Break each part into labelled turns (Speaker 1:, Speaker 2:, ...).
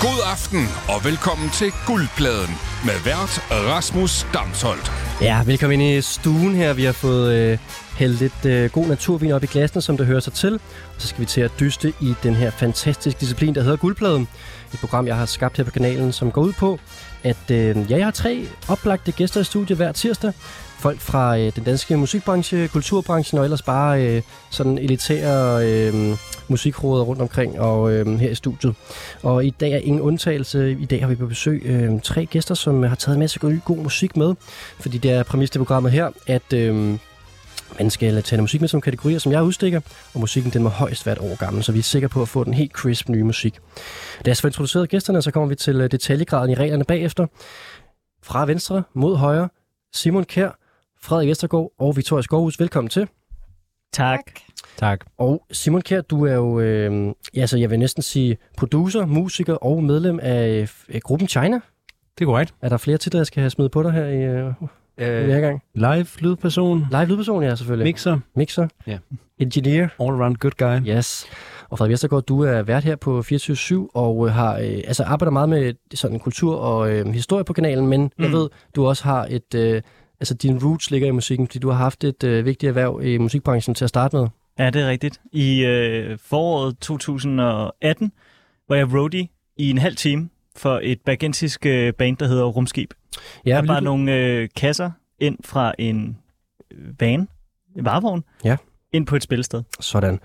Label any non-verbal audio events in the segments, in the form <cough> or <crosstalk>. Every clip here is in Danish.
Speaker 1: God aften og velkommen til Guldpladen med vært Rasmus Damsholdt.
Speaker 2: Ja, velkommen ind i stuen her. Vi har fået øh, hældt lidt øh, god naturvin op i glasene, som det hører sig til. Og så skal vi til at dyste i den her fantastiske disciplin, der hedder Guldpladen. Et program, jeg har skabt her på kanalen, som går ud på, at øh, ja, jeg har tre oplagte gæster i studiet hver tirsdag. Folk fra øh, den danske musikbranche, kulturbranchen og ellers bare øh, sådan elitære øh, musikråder rundt omkring og øh, her i studiet. Og i dag er ingen undtagelse. I dag har vi på besøg øh, tre gæster, som har taget en masse god, god musik med. Fordi det er præmis til programmet her, at øh, man skal tage noget musik med som kategorier, som jeg udstikker, og musikken den må højst være et år gammel, så vi er sikre på at få den helt crisp nye musik. Lad os få introduceret gæsterne, og så kommer vi til øh, detaljegraden i reglerne bagefter. Fra venstre mod højre, Simon Kær, Frederik Vestergaard og Victoria Skovhus, velkommen til.
Speaker 3: Tak.
Speaker 4: Tak.
Speaker 2: Og Simon Kjær, du er jo, øh, ja, altså, jeg vil næsten sige producer, musiker og medlem af øh, gruppen China.
Speaker 4: Det er korrekt.
Speaker 2: Er der flere titler, jeg skal have smidt på dig her i, øh, i hver gang?
Speaker 4: Live lydperson,
Speaker 2: Live lydperson, ja, selvfølgelig.
Speaker 4: mixer,
Speaker 2: Mixer.
Speaker 4: Ja.
Speaker 2: Engineer.
Speaker 4: all around good guy.
Speaker 2: Yes. Og Frederik Vestergaard, du er vært her på 24-7 og øh, har, øh, altså arbejder meget med sådan kultur og øh, historie på kanalen, men mm. jeg ved, du også har et, øh, altså dine roots ligger i musikken, fordi du har haft et øh, vigtigt erhverv i musikbranchen til at starte med.
Speaker 3: Ja, det er rigtigt. I øh, foråret 2018 var jeg roadie i en halv time for et bergensisk øh, band, der hedder Rumskib.
Speaker 2: Ja,
Speaker 3: Der
Speaker 2: vil
Speaker 3: var
Speaker 2: du-
Speaker 3: nogle øh, kasser ind fra en øh, van, en varevogn,
Speaker 2: Ja.
Speaker 3: ind på et spillested.
Speaker 2: Sådan.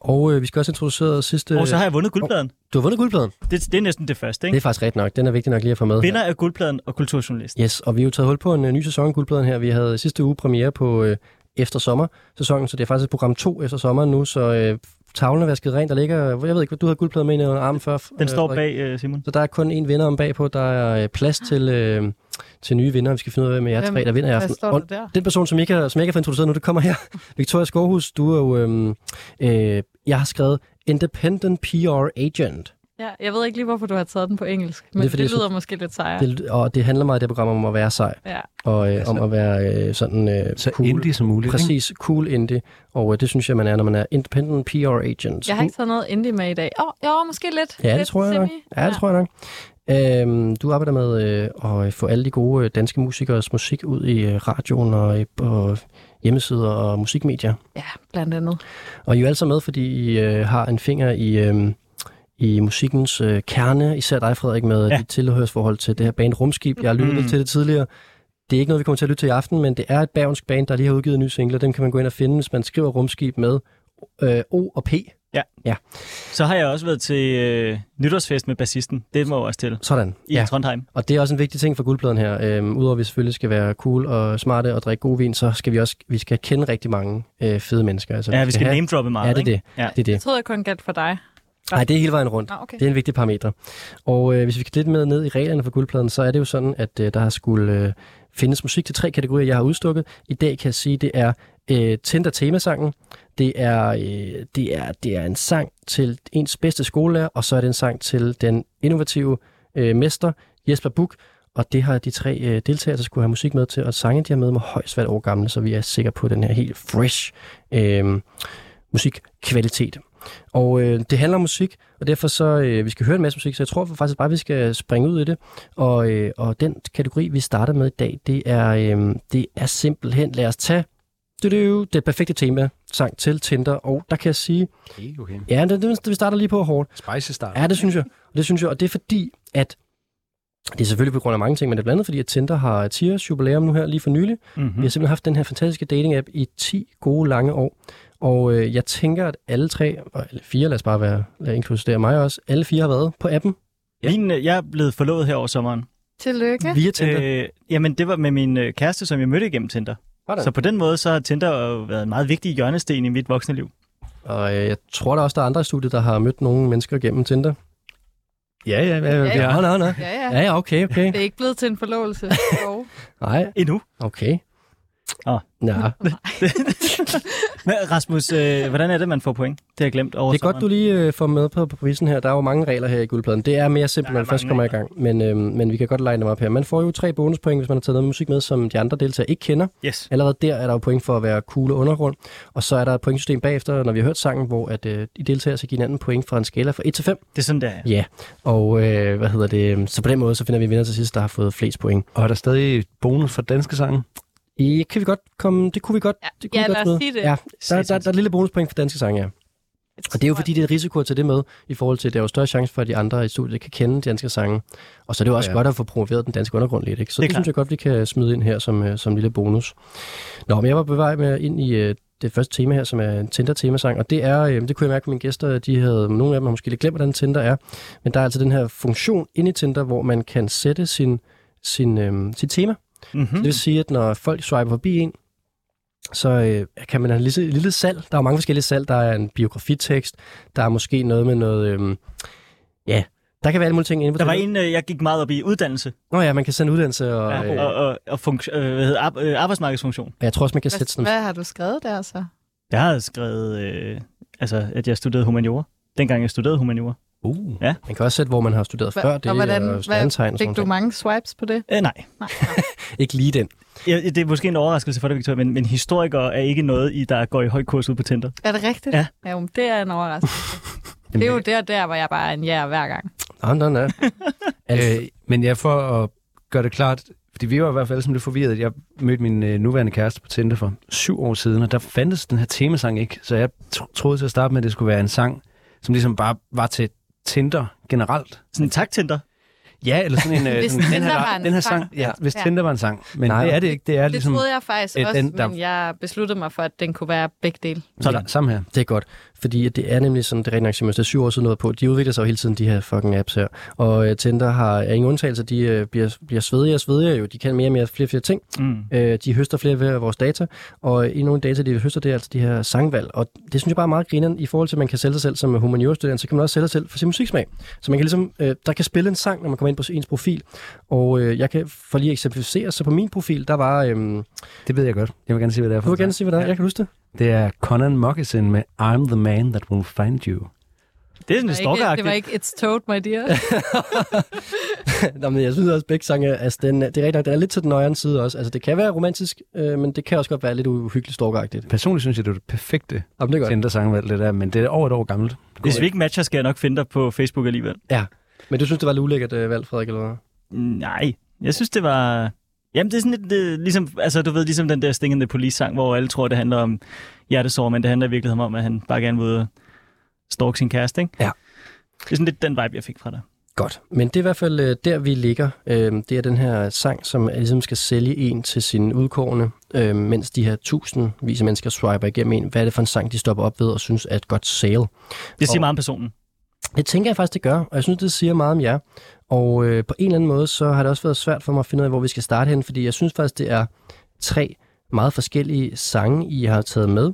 Speaker 2: Og øh, vi skal også introducere sidste...
Speaker 3: Og så har jeg vundet guldpladen.
Speaker 2: Du har vundet guldpladen.
Speaker 3: Det, det er næsten det første,
Speaker 2: Det er
Speaker 3: ikke?
Speaker 2: faktisk ret nok. Den er vigtig nok lige at få med.
Speaker 3: Vinder af guldpladen og kulturjournalist.
Speaker 2: Yes, og vi har jo taget hul på en øh, ny sæson af Guldpladen her. Vi havde sidste uge premiere på øh, efter sommersæsonen, så det er faktisk program 2 efter sommeren nu, så øh, tavlen er vasket rent. Der ligger, jeg ved ikke, hvad du har guldpladen med ind under armen før.
Speaker 3: Den
Speaker 2: øh,
Speaker 3: står
Speaker 2: Frederik.
Speaker 3: bag øh, Simon.
Speaker 2: Så der er kun én vinder om bagpå. Der er øh, plads til, øh, til nye vinder. Vi skal finde ud af, hvem af jer
Speaker 5: Hvem-
Speaker 2: tre, der vinder i
Speaker 5: Hvad
Speaker 2: aften.
Speaker 5: står
Speaker 2: Og
Speaker 5: der der?
Speaker 2: Den person, som jeg ikke har, som jeg ikke har fået introduceret nu, det kommer
Speaker 5: <laughs>
Speaker 2: her. Victoria Skovhus, du er jo... øhm, øh, jeg har skrevet Independent PR Agent.
Speaker 5: Ja, jeg ved ikke lige, hvorfor du har taget den på engelsk, men
Speaker 2: Det er,
Speaker 5: det,
Speaker 2: fordi
Speaker 5: det
Speaker 2: jeg
Speaker 5: lyder måske lidt sejere. Det...
Speaker 2: Det, og det handler meget i det program om at være sej,
Speaker 5: Ja.
Speaker 2: og øh,
Speaker 4: Altså-
Speaker 2: om at være øh, sådan øh,
Speaker 4: Så
Speaker 2: cool.
Speaker 4: indie som muligt. ikke?
Speaker 2: Præcis, cool indie. Og øh, det synes jeg, man er, når man er independent PR agent. Uh,
Speaker 5: Jeg har ikke taget noget indie med i dag. Åh, oh, jo, måske lidt.
Speaker 2: Ja, det
Speaker 5: lidt
Speaker 2: tror jeg nok.
Speaker 5: semi.
Speaker 2: Ja, det tror jeg nok. Øhm, du arbejder med øh, at få alle de gode øh, danske musikers musik ud i øh, radioen og i- på hjemmesider og musikmedier.
Speaker 5: Ja, blandt andet.
Speaker 2: Og I er jo alle sammen med, fordi I øh, har en finger i, øh, i musikkens øh, kerne. Især dig, Frederik, med ja.
Speaker 3: Ja.
Speaker 2: dit tilhørsforhold til det her band Rumskib. Jeg har lyttet
Speaker 3: Mm.
Speaker 2: lidt til det tidligere. Det er ikke noget, vi kommer til at lytte til i aften, men det er et bergensk band, der lige har udgivet en ny single. og Dem kan man gå ind og finde, hvis man skriver Rumskib med øh, O og P.
Speaker 3: Så har jeg også været til øh, nytårsfest med bassisten. Det må jeg også til.
Speaker 2: Sådan.
Speaker 3: I ja. Trondheim.
Speaker 2: Og det er også en vigtig ting for guldpladen her. Øhm, Udover at vi selvfølgelig skal være cool og smarte og drikke god vin, så skal vi også vi skal kende rigtig mange øh, fede mennesker. Altså,
Speaker 3: Ja, vi skal
Speaker 2: have-
Speaker 3: name droppe meget,
Speaker 2: Ja, det er
Speaker 3: ikke? Ja.
Speaker 2: det. det, er
Speaker 5: Jeg
Speaker 2: det.
Speaker 5: troede, jeg kun galt for dig.
Speaker 2: Nej, det er hele vejen rundt.
Speaker 5: Nå, okay.
Speaker 2: Det er en vigtig parameter. Og øh, hvis vi kan lidt med ned i reglerne for guldpladen, så er det jo sådan, at øh, der har skulle øh, findes musik til tre kategorier, jeg har udstukket. I dag kan jeg sige, det er øh, Tinder temasangen, det er, øh, det, er, det er en sang til ens bedste skolelærer, og så er det en sang til den innovative øh, mester Jesper Buch. Og det har de tre øh, deltagere, der skulle have musik med til, og sange, de har med, må højst være et år gamle, så vi er sikre på den her helt fresh øh, musikkvalitet. Og øh, det handler om musik, og derfor så, øh, vi skal høre en masse musik, så jeg tror faktisk bare, vi skal springe ud i det. Og, øh, og den kategori, vi starter med i dag, det er, øh, det er simpelthen, lad os tage du-du, det perfekte tema, sang til Tinder, og der kan jeg sige,
Speaker 4: Okay, okay.
Speaker 2: ja, det, det, vi starter lige på hårdt.
Speaker 4: Spicy start.
Speaker 2: Ja, det synes jeg. Og det synes jeg, og det er fordi, at det er selvfølgelig på grund af mange ting, men det er blandt andet fordi, at Tinder har 10 års jubilæum nu her lige for nylig. Vi
Speaker 4: Mhm.
Speaker 3: Mm-hmm.
Speaker 2: har simpelthen haft den her fantastiske dating-app i 10 gode lange år. Og øh, jeg tænker, at alle tre, og- eller fire, lad os bare være, lad inkludere mig også, alle fire har været på appen
Speaker 3: Ja. Min, øh, jeg er blevet forlovet her over sommeren.
Speaker 5: Tillykke.
Speaker 2: via Tinder. Øh,
Speaker 3: Øh, jamen, det var med min øh, kæreste, som jeg mødte igennem Tinder. Så på den måde, så har Tinder jo været en meget vigtig hjørnesten i mit voksne liv.
Speaker 2: Og øh, jeg tror der også, der er andre i studiet, der har mødt nogle mennesker gennem Tinder.
Speaker 4: Ja, ja, ja. ja,
Speaker 2: Ja,
Speaker 4: ja.
Speaker 2: nej, nej.
Speaker 5: Ja, ja.
Speaker 2: Ja, ja, okay, okay. <laughs>
Speaker 5: Det er ikke blevet til en forlovelse. Jo.
Speaker 2: Nej,
Speaker 3: Endnu.
Speaker 2: okay.
Speaker 3: <laughs>
Speaker 2: Nå, det
Speaker 3: Men Rasmus, øh, hvordan er det, man får point? Det har jeg glemt over
Speaker 2: er godt, du
Speaker 3: sommeren.
Speaker 2: lige øh, får med på, på quizzen her. Der er jo mange regler her i guldpladen. Det er mere simpelt,
Speaker 3: Der
Speaker 2: når
Speaker 3: er
Speaker 2: man først
Speaker 3: mange
Speaker 2: kommer i gang. Men, øh, men vi kan godt lege dem op her. Man får jo tre bonuspoint, hvis man har taget noget musik med, som de andre deltagere ikke kender.
Speaker 3: Yes.
Speaker 2: Allerede der er der jo point for at være cool og undergrund. Og så er der et pointsystem bagefter, når vi har hørt sangen, hvor at, øh, de deltagere skal give hinanden point fra en skala fra 1 til 5.
Speaker 3: Det er sådan, der er.
Speaker 2: Ja, og øh, hvad hedder det? Så på den måde, så finder vi en vinder til sidst, der har fået flest point.
Speaker 4: Og er der stadig bonus for danske sange?
Speaker 2: I, kan vi godt komme, det kunne vi godt, det kunne
Speaker 5: Ja,
Speaker 2: vi godt
Speaker 5: lad os sige
Speaker 2: smide.
Speaker 5: det.
Speaker 2: Ja, der, der, der,
Speaker 3: Satans.
Speaker 2: er et lille bonuspoint for danske sange, ja. Og det er jo fordi, det er et risiko at tage det med, i forhold til, at der er jo større chance for, at de andre i studiet kan kende de danske sange. Og så er det jo også
Speaker 4: Ja.
Speaker 2: ja. godt at få promoveret den danske undergrund lidt, ikke? Så
Speaker 3: Det er
Speaker 2: det, det synes
Speaker 3: klart.
Speaker 2: jeg godt, vi kan smide ind her som, øh, som lille bonus. Nå, men jeg var på vej med ind i øh, det første tema her, som er en Tinder-temasang, og det er, øh, det kunne jeg mærke på mine gæster, at de havde, nogle af dem har måske lidt glemt, hvordan Tinder er, men der er altså den her funktion inde i Tinder, hvor man kan sætte sin, sin, øh, sit tema. Så
Speaker 3: Mm-hmm.
Speaker 2: Det vil sige, at når folk swiper forbi en, så øh, kan man have en lille, lille salg. Der er jo mange forskellige salg. Der er en biografitekst. Der er måske noget med noget... Øh, ja, der kan være alle mulige ting inde på
Speaker 3: Der var
Speaker 2: Tinder.
Speaker 3: en, øh, jeg gik meget op i uddannelse
Speaker 2: Nå ja, man kan sende uddannelse, og,
Speaker 3: og,
Speaker 2: ja,
Speaker 3: og,
Speaker 2: øh,
Speaker 3: og, og funktio- øh, hvad hedder, ar- øh, arbejdsmarkedsfunktion.
Speaker 2: og jeg tror også, man kan sætte
Speaker 5: Hvad,
Speaker 2: sådan...
Speaker 5: hvad har du skrevet der så?
Speaker 3: Jeg har skrevet, øh, altså, at jeg studerede humaniora. Dengang jeg studerede humaniora.
Speaker 4: Uh.
Speaker 2: Man kan også sætte, hvor man har studeret
Speaker 5: Hva-
Speaker 2: før.
Speaker 5: og
Speaker 2: Det øh,
Speaker 5: hvordan-
Speaker 2: er
Speaker 5: hvad
Speaker 2: stjernetegn og
Speaker 5: Fik
Speaker 2: sådan
Speaker 5: du
Speaker 2: noget.
Speaker 5: mange swipes på det?
Speaker 3: Øh, nej,
Speaker 5: Nej.
Speaker 2: Ikke lige den.
Speaker 3: jeg, det er måske en overraskelse for dig, Victoria, men, men historikere er ikke noget, I der går i høj kurs ud på Tinder.
Speaker 5: Er det rigtigt?
Speaker 3: Ja.
Speaker 5: ja men det er en overraskelse. det er jo der, der, hvor jeg bare er en ja hver gang.
Speaker 2: Nej, nej, nej.
Speaker 5: <laughs>
Speaker 2: Altså,
Speaker 4: Øh, men jeg for at gøre det klart, fordi vi var i hvert fald sådan lidt forvirret. Jeg mødte min øh, nuværende kæreste på Tinder for syv år siden, og der fandtes den her temasang ikke. Så jeg tro- troede til at starte med, at det skulle være en sang, som ligesom bare var til Tinder generelt.
Speaker 3: Sådan, tak Tinder.
Speaker 4: Ja, eller sådan
Speaker 5: <laughs>
Speaker 4: en...
Speaker 5: Hvis
Speaker 4: sådan,
Speaker 5: Tinder
Speaker 4: den her,
Speaker 5: var en
Speaker 4: den her
Speaker 5: sang.
Speaker 4: sang. Ja, hvis
Speaker 5: Ja.
Speaker 4: Tinder var en sang. Men
Speaker 2: Nej.
Speaker 4: Nej, det er det ikke. Det er
Speaker 5: Det
Speaker 4: ligesom...
Speaker 5: troede jeg faktisk
Speaker 4: et-
Speaker 5: også,
Speaker 4: den- der-
Speaker 5: men jeg besluttede mig for, at den kunne være begge dele.
Speaker 4: Sådan, sammen her.
Speaker 2: Det er godt, fordi at det er nemlig sådan, det er rent nok, som jeg sagde, syv år siden noget på, de udvikler sig jo hele tiden, de her fucking apps her. Og uh, Tinder har er ingen undtagelse, de uh, bliver, bliver svedigere og svedigere jo, de kan mere og mere flere og flere ting.
Speaker 3: Mm.
Speaker 2: Øh, de høster flere af vores data, og en af nogle data, de høster, det er altså de her sangvalg. Og det synes jeg bare er meget grineren i forhold til, at man kan sælge sig selv som humaniorstuderende, så kan man også sælge sig selv for sin musiksmag. Så man kan ligesom, øh, der kan spille en sang, når man kommer ind på ens profil. Og øh, jeg kan for lige at eksemplificere, så på min profil, der var... Øh,
Speaker 4: øhm, Det ved jeg godt. Jeg vil gerne sige, hvad det er for
Speaker 2: du vil
Speaker 4: en
Speaker 2: gerne sige, hvad der er. Jeg kan huske det.
Speaker 4: sang. Det er Conan Moccasin med I'm the man that will find you.
Speaker 3: Det er sådan
Speaker 5: Det
Speaker 3: lidt
Speaker 5: var, ikke, det var
Speaker 3: stalkeragtigt.
Speaker 5: ikke It's Toad, my
Speaker 3: <laughs>
Speaker 5: dear.
Speaker 2: Nå, men jeg synes også, at begge sange, er- altså, den, det er rigtigt nok, den er lidt til den nøjeren side også. Altså, det kan være romantisk, øh, men det kan også godt være lidt uhyggeligt storkagtigt.
Speaker 4: Personligt synes jeg, det er det perfekte
Speaker 2: Jamen, det er godt.
Speaker 4: Tinder-sangvalg, det der, men det er over et år gammelt.
Speaker 3: Hvis vi ikke matcher, skal jeg nok finde dig på Facebook alligevel.
Speaker 2: Men du synes, det var lidt ulækkert øh, valg, Frederik, eller hvad?
Speaker 3: Nej, jeg synes, det var... Jamen, det er sådan lidt, det, ligesom, altså, du ved, ligesom den der Sting in the Police-sang, hvor alle tror, det handler om hjertesår, men det handler i virkeligheden om, at han bare gerne vil ud og stalk sin kæreste, ikke?
Speaker 2: Ja.
Speaker 3: Det er sådan lidt den vibe, jeg fik fra dig.
Speaker 2: Godt. Men det er i hvert fald øh, der, vi ligger. Øh, det er den her sang, som øh, ligesom skal sælge en til sine udkårende, øh, mens de her tusindvis af mennesker swiper igennem en. Hvad er det for en sang, de stopper op ved og synes er et godt sale?
Speaker 3: Det siger
Speaker 2: Og-
Speaker 3: meget om personen.
Speaker 2: Det tænker jeg faktisk, det gør, og jeg synes, det siger meget om jer. Og øh, på en eller anden måde, så har det også været svært for mig at finde ud af, hvor vi skal starte hen, fordi jeg synes faktisk, det er tre meget forskellige sange, I har taget med.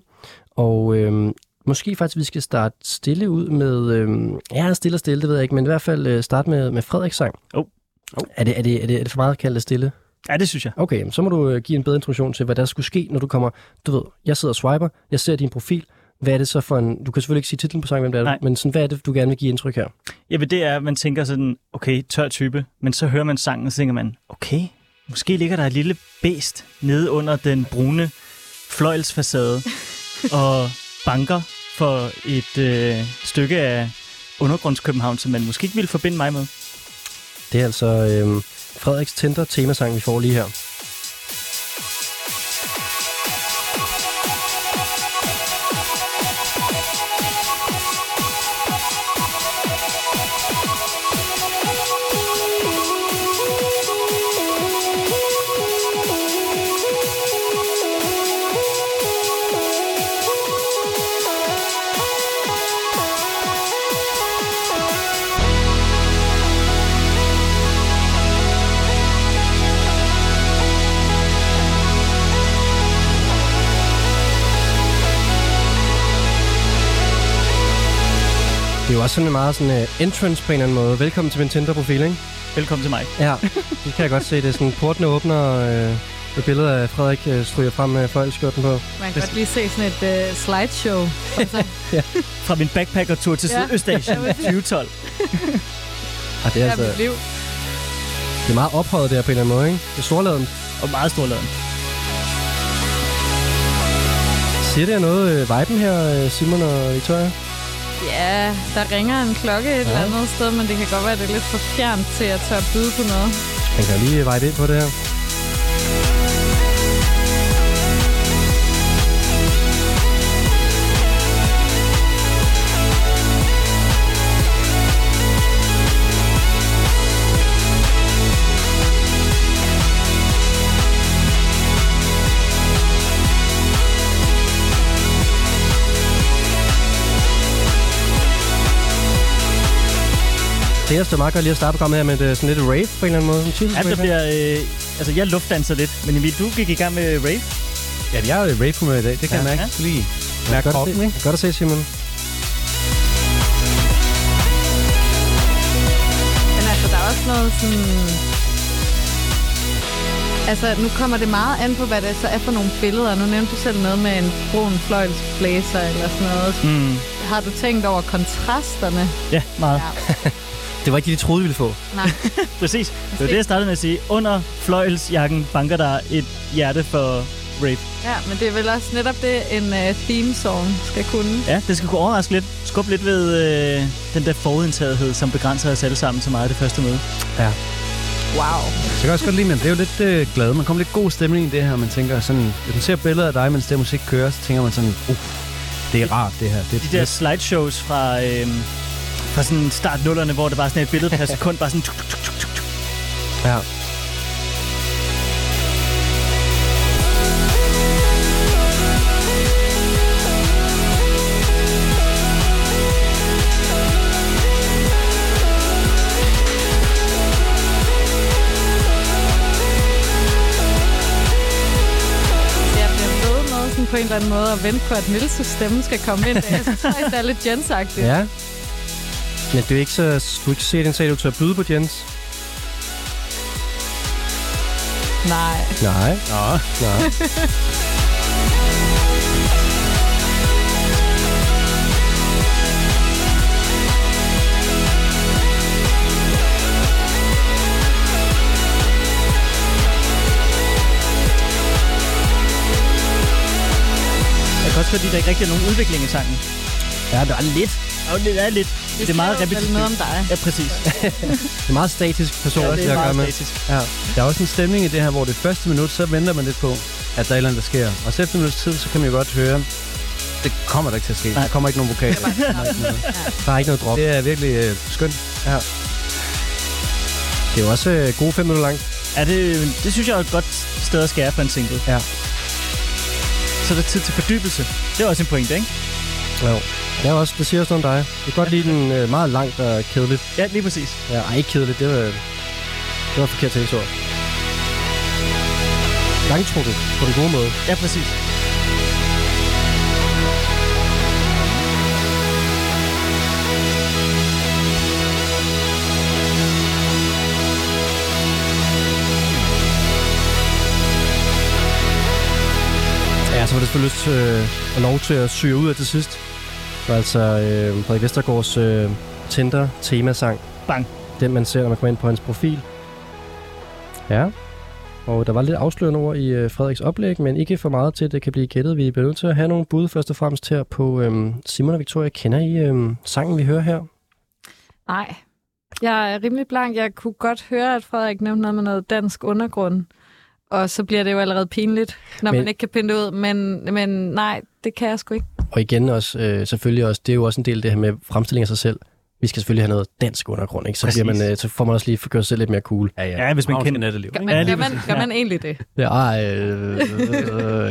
Speaker 2: Og øh, måske faktisk, vi skal starte stille ud med... Øh, ja, stille og stille, det ved jeg ikke, men i hvert fald øh, starte med, med Frederiks sang.
Speaker 3: Jo.
Speaker 2: Oh. Er, det, er, det, er, det, er det for meget at kalde det stille?
Speaker 3: Ja, det synes jeg.
Speaker 2: Okay, så må du øh, give en bedre introduktion til, hvad der skulle ske, når du kommer... Du ved, jeg sidder og swiper, jeg ser din profil. Hvad er det så for en... Du kan selvfølgelig ikke sige titlen på sangen, hvem det er,
Speaker 3: Nej.
Speaker 2: men sådan, hvad er det, du gerne vil give indtryk her?
Speaker 3: Jamen, det er, at man tænker sådan, okay, tør type, men så hører man sangen, og så tænker man, okay, måske ligger der et lille bæst nede under den brune fløjlsfacade og banker for et øh, stykke af undergrundskøbenhavn, som man måske ikke ville forbinde mig med.
Speaker 2: Det er altså øh, Frederiks Tinder temasang, vi får lige her. Det er jo også sådan en meget sådan, uh, entrance på en eller anden måde. Velkommen til min Tinder-profil, ikke?
Speaker 3: Velkommen til mig.
Speaker 2: Ja, det kan jeg godt se. Det er sådan, portene åbner, og øh, Et billede af Frederik øh, stryger frem med fløjlskjorten på.
Speaker 5: Man kan godt lige se sådan et uh, slideshow. Altså,
Speaker 3: Fra min backpackertur til
Speaker 5: Ja.
Speaker 3: Sydøstasien i 2012.
Speaker 2: Og det er
Speaker 5: ja,
Speaker 2: altså
Speaker 5: altså, mit liv.
Speaker 2: det er meget ophøjet der på en eller anden måde, ikke? Det er storladen.
Speaker 3: Og meget stor laden.
Speaker 2: Siger det jer noget, øh, viben her, øh, Simon og Victoria?
Speaker 5: Ja, der ringer en klokke et ja. eller andet sted, men det kan godt være, at det er lidt for fjernt til at tør byde på noget.
Speaker 2: Man kan lige veje det ind på det her. Det er også meget godt lige at starte programmet her med et, øh, sådan lidt rave på en eller anden måde. En
Speaker 3: Ja, der
Speaker 2: tirsdagsrave.
Speaker 3: bliver, øh, altså, jeg luftdanser lidt, men Emil, du gik i gang med rave.
Speaker 4: Ja, jeg er jo i rave i dag. Det kan
Speaker 3: Ja.
Speaker 4: jeg mærke.
Speaker 3: Ja.
Speaker 4: Lige
Speaker 2: Mærk
Speaker 4: mærke kroppen,
Speaker 2: godt kroppen,
Speaker 4: ikke?
Speaker 2: ikke? Godt at se, Simon.
Speaker 5: Men altså, der er også noget sådan... Altså, nu kommer det meget an på, hvad det så er for nogle billeder. Nu nævnte du selv noget med en brun fløjlsblæser eller sådan noget.
Speaker 3: Mm.
Speaker 5: Har du tænkt over kontrasterne?
Speaker 3: Ja, meget. Ja.
Speaker 5: Ja.
Speaker 2: <laughs> Det var ikke det, de troede, vi ville få.
Speaker 5: Nej.
Speaker 3: Præcis. Det var det, jeg startede med at sige. Under fløjelsjakken banker der et hjerte for rave.
Speaker 5: Ja, men det er vel også netop det, en uh, theme song skal kunne.
Speaker 3: Ja, det skal kunne overraske lidt. Skub lidt ved øh, den der forudindtagethed, som begrænser os alle sammen så meget i det første møde.
Speaker 5: Wow.
Speaker 4: Så kan jeg også godt lide, men det er jo lidt øh, glad. Man kommer lidt god stemning i det her. Man tænker sådan, hvis man ser billeder af dig, mens det her musik kører, så tænker man sådan, uff, det er rart det her. Det,
Speaker 3: De der slideshows fra, øh, fra sådan start nullerne, hvor det var sådan et billede per sekund, bare sådan... Tuk, tuk, tuk, tuk, tuk.
Speaker 2: Ja.
Speaker 5: Jeg bliver ved med sådan på en eller anden måde at vente på, at Nils' stemme skal komme ind. Jeg synes faktisk, det er lidt jensagtigt.
Speaker 2: Ja. Men det er jo ikke så... Du er ikke set en sag, du tør byde på, Jens.
Speaker 5: Nej.
Speaker 2: Nej.
Speaker 4: Nå,
Speaker 2: Nej.
Speaker 3: Jeg kan også godt lide, at der ikke rigtig er nogen udvikling i sangen.
Speaker 2: ja, der er lidt.
Speaker 3: Og det er lidt. Det er meget
Speaker 5: skal jo vel noget om
Speaker 3: repetitivt.
Speaker 5: dig.
Speaker 3: Ja, præcis.
Speaker 2: Det er meget statisk person,
Speaker 3: Ja,
Speaker 2: ja,
Speaker 3: det
Speaker 2: jeg
Speaker 3: er
Speaker 2: gør med.
Speaker 3: meget statisk.
Speaker 2: Ja.
Speaker 4: Der er også en stemning i det her, hvor det første minut, så venter man lidt på, at der er et eller andet, der sker. Og så efter en minuts tid, så kan man jo godt høre, det kommer der ikke til at ske.
Speaker 3: Nej.
Speaker 4: Der kommer ikke nogen vokaler.
Speaker 2: Der er ikke noget drop.
Speaker 4: Det er virkelig øh, skønt.
Speaker 2: <laughs> Det er jo også øh, gode fem minutter langt.
Speaker 3: Ja, det, det synes jeg er et godt sted at skære for en single.
Speaker 2: Ja.
Speaker 3: Så er der tid til fordybelse. Det er også en pointe, ikke?
Speaker 2: Jo. Det, er også, det siger også noget om dig. Jeg kan godt lide den øh, meget langt og kedeligt.
Speaker 3: Ja, lige præcis.
Speaker 2: Ja, ej, ikke kedeligt. Det var, det var et forkert tænkesord. Langtrukket på den gode måde.
Speaker 3: Ja, præcis.
Speaker 2: Ja, så var det selvfølgelig lyst, øh, at lov til at syge ud af til sidst. Det var altså øh, Frederik Vestergaards øh, Tinder-temasang.
Speaker 3: Bang.
Speaker 2: Den, man ser, når man kommer ind på hans profil. Ja. Og der var lidt afslørende ord i øh, Frederiks oplæg, men ikke for meget til, at det kan blive gættet. Vi bliver nødt til at have nogle bud først og fremmest her på øh, Simon og Victoria. Kender I øh, sangen, vi hører her?
Speaker 5: <laughs> Nej. Jeg er rimelig blank. Jeg kunne godt høre, at Frederik nævnte noget med noget dansk undergrund. Og så bliver det jo allerede pinligt, når men...
Speaker 2: Men-
Speaker 5: man ikke kan pinde det ud. Men, men nej, det kan jeg sgu ikke.
Speaker 2: Og igen også, øh, selvfølgelig også, det er jo også en del af det her med fremstilling af sig selv. Vi skal selvfølgelig have noget dansk undergrund, ikke? Så,
Speaker 3: Præcis.
Speaker 2: bliver man, øh, så får man også lige gjort sig selv lidt mere cool.
Speaker 3: Ja, hvis man
Speaker 4: Magnus
Speaker 3: kender-
Speaker 4: natteliv.
Speaker 5: Gør
Speaker 4: ikke?
Speaker 5: man,
Speaker 3: Ja,
Speaker 5: ja,
Speaker 3: lige
Speaker 5: gør man, gør man egentlig det?
Speaker 2: Ja, øh, øh,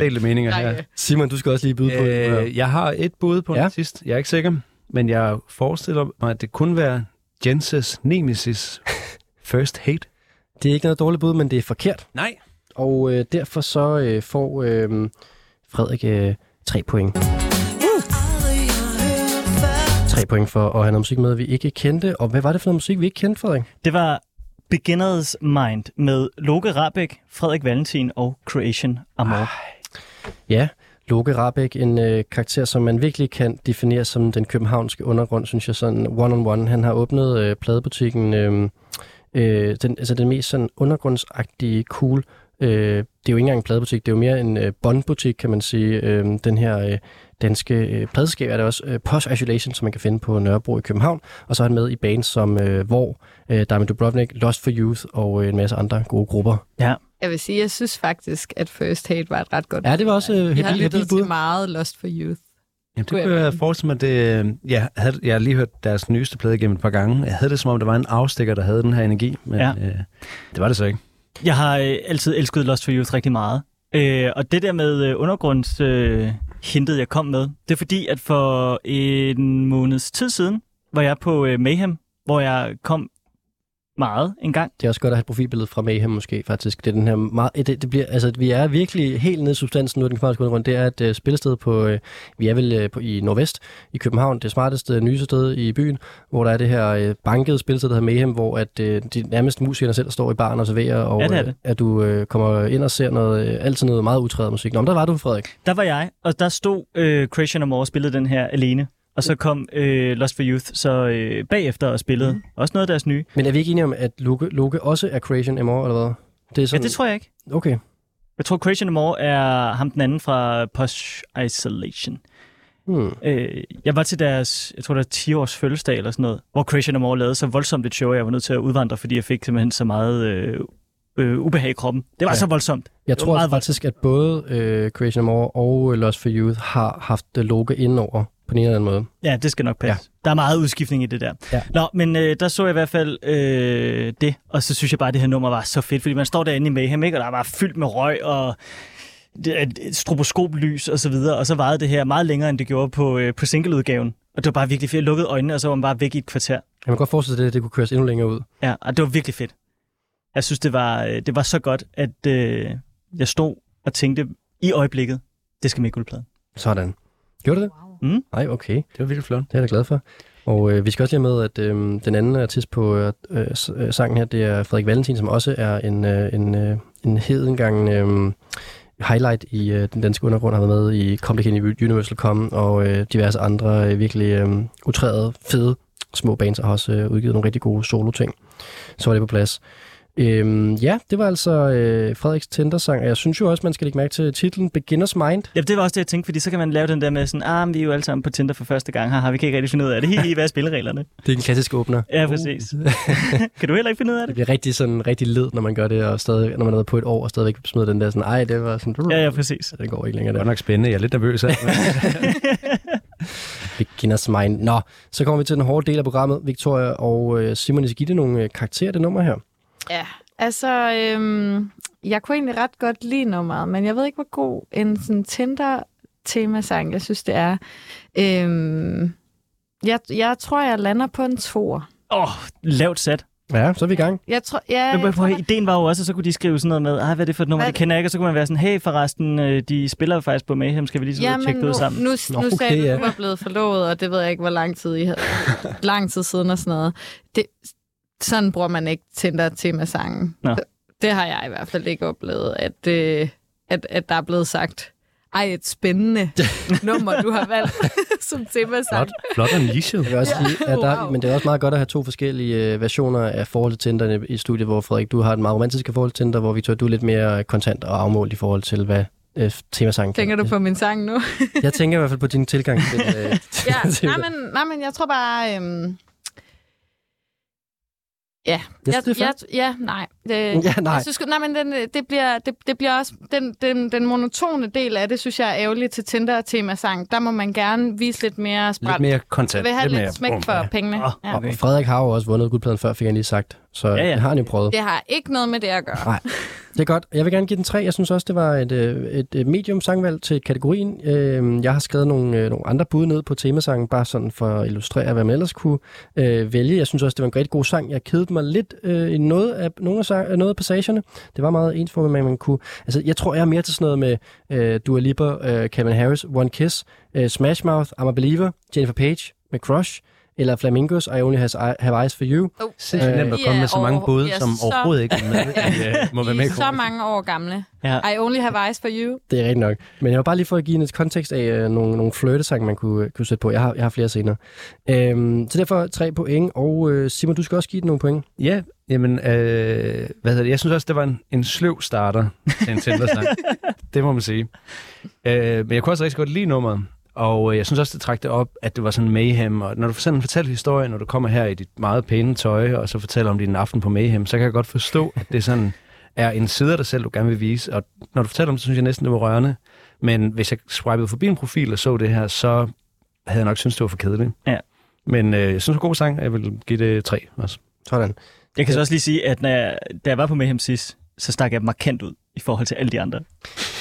Speaker 4: <laughs> Delte meninger
Speaker 5: Nej.
Speaker 4: her.
Speaker 2: Simon, du skal også lige byde på øh,
Speaker 4: Øh, jeg har et bud på
Speaker 2: Ja.
Speaker 4: ja. en sidst. Jeg er ikke sikker, men jeg forestiller mig, at det kunne være Jenses
Speaker 2: <laughs>
Speaker 4: Nemesis First Hate.
Speaker 2: Det er ikke noget dårligt bud, men det er forkert.
Speaker 4: Nej.
Speaker 2: Og øh, derfor så øh, får øh, Frederik øh, tre point. Tre point for at have noget musik med, vi ikke kendte. Og hvad var det for noget musik, vi ikke kendte, Frederik?
Speaker 3: Det var Beginner's Mind med Loke Rabeck, Frederik Valentin og Creation Amor. Ah.
Speaker 2: Ja, Loke Rabeck, en øh, karakter, som man virkelig kan definere som den københavnske undergrund, synes jeg, sådan one-on-one. Han har åbnet øh, pladebutikken, øh, øh, den, altså den mest sådan undergrundsagtige, cool Øh, det er jo ikke engang en pladebutik, det er jo mere en øh, bondbutik, kan man sige. Øh, den her øh, danske øh, pladeskab er der også øh, Posh Isolation, som man kan finde på Nørrebro i København. Og så er han med i bands som øh, Hvor, øh, Diamond Dubrovnik, Lost for Youth og øh, en masse andre gode grupper.
Speaker 3: Ja,
Speaker 5: Jeg vil sige, jeg synes faktisk, at First Hate var et ret godt
Speaker 2: Ja, det var også øh,
Speaker 5: Jeg har
Speaker 2: helt
Speaker 5: lyttet
Speaker 2: helt bud.
Speaker 5: til meget Lost for Youth.
Speaker 4: Jamen, det
Speaker 5: Kunne jeg
Speaker 4: kunne jeg
Speaker 5: godt lide.
Speaker 4: forestille mig, det, øh, jeg, havde, jeg har lige hørt deres nyeste plade igennem et par gange. Jeg havde det, som om der var en afstikker, der havde den her energi, men
Speaker 3: Ja.
Speaker 4: ja. øh, det var det så ikke.
Speaker 3: Jeg har øh, altid elsket Lost for Youth rigtig meget. Øh, og det der med øh, undergrunds øh, hintet, jeg kom med, det er fordi, at for en måneds tid siden var jeg på øh, Mayhem, hvor jeg kom meget en gang.
Speaker 2: Det er også godt at have et profilbillede fra Mayhem måske, faktisk. Det er den her meget, eh, det, det bliver, altså, vi er virkelig helt nede i substansen nu af den københavnske undergrund. Det er et øh, spillested på, øh, vi er vel øh, på, i Nordvest i København, det smarteste, øh, nyeste sted i byen, hvor der er det her øh, bankede spillested, der hedder Mayhem, hvor at, øh, de nærmest musikerne selv står i baren og serverer, og
Speaker 3: Ja, det er
Speaker 2: øh,
Speaker 3: det.
Speaker 2: at du øh, kommer ind og ser noget, øh, altid noget meget utrædet musik. Nå, men der var du, Frederik.
Speaker 3: Der var jeg, og der stod øh, Christian Amore og spillede den her alene. Og så kom øh, Lost for Youth så øh, bagefter og spillede mm. også noget af deres nye.
Speaker 2: Men er vi ikke enige om, at Loke, Loke også er Creation MR, eller hvad? Det er
Speaker 3: Ja,
Speaker 2: sådan,
Speaker 3: det tror jeg ikke.
Speaker 2: jeg. Okay.
Speaker 3: Jeg tror, Christian Amore er ham den anden fra Posh Isolation.
Speaker 2: Hmm.
Speaker 3: Øh, jeg var til deres, jeg tror det var 10 års fødselsdag eller sådan noget, hvor Christian Amore lavede så voldsomt et show, at jeg var nødt til at udvandre, fordi jeg fik simpelthen så meget øh, øh, ubehag i kroppen. Det var ja.
Speaker 2: Ja.
Speaker 3: så voldsomt.
Speaker 2: Jeg
Speaker 3: Det var
Speaker 2: tror
Speaker 3: meget
Speaker 2: meget faktisk, at både øh, Creation More og øh, Lost for Youth har haft øh, Loke indover på den ene eller anden måde.
Speaker 3: Ja, det skal nok passe. Ja. Der er meget udskiftning i det der.
Speaker 2: Ja.
Speaker 3: Nå, men øh, der så jeg i hvert fald øh, det, og så synes jeg bare, at det her nummer var så fedt, fordi man står derinde i Mayhem, ikke? og der var fyldt med røg og det er et stroboskoplys og så videre, og så varede det her meget længere, end det gjorde på, øh, på singleudgaven. Og det var bare virkelig fedt. Jeg lukkede øjnene, og så var man bare væk i et kvarter.
Speaker 2: Jeg kan godt forestille sig, at det, det kunne køres endnu længere ud.
Speaker 3: Ja, og det var virkelig fedt. Jeg synes, det var, øh, det var så godt, at øh, jeg stod og tænkte i øjeblikket, det skal med i guldpladen.
Speaker 2: Sådan. Gjorde det det?
Speaker 5: Wow.
Speaker 2: Nej, okay.
Speaker 4: Mm. Det var virkelig flot.
Speaker 2: Det er jeg da glad for. Og øh, vi skal også lige have med, at øh, den anden artist på øh, øh, s- øh, sangen her, det er Frederik Valentin, som også er en, øh, en, øh, en hedengang øh, highlight i øh, den danske undergrund, har været med i Complicated Universal Com og øh, diverse andre øh, virkelig øh, utrærede, fede små bands, og har også øh, udgivet nogle rigtig gode solo-ting. Så var det på plads. Øhm, ja, det var altså øh, Frederiks Tinder-sang, og jeg synes jo også, man skal lægge mærke til titlen Beginner's Mind.
Speaker 3: Ja, det var også det, jeg tænkte, fordi så kan man lave den der med sådan, ah, men vi er jo alle sammen på Tinder for første gang, haha, vi kan ikke rigtig finde ud af det. <laughs> Hihi, hvad er spillereglerne?
Speaker 2: Det er en klassisk åbner.
Speaker 3: Ja, præcis. <laughs> kan du heller ikke finde ud af
Speaker 2: Det
Speaker 3: det?
Speaker 2: bliver rigtig, sådan, rigtig led, når man gør det, og stadig, når man er nede på et år, og stadigvæk smider den der sådan, ej, det var sådan,
Speaker 3: Ja, ja, præcis.
Speaker 2: den går ikke længere
Speaker 4: Det var
Speaker 2: der.
Speaker 4: nok spændende. Jeg er lidt
Speaker 3: <laughs>
Speaker 4: nervøs af.
Speaker 2: Beginners mind. Nå, så kommer vi til den hårde del af programmet. Victoria og øh, Simon, I skal give det nogle øh, karakterer, det nummer her.
Speaker 5: Ja, altså, øhm, jeg kunne egentlig ret godt lide nummeret, men jeg ved ikke, hvor god en sådan Tinder-temasang, jeg synes, det er. Øhm, jeg, jeg tror, jeg lander på en toer.
Speaker 3: Åh, oh, lavt sat.
Speaker 2: Ja, så er vi i gang.
Speaker 5: Jeg tror, ja,
Speaker 3: Men
Speaker 5: jeg tror,
Speaker 3: prøv, at- ideen var jo også, at så kunne de skrive sådan noget med, ah, hvad er det for et nummer,
Speaker 5: Hvad-
Speaker 3: det kender jeg ikke, og så kunne man være sådan, hey, forresten, øh, de spiller jo faktisk på Mayhem, skal vi lige så ja,
Speaker 5: men
Speaker 3: tjekke det ud sammen?
Speaker 5: Nu, nu,
Speaker 2: Nå,
Speaker 5: nu sagde
Speaker 2: okay,
Speaker 5: du,
Speaker 2: ja.
Speaker 5: du var blevet forlovet, og det ved jeg ikke, hvor lang tid I
Speaker 3: <laughs>
Speaker 5: havde. lang tid siden og sådan noget. Det, sådan bruger man ikke Tinder temasangen.
Speaker 3: Nå.
Speaker 5: Det har jeg i hvert fald ikke oplevet, at, øh, at, at der er blevet sagt, ej, et
Speaker 3: <laughs>
Speaker 5: spændende nummer, du har valgt <laughs> som temasang.
Speaker 4: flot, flot og nichet.
Speaker 2: Jeg vil også sige, at der,
Speaker 5: Wow.
Speaker 2: men det er også meget godt at have to forskellige øh, versioner af forhold til Tinder i studiet, hvor Frederik, du har et meget romantisk forhold til Tinder, hvor Victoria, du er lidt mere kontant og afmålt i forhold til, hvad øh, temasangen kan.
Speaker 5: Tænker du på min sang nu?
Speaker 2: Jeg tænker i hvert fald på din tilgang
Speaker 5: <laughs>
Speaker 2: til, <laughs> øh, til
Speaker 5: ja,
Speaker 2: til-
Speaker 5: nej, men, nej, men jeg tror bare... Øhm, Ja,
Speaker 2: Jeg synes, det er
Speaker 5: jeg, ja, nej. Det,
Speaker 2: Ja, nej.
Speaker 5: Jeg synes, sgu- nej, men den, øh, det, bliver, det, det bliver også, den, den, den monotone del af det, synes jeg er ærgerlig til Tinder-temasang. Der må man gerne vise lidt mere
Speaker 4: Lidt
Speaker 5: spræt.
Speaker 4: mere kontant.
Speaker 5: Jeg vil have lidt,
Speaker 4: mere-
Speaker 5: smæk
Speaker 4: Bum,
Speaker 5: for
Speaker 4: ja.
Speaker 5: pengene.
Speaker 2: Ah,
Speaker 3: Åh,
Speaker 5: Ja.
Speaker 2: Og Frederik har jo også vundet guldpladen før, fik han lige sagt. Så
Speaker 3: Ja,
Speaker 2: ja,
Speaker 3: ja.
Speaker 2: ja. det har han jo prøvet.
Speaker 5: Det har ikke noget med det at gøre.
Speaker 2: Nej, det er godt. Jeg vil gerne give den tre. Jeg synes også, det var et, øh, et øh, medium sangvalg til kategorien. Øh, Jeg har skrevet nogle, øh, nogle andre bud ned på temasangen, bare sådan for at illustrere, hvad man ellers kunne øh, vælge. Jeg synes også, det var en rigtig god sang. Jeg kedede mig lidt øh, i noget af, nogle af, sang, øh, noget af passagerne. Det var meget ensformigt, men man kunne... Altså, jeg tror, jeg er mere til sådan noget med øh, Dua Lipa, øh, Calvin Harris, One Kiss, øh, Smash Mouth, I'm a Believer, Jennifer Page med Crush, eller Flamingos, I Only has, Have Eyes For You.
Speaker 5: Oh,
Speaker 4: Sindssygt nemt at
Speaker 5: I
Speaker 4: komme
Speaker 5: er
Speaker 4: med så mange
Speaker 5: over-
Speaker 4: både,
Speaker 5: I er
Speaker 4: som
Speaker 5: så-
Speaker 4: overhovedet ikke er
Speaker 5: <laughs>
Speaker 4: med, i, øh, må være
Speaker 5: I
Speaker 4: med i
Speaker 5: er så
Speaker 4: konkurrencen.
Speaker 5: mange år gamle.
Speaker 3: Ja.
Speaker 5: I only have eyes for you.
Speaker 2: Det er rigtigt nok. Men jeg var bare lige for at give en et kontekst af øh, nogle, nogle flirtesange, man kunne, kunne sætte på. Jeg har, jeg har flere senere. Øhm, så derfor tre point, og øh, Simon, du skal også give den nogle point.
Speaker 4: Ja, jamen, øh, hvad hedder det? Jeg synes også, det var en, en sløv starter til
Speaker 3: <laughs>
Speaker 4: en Tinder-snak. det må man sige. Øh, men jeg kunne også rigtig godt lide nummeret. Og øh, jeg synes også, det trak det op, at det var sådan mayhem. Og når du sådan fortæller historien, når du kommer her i dit meget pæne tøj, og så fortæller om din aften på mayhem, så kan jeg godt forstå, at det sådan er en side af dig selv, du gerne vil vise. Og når du fortæller om det, så synes jeg næsten, det var rørende. Men hvis jeg swipede forbi en profil og så det her, så havde jeg nok syntes, det var for kedeligt.
Speaker 3: Ja.
Speaker 4: Men øh, jeg synes, det var en god sang, og jeg vil give det tre også.
Speaker 2: Sådan.
Speaker 3: Jeg kan så også lige sige, at når jeg, da jeg var på Mayhem sidst, så stak jeg markant ud i forhold til alle de andre.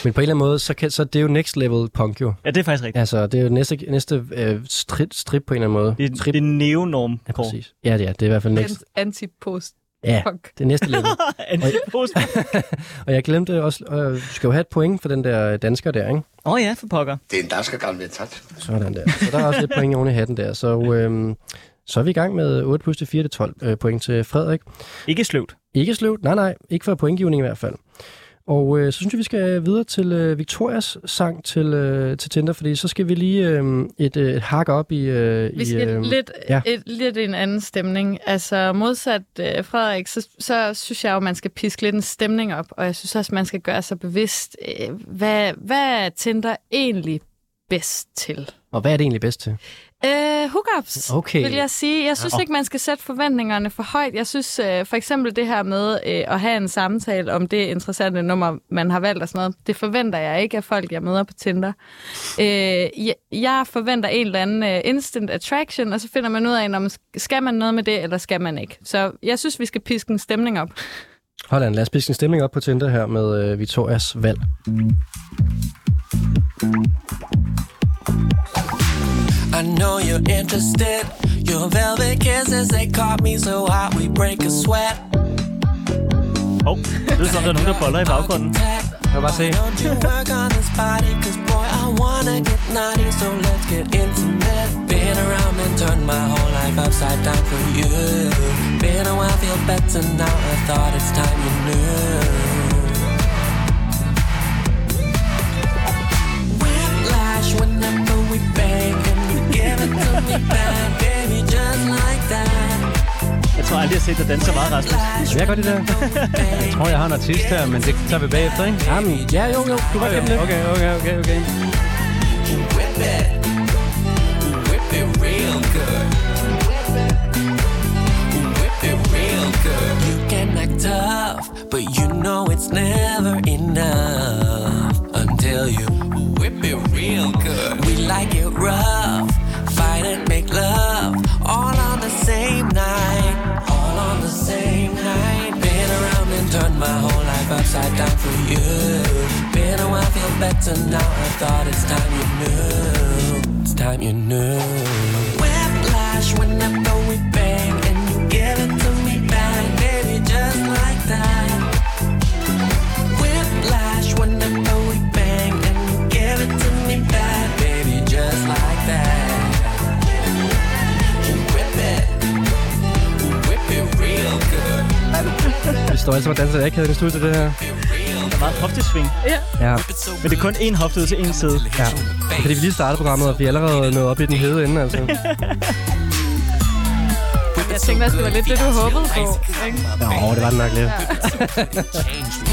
Speaker 2: Men på en eller anden måde, så, kan, så det er jo next level punk jo.
Speaker 3: Ja, det er faktisk rigtigt.
Speaker 2: Altså, det er jo næste, næste øh, strip, strip på en eller anden måde.
Speaker 3: Det er,
Speaker 2: Strip,
Speaker 3: det er neonorm,
Speaker 2: ja, præcis. Ja, det er, det er i hvert fald next.
Speaker 5: Antipost.
Speaker 2: Ja,
Speaker 5: Fuck.
Speaker 2: det er næste
Speaker 3: <laughs>
Speaker 2: <laughs> level.
Speaker 3: Antipost.
Speaker 2: <laughs> Og jeg glemte også, øh, du skal jo have et point for den der dansker der, ikke?
Speaker 3: Åh oh, ja, for pokker.
Speaker 6: Den danske gamle bliver tabt.
Speaker 2: Sådan der. Så der er også lidt point oven i hatten der. Så, øh, så er vi i gang med 8 plus til 4, det er 12 øh, point til Frederik.
Speaker 3: Ikke sløvt.
Speaker 2: Ikke sløvt, nej nej, ikke for pointgivning i hvert fald. Og øh, så synes jeg, vi skal videre til øh, Victorias sang til, øh, til Tinder, fordi så skal vi lige øh, et, øh, et hak op i... Øh,
Speaker 5: Vi
Speaker 2: i,
Speaker 5: skal
Speaker 2: øh,
Speaker 5: lidt,
Speaker 2: ja.
Speaker 5: ja. et, lidt i en anden stemning. Altså modsat øh, Frederik, så, så synes jeg jo, man skal piske lidt en stemning op, og jeg synes også, man skal gøre sig bevidst, øh, hvad, hvad er Tinder egentlig bedst til?
Speaker 2: Og hvad er det egentlig bedst til?
Speaker 5: Øh, hookups,
Speaker 2: Okay.
Speaker 5: vil jeg sige. Jeg synes ikke, man skal sætte forventningerne for højt. Jeg synes øh, for eksempel det her med øh, at have en samtale om det interessante nummer, man har valgt og sådan noget, det forventer jeg ikke af folk, jeg møder på Tinder. Øh, jeg, jeg forventer en eller anden øh, instant attraction, og så finder man ud af, om skal man noget med det, eller skal man ikke. Så jeg synes, vi skal piske en stemning op.
Speaker 2: Holland, lad os piske en stemning op på Tinder her med øh, Victorias valg.
Speaker 7: I know you're interested. Your velvet kisses, they caught me so hot, we break a sweat.
Speaker 3: Åh, oh, det lyder som, der er nogen, der boller i baggrunden.
Speaker 4: Kan du bare se?
Speaker 7: Don't you work on this body, cause boy, I wanna get naughty, so let's get intimate. Been around and turned my whole life upside down for you. Been a while, feel better now, I thought it's time you knew. Whiplash whenever we bang, and you give it to me back, baby, just like that.
Speaker 3: Jeg tror aldrig, jeg har set dig danse så meget, Rasmus.
Speaker 4: Vil jeg godt det der? jeg tror, jeg har en artist her, men det tager vi bagefter, ikke?
Speaker 2: Jamen, ja jo jo, du var gennem det.
Speaker 4: Okay, okay, okay, okay.
Speaker 7: Whip it, whip it real good. Whip it real good. You can act tough, but you know it's never enough until you whip it real good. We like it rough, fight and make love all on the same night, all on the same night. Been around and turned my whole life upside down for you. Been a while, feel better now. I thought it's time you knew. It's time you knew. Whiplash whenever we bang, and you give it to me back, baby, just like that. Whiplash whenever we bang, and you give it to me back, baby, just like that. Whip it, whip it real good.
Speaker 2: Vi står altså og danser ikke i studiet det her.
Speaker 3: Der er meget hoftesving.
Speaker 2: Ja,
Speaker 3: Men det er kun én hofte ud til én side.
Speaker 2: ja. Fordi vi lige startede programmet, og vi er allerede nået op i den hede ende, <laughs> altså.
Speaker 5: Jeg tænkte også, det var lidt det, du håbede på. Ikke?
Speaker 2: Nå, det var den nok lidt.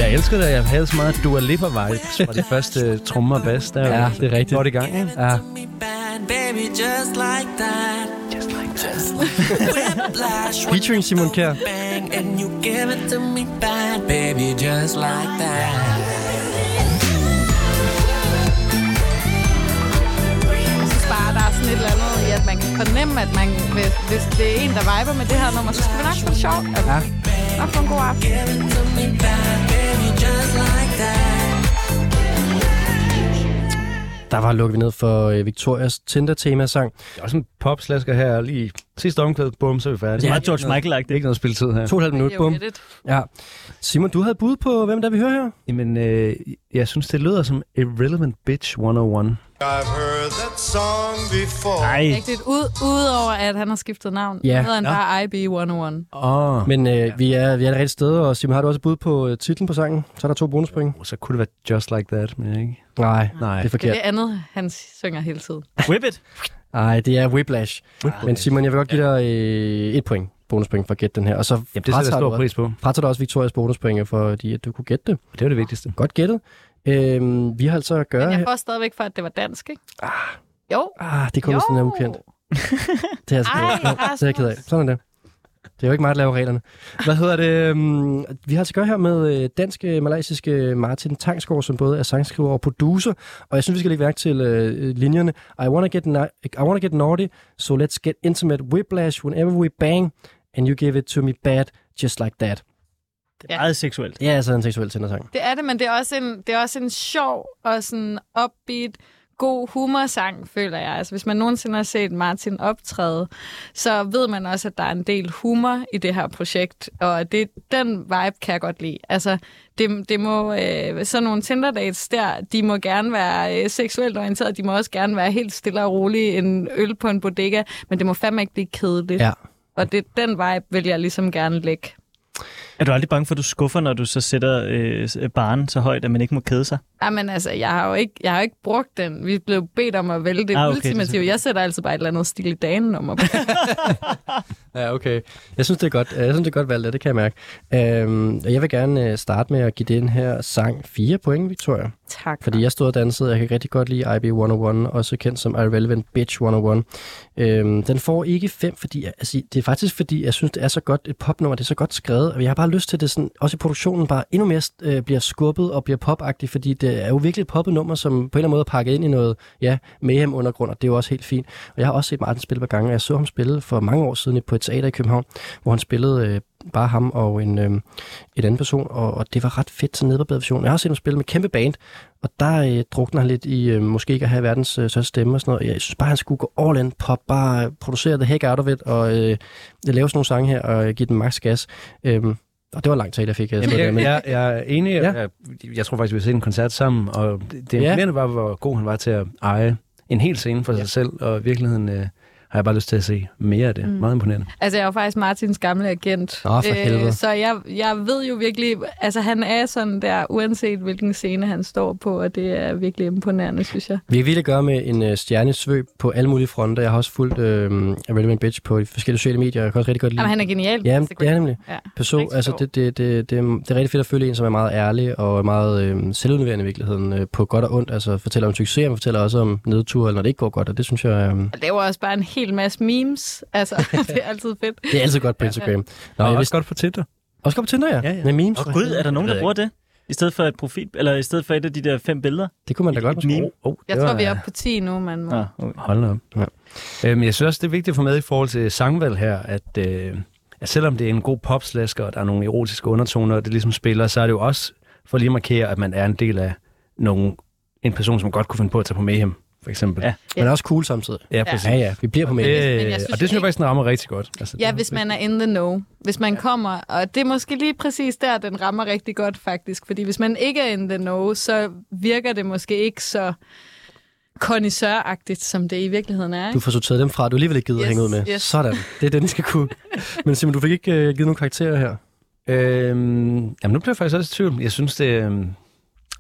Speaker 4: Jeg elskede det, at jeg havde så meget Dua Lipa-vibes fra de første trommer og bass. Der
Speaker 2: Ja, det er rigtigt.
Speaker 4: Godt i gang, ikke?
Speaker 2: Ja.
Speaker 7: me bad, baby, just like that. Just like that. Just like Whiplash, when
Speaker 2: Featuring Simon Kjær.
Speaker 7: you bang, and you give it to me bad, baby, just like that.
Speaker 5: Jeg synes bare, der er sådan et eller andet i, at man kan fornemme, at man, hvis, hvis det er en, der viber med det her nummer, så skal vi nok få det sjovt. Altså, ja. Nok få en god aften.
Speaker 7: Give it to me bad, baby, just like that.
Speaker 2: Der var lukket vi ned for øh, Victorias Tinder-temasang.
Speaker 4: Der er også en popslasker her lige Sidste omkvæd, bum, så er vi
Speaker 3: Det
Speaker 4: færdige.
Speaker 3: er
Speaker 4: Ja.
Speaker 3: meget George Michael-agtigt.
Speaker 4: Det er ikke noget spilletid her.
Speaker 2: To og et halvt minut,
Speaker 5: Det er jo
Speaker 2: bum.
Speaker 5: edit.
Speaker 2: Ja. Simon, du havde bud på, hvem der vi hører her?
Speaker 4: Jamen, øh, jeg synes, det lyder som Irrelevant Bitch 101.
Speaker 6: I've heard that song before.
Speaker 3: Nej,
Speaker 5: Rigtigt. Ud, udover at han har skiftet navn.
Speaker 2: Ja.
Speaker 5: Nu hedder han bare IB101.
Speaker 4: Åh, oh.
Speaker 2: Men øh, vi, er, vi er det rigtige sted, og Simon, har du også et bud på øh, titlen på sangen? Så er der to bonuspoint.
Speaker 4: så kunne det være Just Like That, men ikke?
Speaker 2: Nej,
Speaker 4: Nej.
Speaker 2: det er
Speaker 5: Det er
Speaker 2: forkert.
Speaker 5: det andet, han synger hele tiden.
Speaker 3: whip it.
Speaker 2: Nej, det er Whiplash.
Speaker 4: Whiplash.
Speaker 2: Men Simon, jeg vil godt give dig øh, et point, bonuspoint for at gætte den her. Og så
Speaker 4: Jamen, det sætter jeg
Speaker 2: du
Speaker 4: stor
Speaker 2: også-
Speaker 4: pris på.
Speaker 2: fratager dig også Victorias bonuspoint, fordi at du kunne gætte det.
Speaker 4: Det var det vigtigste.
Speaker 2: Godt gættet. Øhm, vi har altså at gøre
Speaker 5: Men jeg
Speaker 2: her.
Speaker 5: får stadigvæk for, at det var dansk, ikke? Ah. Jo.
Speaker 2: Ah, det kommer sådan her ukendt. Det er, altså,
Speaker 5: Ej,
Speaker 2: Ej, det er jeg ked af.
Speaker 5: Rasmus.
Speaker 2: Sådan er det. Det er jo ikke mig, der laver reglerne. Hvad hedder det? øhm, Vi har altså at gøre her med øh, dansk-malaysiske Martin Tangsgaard, som både er sangskriver og producer. Og jeg synes, vi skal lægge mærke til øh, linjerne. I wanna, get na- I wanna get naughty, so let's get intimate. Whiplash whenever we bang, and you give it to me bad, just like that.
Speaker 3: Det
Speaker 5: Ja.
Speaker 3: er meget seksuelt.
Speaker 2: Det er altså en seksuel tændersang.
Speaker 5: Det er det, men det er også en, det er også en sjov og sådan upbeat, god humorsang, føler jeg. Altså, hvis man nogensinde har set Martin optræde, så ved man også, at der er en del humor i det her projekt, og det, den vibe kan jeg godt lide. Altså, det, det må, øh, sådan nogle Tinder-dates der, de må gerne være øh, seksuelt orienterede, de må også gerne være helt stille og rolige, en øl på en bodega, men det må fandme ikke blive kedeligt.
Speaker 2: Ja.
Speaker 5: Og det, den vibe vil jeg ligesom gerne lægge.
Speaker 3: Er du aldrig bange for, at du skuffer, når du så sætter øh, s- baren så højt, at man ikke må kede sig?
Speaker 5: Jamen altså, jeg har jo ikke, jeg har jo ikke brugt den. Vi blev bedt om at vælge det
Speaker 3: Ah,
Speaker 5: ah,
Speaker 3: okay,
Speaker 5: okay,
Speaker 3: det er
Speaker 5: ultimative. Jeg sætter altså bare et eller andet stil i dagen nummer på.
Speaker 2: <laughs> Ja, okay. Jeg synes, det er godt, jeg synes, det er godt valgt, og det kan jeg mærke. Øhm, og jeg vil gerne øh, starte med at give den her sang 4 point, Victoria.
Speaker 5: tak.
Speaker 2: Fordi jeg stod og dansede, og jeg kan rigtig godt lide IB101, også kendt som Irrelevant Bitch 101. Øhm, den får ikke 5, fordi altså, det er faktisk fordi, jeg synes, det er så godt et popnummer, det er så godt skrevet, og jeg har bare lyst til at det, sådan, også i produktionen, bare endnu mere øh, bliver skubbet og bliver popagtigt, fordi det er jo virkelig et poppet nummer, som på en eller anden måde er pakket ind i noget ja, mayhem undergrund, og det er jo også helt fint. Og jeg har også set Martin spille par gange, og jeg så ham spille for mange år siden på et teater i København, hvor han spillede øh, bare ham og en, øh, et anden person, og, og det var ret fedt sådan nede på version. Jeg har også set ham spille med kæmpe band, og der øh, drukner han lidt i øh, måske ikke at have verdens øh, største stemme og sådan noget. Jeg synes bare, han skulle gå all in pop, bare øh, producere the heck out of it, og øh, lave sådan nogle sange her, og øh, give den max gas. Øhm, og det var en lang tale, jeg fik. Jeg,
Speaker 4: Jamen,
Speaker 2: jeg,
Speaker 4: jeg,
Speaker 2: med.
Speaker 4: jeg, jeg er enig.
Speaker 2: Ja.
Speaker 4: Ja. Jeg, jeg tror faktisk, vi har set en koncert sammen, og det, det
Speaker 2: Ja.
Speaker 4: imponerende var, hvor god han var til at eje en hel scene for ja. sig selv, og i virkeligheden øh, har jeg bare lyst til at se mere af det. Mm. Meget imponerende.
Speaker 5: Altså, jeg er jo faktisk Martins gamle agent. Øh,
Speaker 2: Nå, for helvede.
Speaker 5: så jeg, jeg ved jo virkelig, altså han er sådan der, uanset hvilken scene han står på, og det er virkelig imponerende, synes jeg.
Speaker 2: Vi har virkelig at gøre med en øh, stjernesvøb på alle mulige fronter. Jeg har også fulgt øh, Relevant Bitch på de forskellige sociale medier, og jeg kan også rigtig godt lide
Speaker 5: Jamen, han er genial.
Speaker 2: Ja, men det er nemlig.
Speaker 5: Ja,
Speaker 2: person,
Speaker 5: rigtig
Speaker 2: altså
Speaker 5: sjov.
Speaker 2: det, det, det, det, det er rigtig fedt at følge en, som er meget ærlig og meget øh, selvudleverende i virkeligheden, øh, på godt og ondt. Altså fortæller om succes, men fortæller også om nedture, eller når det ikke går godt, og det synes jeg, øh,
Speaker 5: Og laver også bare en hel masse memes.
Speaker 2: <laughs>
Speaker 5: Altså, det er altid fedt.
Speaker 2: det er altid godt på Instagram. Nå,
Speaker 4: Og
Speaker 2: jeg
Speaker 4: også
Speaker 2: vidste,
Speaker 4: godt på Tinder.
Speaker 2: også godt på Tinder, ja.
Speaker 4: Ja, ja.
Speaker 2: Med memes.
Speaker 3: Åh oh, gud, er der nogen, der
Speaker 2: Det ved jeg
Speaker 3: bruger det? I stedet for et profil, eller i stedet for et af de der fem billeder?
Speaker 2: ikke. Det kunne man da
Speaker 3: Et-
Speaker 2: godt.
Speaker 3: et
Speaker 2: måske.
Speaker 3: meme.
Speaker 4: Oh, det
Speaker 5: Jeg tror,
Speaker 4: var-
Speaker 5: vi er oppe på 10 nu, man må.
Speaker 3: Nå, okay.
Speaker 4: Hold da op.
Speaker 2: Ja.
Speaker 4: Ja. Øhm, jeg synes også, det er vigtigt at få med i forhold til sangvalg her, at, øh, at selvom det er en god popslasker, og der er nogle erotiske undertoner, og det ligesom spiller, så er det jo også for lige at markere, at man er en del af nogle, en person, som godt kunne finde på at tage på Mayhem, for eksempel.
Speaker 3: Ja.
Speaker 2: Men også cool samtidig.
Speaker 4: ja præcis.
Speaker 2: Ja, ja, vi bliver på memes.
Speaker 5: jeg
Speaker 4: Øh,
Speaker 5: synes
Speaker 4: og det synes jeg
Speaker 5: ikke-
Speaker 4: faktisk, den rammer rigtig godt. Altså,
Speaker 5: Ja, hvis man er in the know. Hvis man ja. kommer, og det er måske lige præcis der, den rammer rigtig godt faktisk. Fordi hvis man ikke er in the know, så virker det måske ikke så connoisseur som det i virkeligheden er.
Speaker 2: Du
Speaker 5: Ikke?
Speaker 2: får sorteret dem fra, du alligevel ikke gider yes,
Speaker 5: Yes,
Speaker 2: hænge ud med. Yes.
Speaker 5: yes.
Speaker 2: Sådan, det er det, den skal
Speaker 5: <laughs>
Speaker 2: kunne. Men Simon, du fik ikke øh, givet nogen karakterer her.
Speaker 4: Øhm, jamen, nu bliver jeg faktisk også i tvivl. Jeg synes, det... øhm,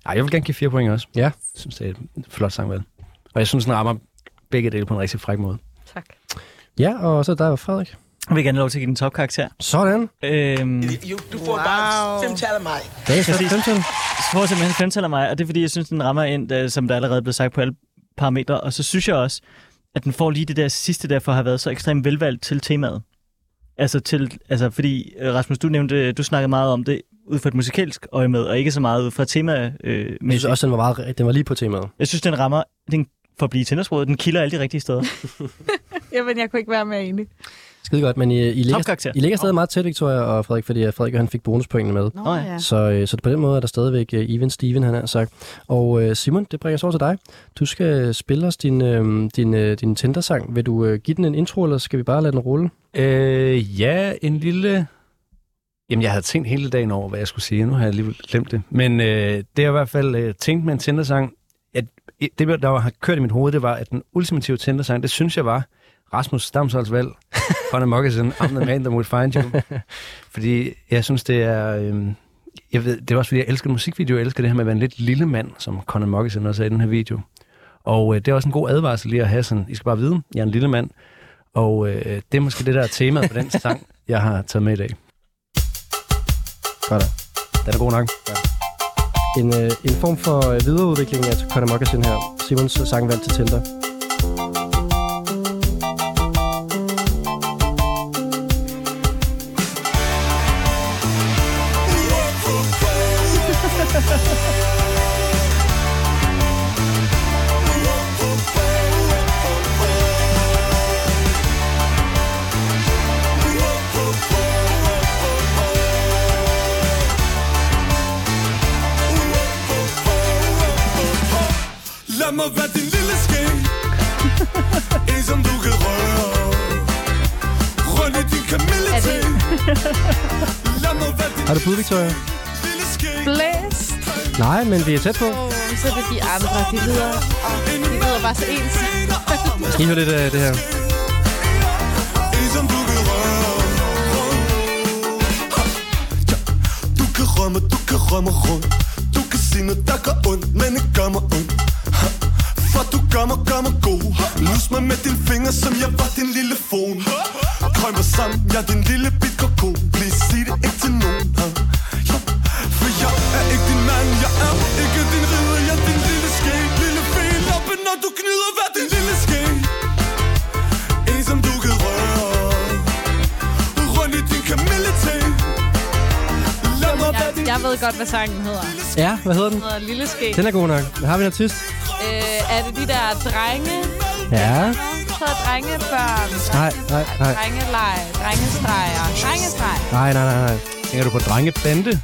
Speaker 4: Ej, jeg vil gerne give fire point også.
Speaker 2: Ja.
Speaker 4: Jeg synes, det er et flot sangvalg. Og jeg synes, den rammer begge dele på en rigtig fræk måde.
Speaker 5: Tak.
Speaker 2: Ja, og så der var Frederik.
Speaker 5: <laughs>
Speaker 3: Jeg vil gerne have lov til at give den topkarakter.
Speaker 2: Sådan.
Speaker 3: Øhm,
Speaker 7: Du får bare <laughs> fem tal af mig.
Speaker 2: Dagens første
Speaker 3: Præcis.
Speaker 2: femtal.
Speaker 3: jeg tror simpelthen, den tæller mig, og det er fordi, jeg synes, den rammer ind, øh, som der allerede er blevet sagt på alle parametre. Og så synes jeg også, at den får lige det der sidste, derfor har været så ekstremt velvalgt til temaet. Altså, til, altså fordi, øh, Rasmus, du nævnte, du snakkede meget om det ud fra et musikalsk øje med, og ikke så meget ud fra tema. Øh,
Speaker 2: Jeg synes også, den var, meget, den var lige på temaet.
Speaker 3: jeg synes, den rammer, den for at blive tændersproget, den kilder alle de rigtige steder.
Speaker 5: <laughs> Jamen, jeg kunne ikke være mere enig.
Speaker 2: Skide godt, men I, I, ligger,
Speaker 3: Topkarakter.
Speaker 2: I ligger stadig meget tæt, Victoria og Frederik, fordi øh, Frederik han fik bonuspoengene med.
Speaker 5: Nå,
Speaker 3: Nå ja.
Speaker 5: ja.
Speaker 2: Så, øh, så på den måde er der stadigvæk øh, even Steven, han har sagt. Og øh, Simon, det bringer os over til dig. Du skal spille os din, øh, din, øh, din Tinder-sang. Vil du øh, give den en intro, eller skal vi bare lade den rulle?
Speaker 4: Øh, ja, en lille... Jamen, jeg havde tænkt hele dagen over, hvad jeg skulle sige. Nu har jeg alligevel glemt det. Men øh, det jeg i hvert fald øh, tænkte med en Tinder-sang, at det, der har kørt i mit hoved, det var, at den ultimative Tinder-sang, det synes jeg var Rasmus Stamsholds valg fra The Moccasin, I'm the man that will find you. Fordi jeg synes, det er... Øh, jeg ved, det er også fordi, jeg elsker musikvideo, jeg elsker det her med at være en lidt lille mand, som Conor Moccasin også er i den her video. Og øh, det er også en god advarsel lige at have sådan, I skal bare vide, jeg er en lille mand, og øh, det er måske det, der er temaet på den sang, jeg har taget med i dag.
Speaker 2: Godt.
Speaker 4: Den er god nok.
Speaker 2: En, øh, en form for øh, videreudvikling af Conor Moccasin her. Simons sangvalg til Tinder.
Speaker 6: Lad mig være din lille ske En som du kan røre Rønne din kamille
Speaker 5: Er det-
Speaker 6: til Lad mig være din
Speaker 2: Har du bud, Victoria?
Speaker 6: lille ske
Speaker 5: Blæst.
Speaker 2: Nej, men vi er tæt på.
Speaker 5: Oh, så er det de andre. De lyder, de lyder bare så
Speaker 2: <laughs>
Speaker 5: ens.
Speaker 2: Jeg skal lige høre lidt af det her.
Speaker 6: En som ligesom du kan røre Du kan rømme, du kan rømme rundt Du kan sige noget, der gør ondt Men ikke gør mig ondt Ha. For du gør mig, gør mig god Lus mig med din finger, som jeg var din lille fon Krøj mig sammen, jeg er din lille bit koko Please sig det ikke til nogen ha. Ja. For jeg er ikke din mand, jeg er ikke din ridder Jeg er din lille skæg, lille fel Oppe når du gnider, hvad din lille skæg En som du kan røre Rund i din kamille til Lad mig
Speaker 5: Jeg,
Speaker 6: være din
Speaker 5: jeg ved godt, hvad sangen hedder. Den
Speaker 2: Ja, hvad hedder den?
Speaker 5: hedder Lille Ske.
Speaker 2: Den er god nok. Har vi en artist?
Speaker 5: Øh, er det de der drenge?
Speaker 2: Ja.
Speaker 5: Så er drengebørn.
Speaker 2: Nej, nej, nej.
Speaker 5: Drengeleje. Drengestreger. Drengestreger.
Speaker 2: Nej, nej, nej, nej.
Speaker 4: Tænker du på drengebande?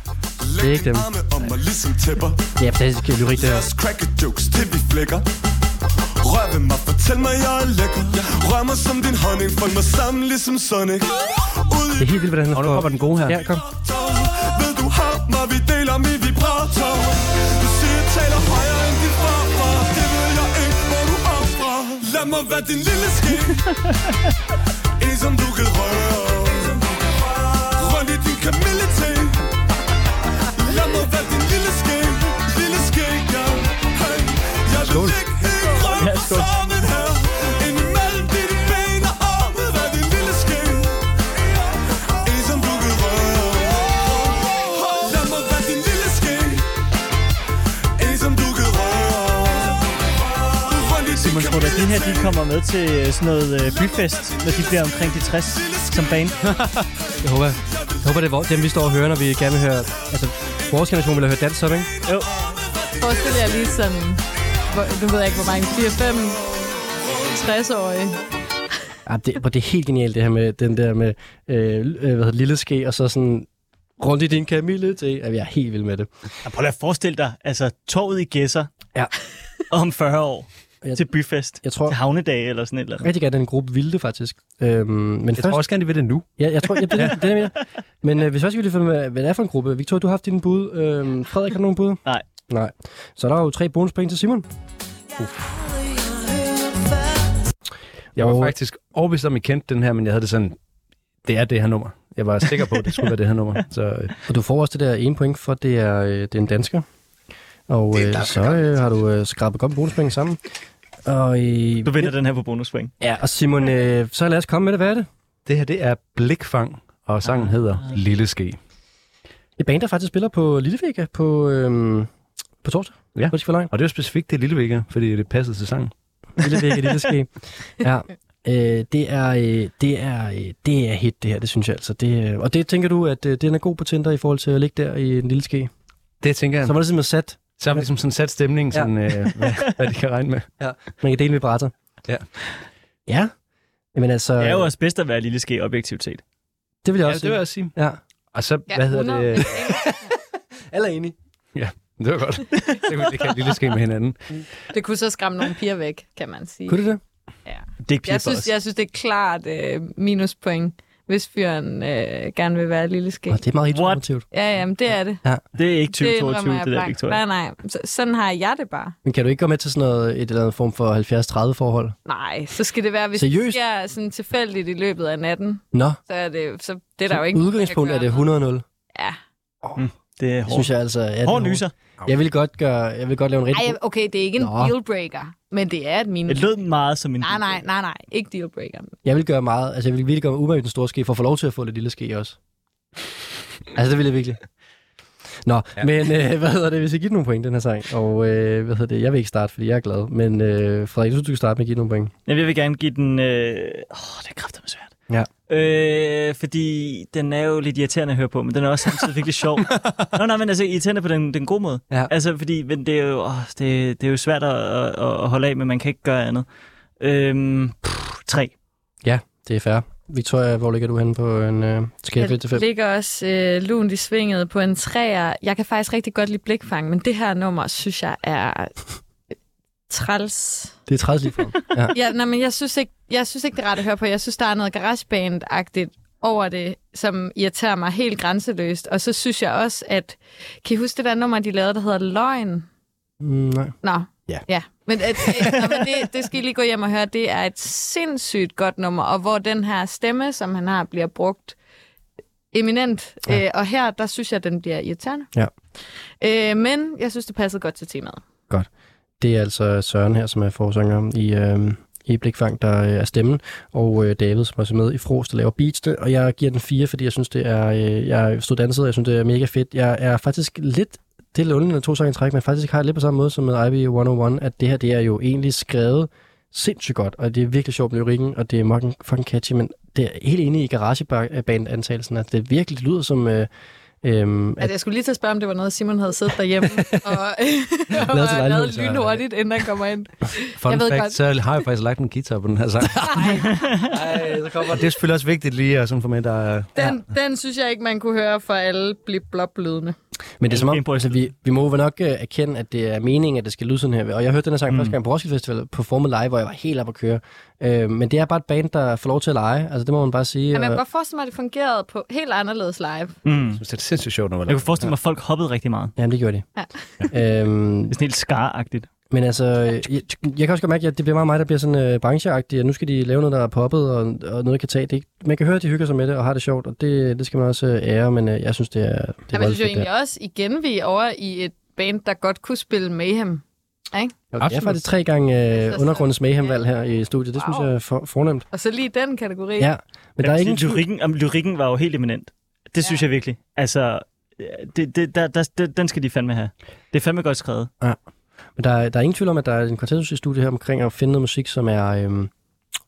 Speaker 2: Det er ikke dem.
Speaker 6: Arme om mig ligesom tæpper
Speaker 2: Ja, fantastisk øh, lyrik det
Speaker 6: Lad
Speaker 2: her.
Speaker 6: os cracke Altså, jokes til vi flækker Rør ved mig, fortæl mig jeg er lækker Rør mig som din honning, fold mig sammen ligesom Sonic Ud i
Speaker 2: Det er helt vildt, hvordan han
Speaker 4: Og nu kommer den gode her.
Speaker 2: Ja, kom.
Speaker 6: tog Ved du har mig, vi deler med vibrator Du siger jeg taler højere end din farfar Det ved jeg ikke, hvor du er fra Lad mig være din lille ske En som du kan røre Rund i din kamille til Lad mig være din lille ske Lille ske, ja hey. Jeg vil ligge helt grøn
Speaker 3: Ja,
Speaker 6: og
Speaker 3: skål.
Speaker 6: sammen her Indimellem dine ben og arme Vær din lille ske en som du kan røre Lad mig være din lille ske En som du kan røre Rund i din
Speaker 3: Simon, tror du, at de her de
Speaker 6: kamille
Speaker 3: kommer med til øh, sådan noget øh, byfest, når de bliver omkring de 60 som band?
Speaker 2: <laughs> Jeg håber, jeg håber det er hvor- dem, vi står og hører, når vi gerne vil høre... Altså, vores generation vil have hørt dans op, ikke?
Speaker 3: Jo,
Speaker 5: Forestil jer lige sådan... Hvor, nu ved jeg ikke, hvor mange. 4-5
Speaker 2: <laughs>
Speaker 5: 60-årige.
Speaker 2: Ja, det, og det er helt genialt, det her med den der med, øh, øh, hvad hedder det, lille ske, og så sådan rundt i din Øhm, kamille til. Ja, jeg er helt vild med det.
Speaker 3: og prøv lige at forestille dig, altså toget i Gæsser
Speaker 2: Ja.
Speaker 3: <laughs> om 40 år
Speaker 2: Jeg-
Speaker 3: til byfest,
Speaker 2: Jeg tror-
Speaker 3: til havnedage eller sådan et eller andet.
Speaker 2: Rigtig gerne, den gruppe ville det faktisk. Øhm, men
Speaker 4: Jeg tror også gerne, de vil det nu.
Speaker 2: Ja, jeg
Speaker 4: <laughs>
Speaker 2: tror, jeg, det, det, er det, jeg mener. Men øh, hvis først vi lige finde ud af, hvad det er for en gruppe. Victoria, du har haft dine bud. Øhm, Frederik, har du nogen bud?
Speaker 3: Nej.
Speaker 2: Nej. Så er der jo tre bonuspoint til Simon.
Speaker 4: Jeg var
Speaker 2: Og-
Speaker 4: faktisk overbevist om, I kendte den her, men jeg havde det sådan, det er det her nummer. Jeg var sikker på, at det skulle
Speaker 2: <laughs>
Speaker 4: være det her
Speaker 3: <laughs>
Speaker 4: nummer. Så øh,
Speaker 2: Og du får også det der ene point, for det er, øh, det er en dansker. Og øh, så øh, har du øh, skrabet godt bonuspoint sammen. Og, øh,
Speaker 3: Du vinder den her på bonuspoint.
Speaker 2: ja, og Simon, øh, så lad os komme med det. Hvad er det?
Speaker 4: det her, det er Blikfang, og sangen hedder Lille Ske.
Speaker 2: Ah. Et band, der faktisk spiller på Lillevega på, øhm, på torsdag.
Speaker 4: Ja.
Speaker 2: På Skiver Line.
Speaker 4: Og det er jo specifikt det Lille Vega, fordi det passede til sangen.
Speaker 2: Lillevega, Lilleske. Ja. Øh, det, er, øh, det, er, øh, det er hit, det her, det synes jeg altså. Det, øh, og det tænker du, at øh, den er god på Tinder i forhold til at ligge der i en lille ske.
Speaker 4: Det tænker jeg.
Speaker 2: Så var det simpelthen sat.
Speaker 4: Så har vi ligesom sådan sat stemningen, sådan, øh, hvad, hvad de kan regne med.
Speaker 2: Man kan dele vibrator.
Speaker 4: Ja.
Speaker 2: Ja. Jamen altså,
Speaker 3: Det er jo også bedst at være lille ske objektivt set.
Speaker 2: det vil jeg
Speaker 4: Ja,
Speaker 2: også
Speaker 4: det vil jeg også sige.
Speaker 2: Ja,
Speaker 4: Og så,
Speaker 5: Ja,
Speaker 4: hvad hedder
Speaker 5: 100.
Speaker 4: det?
Speaker 2: alle er enige.
Speaker 4: Det var godt. Det kan vi kan lille ske med hinanden.
Speaker 5: Det kunne så skræmme nogle piger væk, kan man sige.
Speaker 2: Kunne det det?
Speaker 3: Det er ikke
Speaker 5: Jeg
Speaker 3: piger for
Speaker 5: synes,
Speaker 3: os.
Speaker 5: jeg synes, det er klart øh, minuspoint, hvis fyren øh, gerne vil være et lille skæg.
Speaker 2: Nå, det er meget
Speaker 3: What?
Speaker 2: intuitivt.
Speaker 5: Ja, jamen, det er det.
Speaker 3: Det er ikke
Speaker 5: det
Speaker 3: 2022,
Speaker 5: indrømmer
Speaker 3: det,
Speaker 5: jeg
Speaker 3: det der,
Speaker 5: blankt.
Speaker 3: Victoria.
Speaker 5: Nej, nej. Så, sådan har jeg det bare.
Speaker 2: Men kan du ikke gå med til sådan noget, et eller andet form for 70-30 forhold?
Speaker 5: Nej, så skal det være, hvis
Speaker 2: Seriøst?
Speaker 5: det er sådan tilfældigt i løbet af natten,
Speaker 2: Nå,
Speaker 5: så er det, så det er der jo ikke
Speaker 2: udgangspunkt er det 100-0.
Speaker 5: Ja.
Speaker 3: mm, Det er
Speaker 2: Det
Speaker 3: hårdt.
Speaker 2: synes jeg altså. Ja, det er
Speaker 3: Hård
Speaker 2: hårdt.
Speaker 3: nyser.
Speaker 2: Jeg vil godt gøre, jeg vil godt lave en rigtig...
Speaker 5: Ej, okay, det er ikke en
Speaker 2: Nå.
Speaker 5: dealbreaker, men det er et minus.
Speaker 3: Det lød god- meget som en...
Speaker 5: Nej, nej, nej, nej. Ikke dealbreaker.
Speaker 2: Jeg vil gøre meget, altså jeg vil virkelig gøre mig umage med den store ske, for at få lov til at få lidt lille ske også. altså det vil jeg virkelig. Nå, ja. men øh, <laughs> hvad hedder det, hvis jeg giver nogle point den her sang? Og øh, hvad hedder det, jeg vil ikke starte, fordi jeg er glad, men øh, Frederik, du synes, du kan starte med at give nogle point.
Speaker 3: Jamen, Jeg vil gerne give den... Åh, øh... oh, det er kraftigt svært.
Speaker 2: Ja.
Speaker 3: Øh, fordi den er jo lidt irriterende at høre på, men den er også samtidig virkelig sjov.
Speaker 2: <laughs>
Speaker 3: Nå, nej, men altså irriterende på den, den gode måde.
Speaker 2: Ja.
Speaker 3: Altså, fordi men det, er jo, åh, det, det er jo svært at, at, at holde af, men man kan ikke gøre andet. Øhm, pff, tre.
Speaker 2: Det er fair. Victoria, hvor ligger du henne på en øh, skala fra 1 til 5?
Speaker 5: Jeg ligger også øh, lunt i svinget på en træer. Jeg kan faktisk rigtig godt lide blikfang, men det her nummer, synes jeg, er træls.
Speaker 2: Det er 30 lige frem. Ja.
Speaker 5: Ja, nej, men jeg synes, ikke, jeg synes ikke, det er ret at høre på. Jeg synes, der er noget garageband-agtigt over det, som irriterer mig helt grænseløst. Og så synes jeg også, at... Kan I huske det der nummer, de lavede, der hedder Løgn?
Speaker 2: Mm, nej.
Speaker 5: Nå.
Speaker 2: Ja.
Speaker 5: ja. Men, at, det, nå, men det, det skal I lige gå hjem og høre. Det er et sindssygt godt nummer, og hvor den her stemme, som han har, bliver brugt eminent.
Speaker 2: Ja.
Speaker 5: Ja. Øh, og her, der synes jeg, den bliver irriterende.
Speaker 2: Ja.
Speaker 5: Øh, men jeg synes, det passede godt til temaet.
Speaker 2: Det er altså Søren her, som er forsanger i, øh, i Blikfang, der øh, er stemmen, og øh, David, som også er med i Fros, der laver beatsene, og jeg giver den fire, fordi jeg synes, det er, øh, jeg stod danset, og jeg synes, det er mega fedt. Jeg er faktisk lidt, det er lidt underligt, at to sange i træk, men faktisk har jeg lidt på samme måde som med IB 101, at det her, det er jo egentlig skrevet sindssygt godt, og det er virkelig sjovt med lyrikken, og det er fucking, fucking catchy, men det er helt enig i garageband-antagelsen, at det virkelig lyder som... Øh, Øhm, at,
Speaker 5: Altså, jeg skulle lige til at spørge, om det var noget, Simon havde siddet
Speaker 2: <laughs>
Speaker 5: derhjemme og, <laughs> og
Speaker 2: Lavet til lejligheden,
Speaker 5: lavet
Speaker 2: så-
Speaker 5: lynhurtigt, inden han kommer ind.
Speaker 4: Fun
Speaker 5: Jeg ved
Speaker 4: fact,
Speaker 5: godt.
Speaker 4: så har jeg faktisk lagt en guitar på den her
Speaker 5: <laughs>
Speaker 4: sang.
Speaker 2: ej, <laughs> så kommer
Speaker 4: Og det er selvfølgelig også vigtigt lige at sådan få med, der er...
Speaker 5: Den, ja. den synes jeg ikke, man kunne høre fra alle blip blop lydende.
Speaker 2: Men det er som om,
Speaker 3: Impro-
Speaker 2: altså, vi, vi må vel nok øh, erkende, at det er meningen, at det skal lyde sådan her. Og jeg hørte den her sang mm.
Speaker 3: Mm.
Speaker 2: første gang på Roskilde Festival på Formel Live, hvor jeg var helt oppe at køre. Øh, men det er bare et band, der får lov til at lege. Altså, det må man bare sige.
Speaker 5: Ja. Man
Speaker 2: og-
Speaker 5: kan godt forestille mig, at det fungerede på helt anderledes live.
Speaker 3: Mm.
Speaker 4: Jeg synes, det er sindssygt sjovt, når man
Speaker 3: Jeg kunne forestille mig, at folk hoppede rigtig meget.
Speaker 2: Jamen, det gjorde de.
Speaker 5: Ja.
Speaker 2: Øhm,
Speaker 3: Det er sådan helt skaragtigt.
Speaker 2: men altså, jeg, jeg kan også godt mærke, at det bliver meget mig, der bliver sådan øh, brancheagtig, og nu skal de lave noget, der er poppet, og, og noget, der kan tage. Det, er ikke- man kan høre, at de hygger sig med det og har det sjovt, og det, det skal man også øh, ære, men øh, jeg synes, det er, det er
Speaker 5: Det Jamen, jeg
Speaker 2: voldeligt
Speaker 5: synes jo
Speaker 2: fedt, det
Speaker 5: egentlig også, igen vi er over i et band, der godt kunne spille Mayhem.
Speaker 2: her. Det er
Speaker 4: Absolut.
Speaker 2: faktisk tre gange øh,
Speaker 5: så-
Speaker 2: undergrundens mayhemvalg her i studiet. Det synes
Speaker 5: Wow.
Speaker 2: jeg er for, fornemt.
Speaker 5: Og så lige den kategori.
Speaker 2: Ja, men der er ingen tvivl-
Speaker 3: lyrikken, om lyrikken var jo helt eminent. Det ja. synes jeg virkelig. Altså, det, det, der, der, det, den skal de fandme have. Det er fandme godt skrevet.
Speaker 2: Men der, er- der er ingen tvivl om, at der er en konsensus i studiet her omkring at finde noget musik, som er, øhm,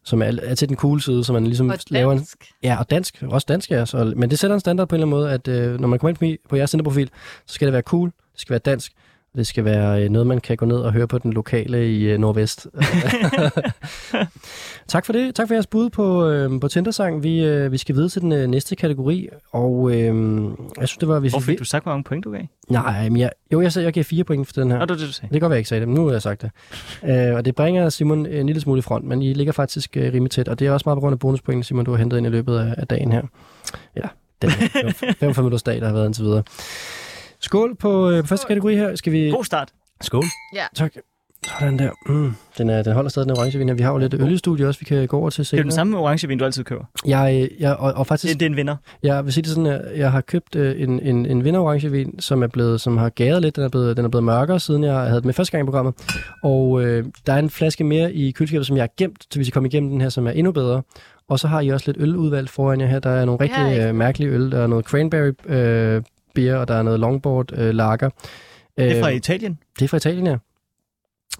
Speaker 2: som er, er til den cool side, som man ligesom
Speaker 5: Og
Speaker 2: laver en...
Speaker 5: dansk.
Speaker 2: Ja, og dansk. Også dansk er så, Men det sætter en standard på en eller anden måde, at øh, når man kommer ind på, mi- på jeres centerprofil, så skal det være cool, det skal være dansk, og det skal være øh, noget, man kan gå ned og høre på den lokale i
Speaker 5: <laughs>
Speaker 2: øh, Nordvest. tak for det. Tak for jeres bud på, øh, på Tinder-sang. Vi, øh, vi skal videre til den øh, næste kategori, og øh, jeg synes, det var... Vi
Speaker 3: Hvor fik du sagt, hvor mange point du gav?
Speaker 2: Nej, men jeg, jo, jeg, sagde, jeg giver fire point for den her.
Speaker 3: Ja. Og det var det, du sagde.
Speaker 2: Det kan godt være, jeg ikke sagde det, men nu har jeg sagt det. Øh, og det bringer Simon en lille smule i front, men I ligger faktisk øh, rimelig tæt, og det er også meget på grund af bonuspointen, Simon, du har hentet ind i løbet af, af dagen her. Eller, den her. Det var 45 minutters dag, der har været indtil videre. Skål på, øh, på første kategori her. Skal vi...
Speaker 3: God start.
Speaker 4: Skål.
Speaker 2: Tak. Sådan der. Mm. Den, er, den holder stadig den orangevin her. Vi har jo lidt øl i studiet også, vi kan gå over til
Speaker 3: Det er
Speaker 2: senere.
Speaker 3: jo den samme orangevin, du altid køber.
Speaker 2: Jeg, øh, jeg, og, og faktisk...
Speaker 3: Det, det er en vinder.
Speaker 2: Jeg vil sige det sådan, at jeg har købt øh, en, en, en vinderorangevin, som er blevet, som har gæret lidt. Den er blevet, den er blevet mørkere, siden jeg havde den med første gang i programmet. Og øh, der er en flaske mere i køleskabet, som jeg har gemt, så vi skal komme igennem den her, som er endnu bedre. Og så har I også lidt øludvalg foran jer her. Der er nogle rigtig
Speaker 5: ikke.
Speaker 2: øh, mærkelige øl. Der er noget cranberry øh, beer, og der er noget longboard øh, lager.
Speaker 3: Det er fra Italien.
Speaker 2: Øhm, Det er fra Italien, ja.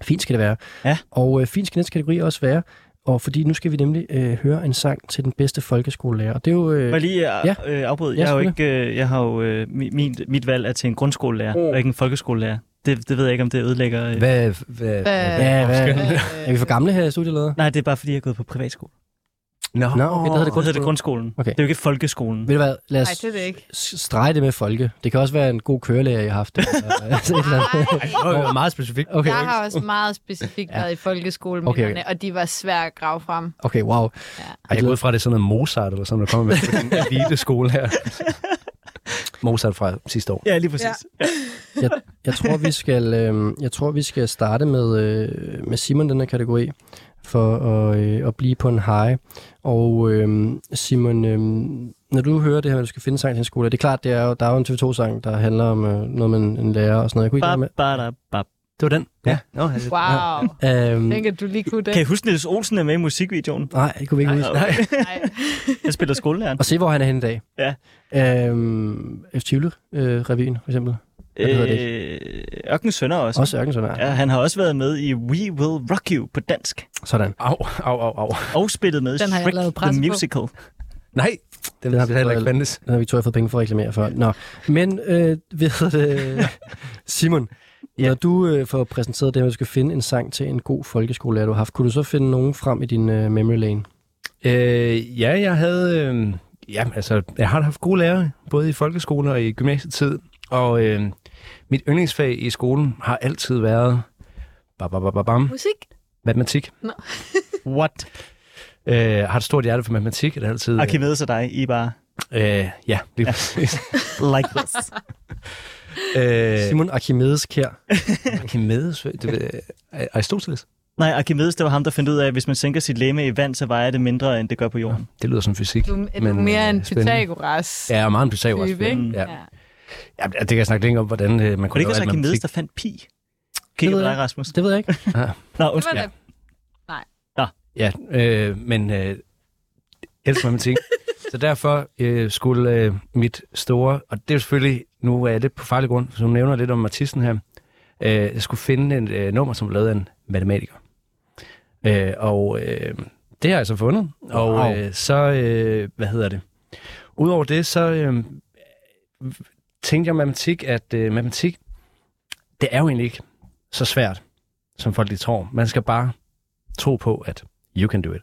Speaker 2: Fint skal det være.
Speaker 3: Ja.
Speaker 2: Og øh, fint skal næste kategori også være. Og fordi nu skal vi nemlig øh, høre en sang til den bedste folkeskolelærer. Og det er jo... Øh,
Speaker 3: Må jeg lige
Speaker 2: Ja.
Speaker 3: ja. øh, afbryde?
Speaker 2: Ja,
Speaker 3: Ja, jeg, har jo
Speaker 2: selvfølgelig.
Speaker 3: ikke, øh, jeg har jo øh, mi- min, mit valg er til en grundskolelærer,
Speaker 2: Mm.
Speaker 3: og ikke en folkeskolelærer. Det, det ved jeg ikke, om det ødelægger... Øh.
Speaker 4: Hvad, hvad,
Speaker 5: Hvad-
Speaker 2: ja, hvad,
Speaker 5: Øh,
Speaker 2: <laughs> er vi for gamle her i studiet, eller?
Speaker 3: Nej, det er bare, fordi jeg er gået på privatskole.
Speaker 4: Nå.
Speaker 2: Nå, okay, der hedder det
Speaker 3: Hvad hedder det?
Speaker 2: grundskolen.
Speaker 3: Grundskolen.
Speaker 2: Okay.
Speaker 3: Det er jo ikke folkeskolen.
Speaker 2: Ved du hvad, lad os
Speaker 5: Nej, det er det ikke.
Speaker 2: s- strege det med folke. Det kan også være en god kørelærer, jeg har
Speaker 5: <laughs>
Speaker 2: haft. <laughs> Eller, altså et eller andet.
Speaker 4: Nå, det var meget specifikt.
Speaker 2: Okay,
Speaker 5: Jeg har også meget specifikt været i folkeskoleminderne,
Speaker 2: Okay,
Speaker 5: okay, okay. og de var svære at grave frem.
Speaker 2: okay, wow.
Speaker 4: Ej, jeg går ud fra, at det er sådan noget Mozart eller sådan, der kommer med sådan en
Speaker 2: <laughs>
Speaker 4: elite skole her. Mozart fra sidste år.
Speaker 3: Ja, lige præcis. Ja.
Speaker 2: Jeg, jeg, tror, vi skal, øh, jeg tror, vi skal starte med, øh, med Simon, den her kategori, for at, øh, at blive på en high. Og øh, Simon, øh, når du hører det her, at du skal finde en sang til en skole, det er klart, det er jo, der er jo en TV2-sang, der handler om øh, noget med en, en lærer og sådan noget. Jeg kunne ikke lade
Speaker 3: Ba,
Speaker 2: være med.
Speaker 3: ba, da, ba.
Speaker 4: Det var den? Ja. Nå, altså,
Speaker 5: Wow.
Speaker 2: Øhm,
Speaker 5: Tænk, at du lige kunne det.
Speaker 3: Kan I huske, Niels Olsen er med i musikvideoen?
Speaker 2: nej, det kunne vi ikke huske.
Speaker 3: Nej,
Speaker 5: Nej.
Speaker 3: jeg spiller skolelæreren.
Speaker 2: Og se, hvor han er henne i dag.
Speaker 3: Ja.
Speaker 2: Øhm, F. Tivoli-revyen, for eksempel. Hvad hedder det?
Speaker 3: Øh, Ørkenens Sønder også.
Speaker 2: Også Ørkensundær.
Speaker 3: Ja, han har også været med i We Will Rock You på dansk.
Speaker 2: Sådan.
Speaker 4: Au, au, au, au.
Speaker 3: Og spillet med i
Speaker 5: Den har jeg
Speaker 3: Shrek
Speaker 5: lavet pres
Speaker 3: The
Speaker 5: på.
Speaker 3: Musical.
Speaker 4: Nej, den
Speaker 2: har
Speaker 4: har
Speaker 2: vi
Speaker 4: vi heller
Speaker 2: fået-
Speaker 4: ikke fandtes.
Speaker 2: Den har Victoria fået penge for at reklamere for. Nå. Men, øh, ved det, <laughs> Simon, ja. når du øh, får præsenteret det, at du skal finde en sang til en god folkeskolelærer, du har haft, kunne du så finde nogen frem i din øh, memory lane?
Speaker 4: Øh, ja, jeg havde... Øh, ja, altså, jeg har haft gode lærere, både i folkeskole og i gymnasietid. Og øh, mit yndlingsfag i skolen har altid været... Ba, ba, ba, ba, bam,
Speaker 5: Musik?
Speaker 4: matematik.
Speaker 3: What?
Speaker 4: <laughs> Øh, har et stort hjerte for matematik, og det er altid...
Speaker 3: Arkimedes og dig, I er bare
Speaker 4: Øh, ja, lige præcis.
Speaker 5: <laughs>
Speaker 3: like this.
Speaker 4: øh,
Speaker 2: <laughs> Simon Archimedes Kær.
Speaker 4: Archimedes, det ved jeg- Aristoteles.
Speaker 3: Nej, Archimedes, det var ham, der fandt ud af, at hvis man sænker sit læme i vand, så vejer det mindre, end det gør på jorden.
Speaker 4: Det lyder som fysik.
Speaker 5: Du, er du
Speaker 4: men,
Speaker 5: mere
Speaker 4: øh,
Speaker 5: en
Speaker 4: spændende.
Speaker 5: Pythagoras?
Speaker 4: Ja, jeg er meget en Pythagoras.
Speaker 5: Type, ikke?
Speaker 4: Ja. ja, det kan jeg snakke længe om, hvordan øh, man
Speaker 3: Var det
Speaker 4: kunne
Speaker 3: ikke også
Speaker 4: alt
Speaker 3: Archimedes,
Speaker 4: matematik.
Speaker 3: der fandt pi? Kigger på
Speaker 2: ved
Speaker 3: dig,
Speaker 2: jeg.
Speaker 3: Rasmus.
Speaker 2: Det ved jeg ikke.
Speaker 3: Nå,
Speaker 5: Det var
Speaker 3: undskyld.
Speaker 5: da
Speaker 4: Ja, øh, men øh, elsker matematik. så derfor øh, skulle øh, mit store, og det er jo selvfølgelig, nu er det på farlig grund, som nævner lidt om Mathissen her, øh, jeg skulle finde et øh, nummer, som var lavet af en matematiker. Øh, og øh, det har jeg så fundet, og
Speaker 2: Wow.
Speaker 4: øh, så, øh, hvad hedder det? Udover det, så øh, tænkte jeg om matematik, at øh, matematik, det er jo egentlig ikke så svært, som folk lige tror. Man skal bare tro på, at you can do it.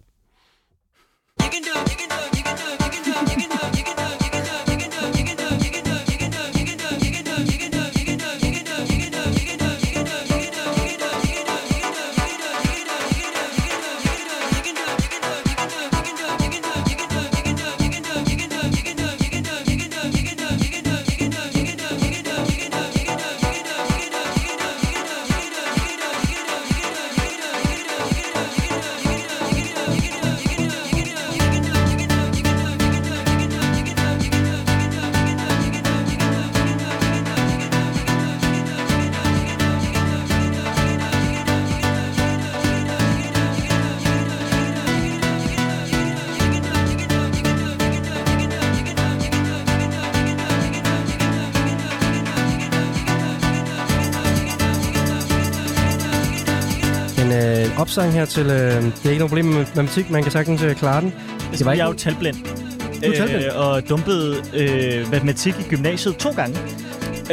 Speaker 2: En øh, opsang her til, øh, det er ikke noget problem med matematik, man kan sagtens øh, klare den.
Speaker 3: Det var ikke... Jeg er jo
Speaker 2: ikke-
Speaker 3: talblind.
Speaker 2: er talblind?
Speaker 3: Øh, og dumpede øh, matematik i gymnasiet to gange.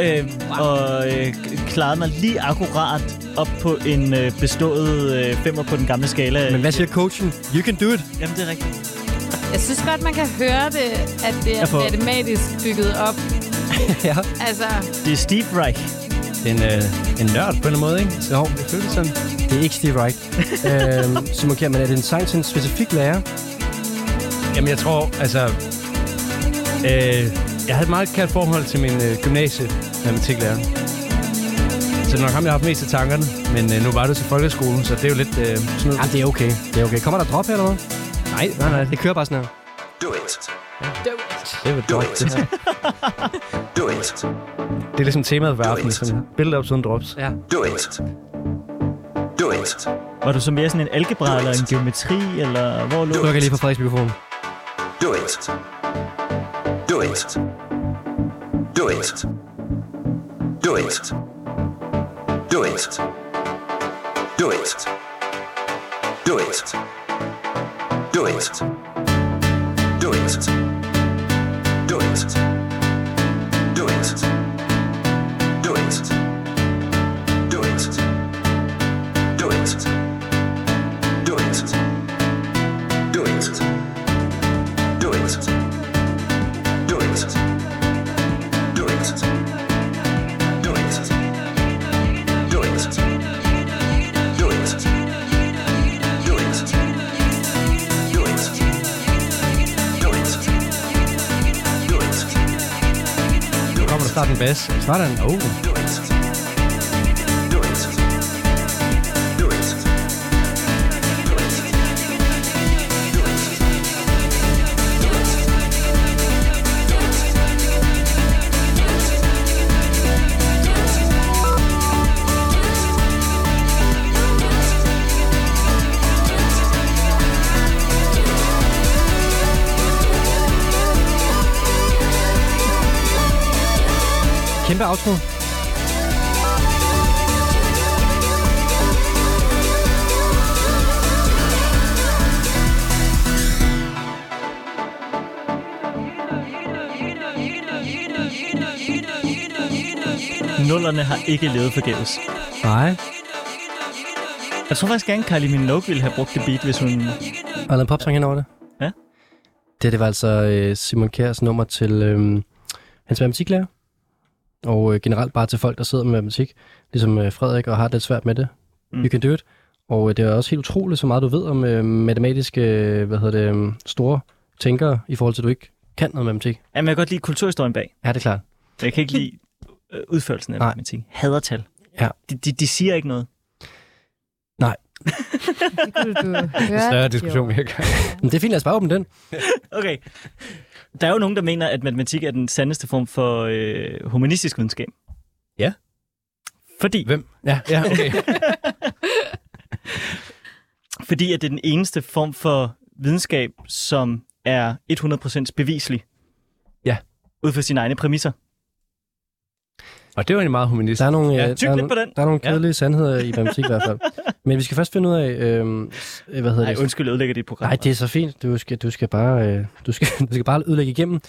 Speaker 3: Øh, og øh, k- klarede mig lige akkurat op på en øh, bestået øh, femmer på den gamle skala.
Speaker 2: Men hvad siger coachen? You can do it.
Speaker 3: Jamen, det er rigtigt.
Speaker 5: Jeg synes godt, man kan høre det, at det er
Speaker 3: Jeg får-
Speaker 5: matematisk bygget
Speaker 4: <laughs>
Speaker 5: op.
Speaker 2: Ja.
Speaker 5: Altså,
Speaker 3: Det er Steve Reich.
Speaker 4: En, øh, en nørd på en eller anden måde, ikke? Så
Speaker 2: Jo,
Speaker 4: det føles sådan.
Speaker 2: det er ikke Steve
Speaker 4: <laughs>
Speaker 2: Wright. øhm, Simon Kjær, men er det en sang til en specifik lærer?
Speaker 4: Jamen, jeg tror, altså... Øh, jeg havde et meget kært forhold til min øh, gymnasie matematiklærer. Så det er nok ham, jeg har haft mest i tankerne. Men øh, nu var det til folkeskolen, så det er jo lidt øh, sådan noget.
Speaker 2: Ja, det er okay. Det er okay. Kommer der drop her, eller hvad?
Speaker 4: Nej, nej, nej.
Speaker 2: Det kører bare sådan her.
Speaker 8: Do it.
Speaker 4: Det er, vel
Speaker 8: Do
Speaker 4: godt,
Speaker 8: it.
Speaker 4: det, <laughs>
Speaker 2: <laughs>
Speaker 4: her.
Speaker 8: Do it.
Speaker 4: det er ligesom temaet for
Speaker 8: Do
Speaker 4: aftenen.
Speaker 8: it.
Speaker 4: Sådan, build up sådan drops.
Speaker 2: Ja.
Speaker 8: Do it. Do it.
Speaker 3: Var du så mere sådan en algebra eller en geometri, eller hvor lå
Speaker 2: Du
Speaker 3: det?
Speaker 2: kan lige på Frederiks mikrofon.
Speaker 8: Do it. Do it. Do it. Do it. Do it. Do it. Do it. Do it. Do it. Do it. Do it. Do it. Do it. Do it. Do it. Do it.
Speaker 4: snart en bas. Snart er en... Oh.
Speaker 8: Do it. Do it. Do it. Do it. Do it. Do it. Do it.
Speaker 2: Kæmpe outro.
Speaker 3: Nullerne har ikke levet forgæves.
Speaker 2: Nej.
Speaker 3: Jeg tror faktisk gerne, Kylie Minogue ville have brugt det beat, hvis hun...
Speaker 2: Og lavet en popsang hen over det.
Speaker 3: Ja.
Speaker 2: Det, det var altså øh, Simon Kjærs nummer til øh, hans matematiklærer. Og øh, generelt bare til folk, der sidder med matematik. Ligesom øh, Frederik og har det lidt svært med det.
Speaker 3: Mm.
Speaker 2: Mm. You can do it. Og øh, det er også helt utroligt, så meget du ved om øh, matematiske, øh, hvad hedder det, øh, store tænkere, i forhold til, at du ikke kan noget matematik.
Speaker 3: Jamen, jeg kan godt lide kulturhistorien bag.
Speaker 2: Ja, det er klart.
Speaker 3: Men jeg kan ikke lide øh, udførelsen af
Speaker 2: Nej.
Speaker 3: matematik. Hader tal.
Speaker 2: Ja.
Speaker 3: De, de, de siger ikke noget.
Speaker 5: Det kunne du
Speaker 4: En
Speaker 5: høre.
Speaker 4: større diskussion, vi har gang i.
Speaker 2: Men det er fint, lad os bare åbne den.
Speaker 3: Okay. Der er jo nogen, der mener, at matematik er den sandeste form for øh, humanistisk videnskab.
Speaker 4: Ja.
Speaker 3: Fordi,
Speaker 4: Hvem? Ja, ja, okay.
Speaker 3: <laughs> fordi at det er den eneste form for videnskab, som er 100% beviselig.
Speaker 4: Ja.
Speaker 3: Ud fra sine egne præmisser.
Speaker 4: Og det var egentlig meget humanist.
Speaker 2: Der er nogle,
Speaker 3: Ja,
Speaker 2: øh,
Speaker 3: tyk
Speaker 2: der, er
Speaker 3: lidt
Speaker 2: nogle-
Speaker 3: på den.
Speaker 2: der er nogle
Speaker 4: Ja.
Speaker 2: kedelige ja. sandheder i matematik i hvert
Speaker 3: <laughs>
Speaker 2: fald. Men vi skal først finde ud af, øh, s- øh, hvad hedder
Speaker 3: Nej,
Speaker 2: det?
Speaker 3: undskyld, jeg ødelægger dit program.
Speaker 2: Nej, det er så fint. Du skal, du skal bare, øh, du skal, <laughs> du skal bare ødelægge igennem.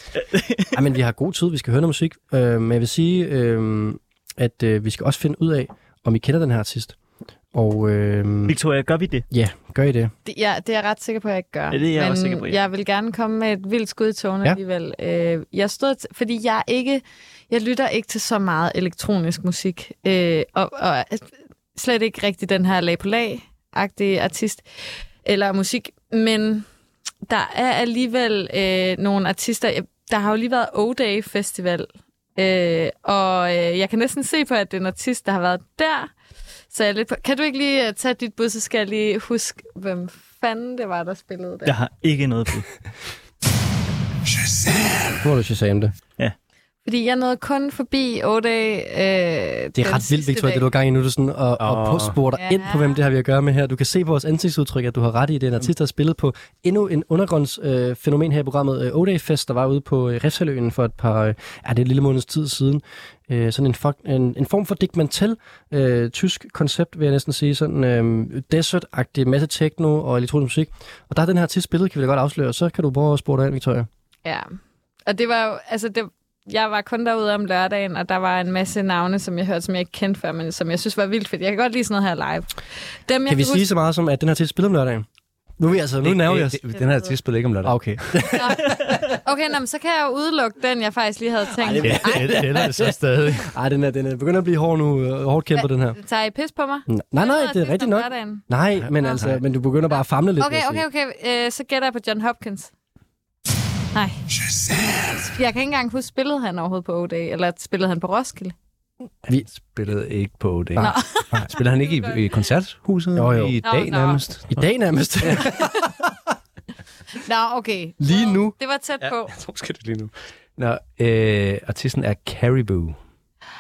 Speaker 2: Ej, men vi har god tid. Vi skal høre noget musik. Øh, men jeg vil sige, øh, at øh, vi skal også finde ud af, om I kender den her artist. Og øh,
Speaker 3: Victoria, gør vi det?
Speaker 2: ja, gør I det.
Speaker 5: Det, ja, det er jeg ret sikker på, at jeg ikke gør.
Speaker 3: Ja, det er jeg
Speaker 5: Men
Speaker 3: også sikker på, ja.
Speaker 5: jeg vil gerne komme med et vildt skud i tårne
Speaker 2: Ja.
Speaker 5: ja. alligevel. Øh, jeg stod, t- fordi jeg er ikke, jeg lytter ikke til så meget elektronisk musik, øh, og, og slet ikke rigtig den her lag på lag-agtige artist eller musik, men der er alligevel øh, nogle artister. Der har jo lige været O-Day Festival, øh, og øh, jeg kan næsten se på, at det er en artist, der har været der. Så jeg er lidt på, kan du ikke lige øh, tage dit bud, så skal jeg lige huske, hvem fanden det var, der spillede der.
Speaker 3: Jeg har ikke noget på.
Speaker 2: Nu må du Shazam det.
Speaker 5: Fordi jeg nåede kun forbi O-Day øh,
Speaker 2: Det er ret vildt, Victoria, det du har gang i nu. Du sådan og, og
Speaker 4: Åh.
Speaker 2: påsporer dig
Speaker 5: Ja.
Speaker 2: ind på, hvem det har vi at gøre med her. Du kan se på vores ansigtsudtryk, at du har ret i, det er en artist, der har spillet på endnu en undergrundsfænomen øh, fænomen her i programmet. Øh, O-Day Fest, der var ude på øh, Refsaløen for et par, øh, er det en lille måneds tid siden. Øh, sådan en, fuck, en, en form for Dick Mantel, øh, tysk koncept, vil jeg næsten sige. Sådan øh, desert-agtig, masse techno og elektronisk musik. Og der er den her artist spillet, kan vi da godt afsløre. Så kan du prøve at spore dig ind, Victoria.
Speaker 5: Ja, og det var jo, altså det, jeg var kun derude om lørdagen, og der var en masse navne, som jeg hørte, som jeg ikke kendte før, men som jeg synes var vildt fedt. Jeg kan godt lide sådan noget her live. Dem, jeg
Speaker 2: Kan vi
Speaker 5: huske-
Speaker 2: sige så meget som, at den her artist spiller om lørdagen? Nu er vi altså, nu nærmer vi os. Ah,
Speaker 4: Den her artist spiller ikke om lørdag.
Speaker 2: Okay.
Speaker 5: Okay, nå, men så kan jeg jo udelukke den, jeg faktisk lige havde tænkt.
Speaker 4: Ja, det er det så stadig.
Speaker 2: Ej, den er, den er begynder at blive hård nu. øh, Hårdt kæmper, den her.
Speaker 5: Tager I pis på mig?
Speaker 2: N- Nej, nej, det er
Speaker 5: Artist
Speaker 2: rigtigt
Speaker 5: om
Speaker 2: nok.
Speaker 5: lørdagen.
Speaker 2: Nej, men altså, men du begynder bare at famle lidt. vil
Speaker 5: Okay,
Speaker 2: jeg sige.
Speaker 5: okay, okay. Øh, så gætter jeg på John Hopkins. Nej. Jeg kan ikke engang huske, spillede han overhovedet på O-Day, eller spillede han på Roskilde?
Speaker 4: Vi spillede ikke på det. Nej. <laughs> Spiller han ikke i, i koncerthuset
Speaker 2: Jo, jo.
Speaker 4: i
Speaker 5: Nå,
Speaker 4: dag
Speaker 5: nå.
Speaker 4: nærmest?
Speaker 2: I dag nærmest.
Speaker 4: <laughs>
Speaker 5: <laughs> Nå, okay.
Speaker 2: Lige nu.
Speaker 5: Det var tæt
Speaker 4: <laughs>
Speaker 5: på.
Speaker 4: Jeg tror, skal det lige nu. Nå, øh, artisten er Caribou.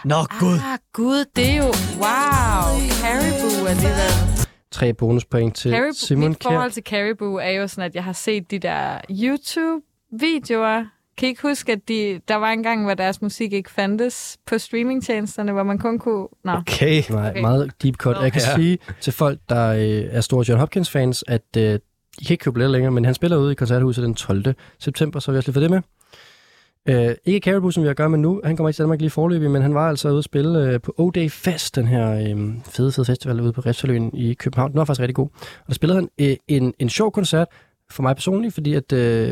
Speaker 3: Nå, gud.
Speaker 5: Ah, gud, det er jo... Wow. Caribou alligevel.
Speaker 2: Tre bonuspoint til
Speaker 5: Caribou,
Speaker 2: Simon
Speaker 5: mit
Speaker 2: Kjær.
Speaker 5: forhold til Caribou er jo sådan, at jeg har set de der YouTube-videoer. Kan I ikke huske, at de, der var en gang, hvor deres musik ikke fandtes på streamingtjenesterne, hvor man kun kunne... Nå.
Speaker 4: Okay.
Speaker 2: Nej,
Speaker 5: Okay.
Speaker 2: meget deep cut.
Speaker 5: Nå.
Speaker 2: Jeg kan
Speaker 4: Ja.
Speaker 2: sige til folk, der øh, er store John Hopkins-fans, at øh, I kan ikke købe billetter længere, men han spiller ude i koncerthuset den 12. september, så har vi også lige fået det med. Øh, ikke Caribou, som vi har at gøre med nu. Han kommer ikke til Danmark lige forløbig, men han var altså ude at spille øh, på O-Day Fest, den her øh, fede, fede festival ude på Refsaløen i København. Den var faktisk rigtig god. Og der spillede han øh, en, en sjov koncert for mig personligt, fordi at, øh,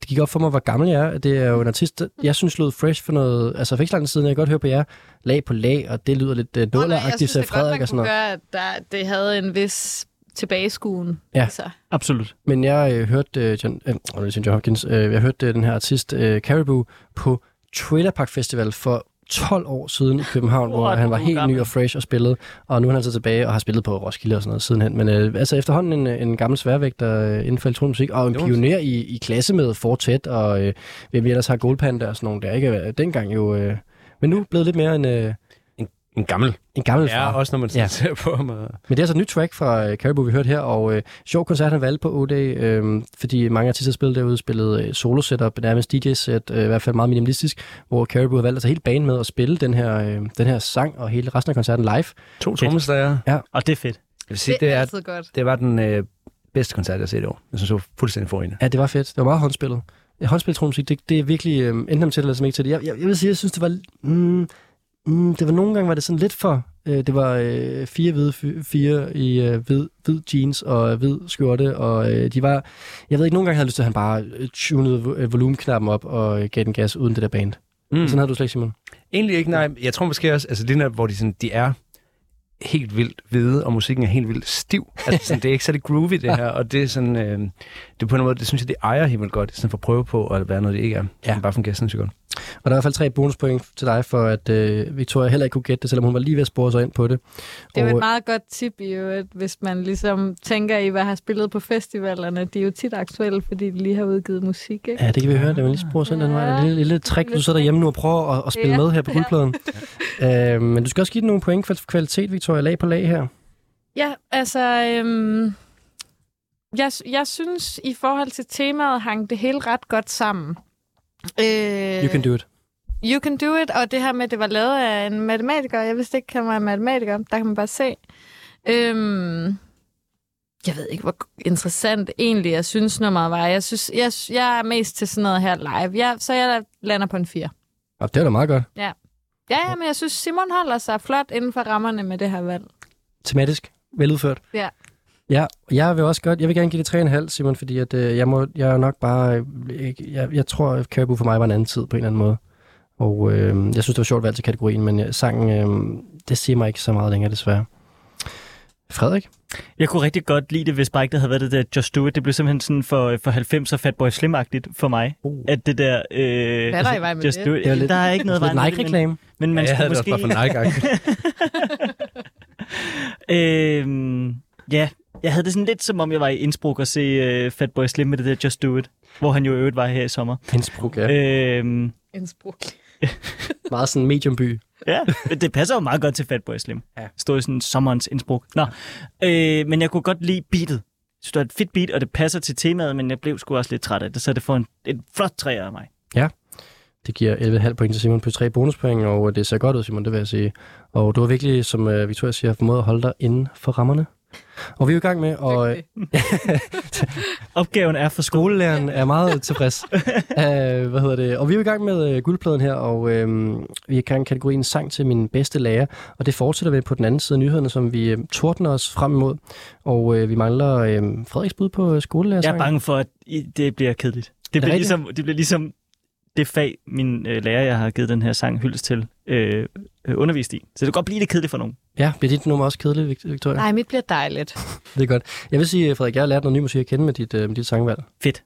Speaker 2: det gik op for mig, hvor gammel jeg er. at Det er jo en artist, der- jeg synes lød fresh for noget, altså for ikke så lang tid siden. Jeg kan godt høre på jer lag på lag, og det lyder lidt øh,
Speaker 5: Nå, nej,
Speaker 2: nåleragtigt, så Frederik og sådan noget.
Speaker 5: gøre, at der, det havde en vis tilbageskuende.
Speaker 2: Ja.
Speaker 5: Altså.
Speaker 3: Absolut.
Speaker 2: Men jeg øh, hørte øh, John, øh, undskyld, John Hopkins, øh, jeg hørte øh, den her artist øh, Caribou på Trailer Park Festival for 12 år siden i
Speaker 3: <laughs>
Speaker 2: København, hvor
Speaker 3: What?
Speaker 2: han var
Speaker 3: Du er
Speaker 2: helt ny
Speaker 3: gammel.
Speaker 2: og fresh og spillede. Og nu er han så tilbage og har spillet på Roskilde og sådan noget sidenhen. Men øh, altså efterhånden en, en gammel sværvægter øh, inden for elektronisk musik, og en
Speaker 4: Jonas.
Speaker 2: pioner i, i klasse med Fortet, og øh, hvem vi ellers har Goldpanda og sådan nogle der. Ikke? Dengang jo... Øh, men nu blevet lidt mere en, øh,
Speaker 4: En gammel.
Speaker 2: en gammel far.
Speaker 4: Ja, også når man
Speaker 2: Ja.
Speaker 4: ja. ser på ham. og-
Speaker 2: Men det er altså et nyt track fra øh, Caribou, vi hørte her, og øh, sjov koncert, han valgte på O-Day, øh, fordi mange artister spillede derude, spillede øh, solo setup, nærmest DJ-set, øh, i hvert fald meget minimalistisk, hvor Caribou havde valgt at tage hele banen med at spille den her, øh, den her sang og hele resten af koncerten live.
Speaker 4: To trommeslager. Jeg
Speaker 3: Og det er fedt.
Speaker 4: vil sige,
Speaker 5: Det,
Speaker 4: det,
Speaker 5: er
Speaker 4: er,
Speaker 5: altid godt.
Speaker 4: det var den øh, bedste koncert, jeg har set i år. Jeg synes, det var fuldstændig forrygende.
Speaker 2: Ja, det var fedt. Det var meget håndspillet. Ja, Håndspil tromusik, det, det er virkelig øh, enten om til det, eller som ikke til det. Jeg, jeg, jeg vil sige, jeg synes, det var... Mm, mm, det var nogle gange var det sådan lidt for... Øh, det var øh, fire hvide fy- fire i øh, hvid, hvid jeans og øh, hvid skjorte, og øh, de var... Jeg ved ikke, nogle gange havde jeg lyst til, at han bare øh, tunede vo- øh, volumenknappen op og øh, gav den gas uden det der band. Mm. Sådan havde du slet ikke, Simon.
Speaker 4: Egentlig ikke, nej. Jeg tror måske også, altså lige når, hvor de, sådan, de er helt vildt hvide, og musikken er helt vildt stiv. Altså, sådan, det er ikke særlig groovy, det her, og det er sådan, øh, det er på en måde, det synes jeg, det ejer helt vildt godt, i stedet for at prøve på at være noget, det ikke er. Ja.
Speaker 2: Ja.
Speaker 4: Det bare fungerer sindssygt godt.
Speaker 2: Og der er i hvert fald tre bonuspoint til dig, for at øh, Victoria heller ikke kunne gætte det, selvom hun var lige ved at spore sig ind på det.
Speaker 5: Det er jo
Speaker 2: Og,
Speaker 5: et meget godt tip i øvrigt, hvis man ligesom tænker i, hvad har spillet på festivalerne. De er jo tit aktuelle, fordi de lige har udgivet musik, ikke?
Speaker 2: Ja, det kan vi høre, da man lige sporer sådan den vej. Det er et lille, lille trick, du sidder derhjemme nu og prøver at, at spille
Speaker 5: Ja.
Speaker 2: med her på
Speaker 5: Ja. <laughs>
Speaker 2: guldpladen. øh, men du skal også give den nogle point for kvalitet, Victoria, lag på lag her.
Speaker 5: Ja, altså... Øhm, jeg, jeg synes, i forhold til temaet, hang det hele ret godt sammen. Øh,
Speaker 2: You can do it.
Speaker 5: You can do it, og det her med, at det var lavet af en matematiker, jeg vidste ikke, han var en matematiker, der kan man bare se. Øhm, jeg ved ikke, hvor interessant egentlig jeg synes nummeret var. Jeg, synes, jeg, jeg er mest til sådan noget her live, jeg, så jeg lander på en 4.
Speaker 2: Og det er da meget godt.
Speaker 5: Ja, ja, men jeg synes, Simon holder sig flot inden for rammerne med det her valg.
Speaker 2: Tematisk, veludført.
Speaker 5: Ja.
Speaker 2: Ja, og jeg vil også godt, jeg vil gerne give det 3,5, Simon, fordi at, øh, jeg, må, jeg er nok bare, øh, ikke- jeg, jeg tror, at Caribou for mig var en anden tid på en eller anden måde. Og øh, jeg synes, det var sjovt valg til kategorien, men øh, sangen, øh, det siger mig ikke så meget længere, desværre. Frederik?
Speaker 3: Jeg kunne rigtig godt lide det, hvis bare ikke der havde været det der Just Do It. Det blev simpelthen sådan for, for 90'er Fatboy Slim-agtigt for mig.
Speaker 2: Uh.
Speaker 3: At det der... Øh,
Speaker 5: Hvad er der i vej med
Speaker 3: Just
Speaker 5: det?
Speaker 3: Do It.
Speaker 2: Det er jo lidt-
Speaker 3: der er ikke noget i
Speaker 2: Lidt
Speaker 3: vejen med det, men-
Speaker 2: Nike-reklame.
Speaker 3: Men man
Speaker 4: ja,
Speaker 3: skulle
Speaker 4: jeg havde det
Speaker 3: måske...
Speaker 4: også bare for Nike.
Speaker 3: <laughs> øhm, ja, jeg havde det sådan lidt som om, jeg var i Innsbruck og se øh, Fatboy Slim med det der Just Do It, hvor han jo i øvrigt var her i sommer.
Speaker 2: Innsbruck, ja.
Speaker 3: Øhm,
Speaker 5: Innsbruck.
Speaker 2: Meget sådan mediumby.
Speaker 3: ja, men det passer jo meget godt til Fatboy Slim.
Speaker 2: Ja.
Speaker 3: Ja. Stod i sådan sommerens Innsbruck. Nå, øh, men jeg kunne godt lide beatet. Så det var et fedt beat, og det passer til temaet, men jeg blev sgu også lidt træt af det, så det får en, en flot træer af mig.
Speaker 2: Det giver 11,5 point til Simon på 3 bonuspoint, og øh, det ser godt ud, Simon, det vil jeg sige. Og du har virkelig, som øh, Victoria siger, formået at holde dig inden for rammerne. Og vi er jo i gang med, og øh, <laughs>
Speaker 3: Opgaven er for skole.
Speaker 2: skolelæreren er
Speaker 3: <laughs>
Speaker 2: meget tilfreds. uh, hvad hedder det? Og vi er jo i gang med øh, guldpladen her, og øh, vi er i gang med kategorien sang til min bedste lærer. Og det fortsætter vi på den anden side af nyhederne, som vi øh, tordner os frem imod. Og øh, vi mangler øh, Frederiks bud på øh,
Speaker 3: Jeg
Speaker 2: skolelærersangen.
Speaker 3: er bange for, at I- det bliver kedeligt. Det bliver,
Speaker 2: rigtigt?
Speaker 3: ligesom, det bliver ligesom det fag, min øh, lærer, jeg har givet den her sang hyldest til, øh, øh, undervist i. Så det kan godt blive lidt kedeligt for nogen.
Speaker 2: Ja, bliver dit nummer også kedeligt, Vic- Victoria?
Speaker 5: Nej, mit bliver dejligt.
Speaker 2: Det er godt. Jeg vil sige, Frederik, jeg har lært noget ny musik at kende med dit, øh, med dit sangvalg.
Speaker 3: Fedt.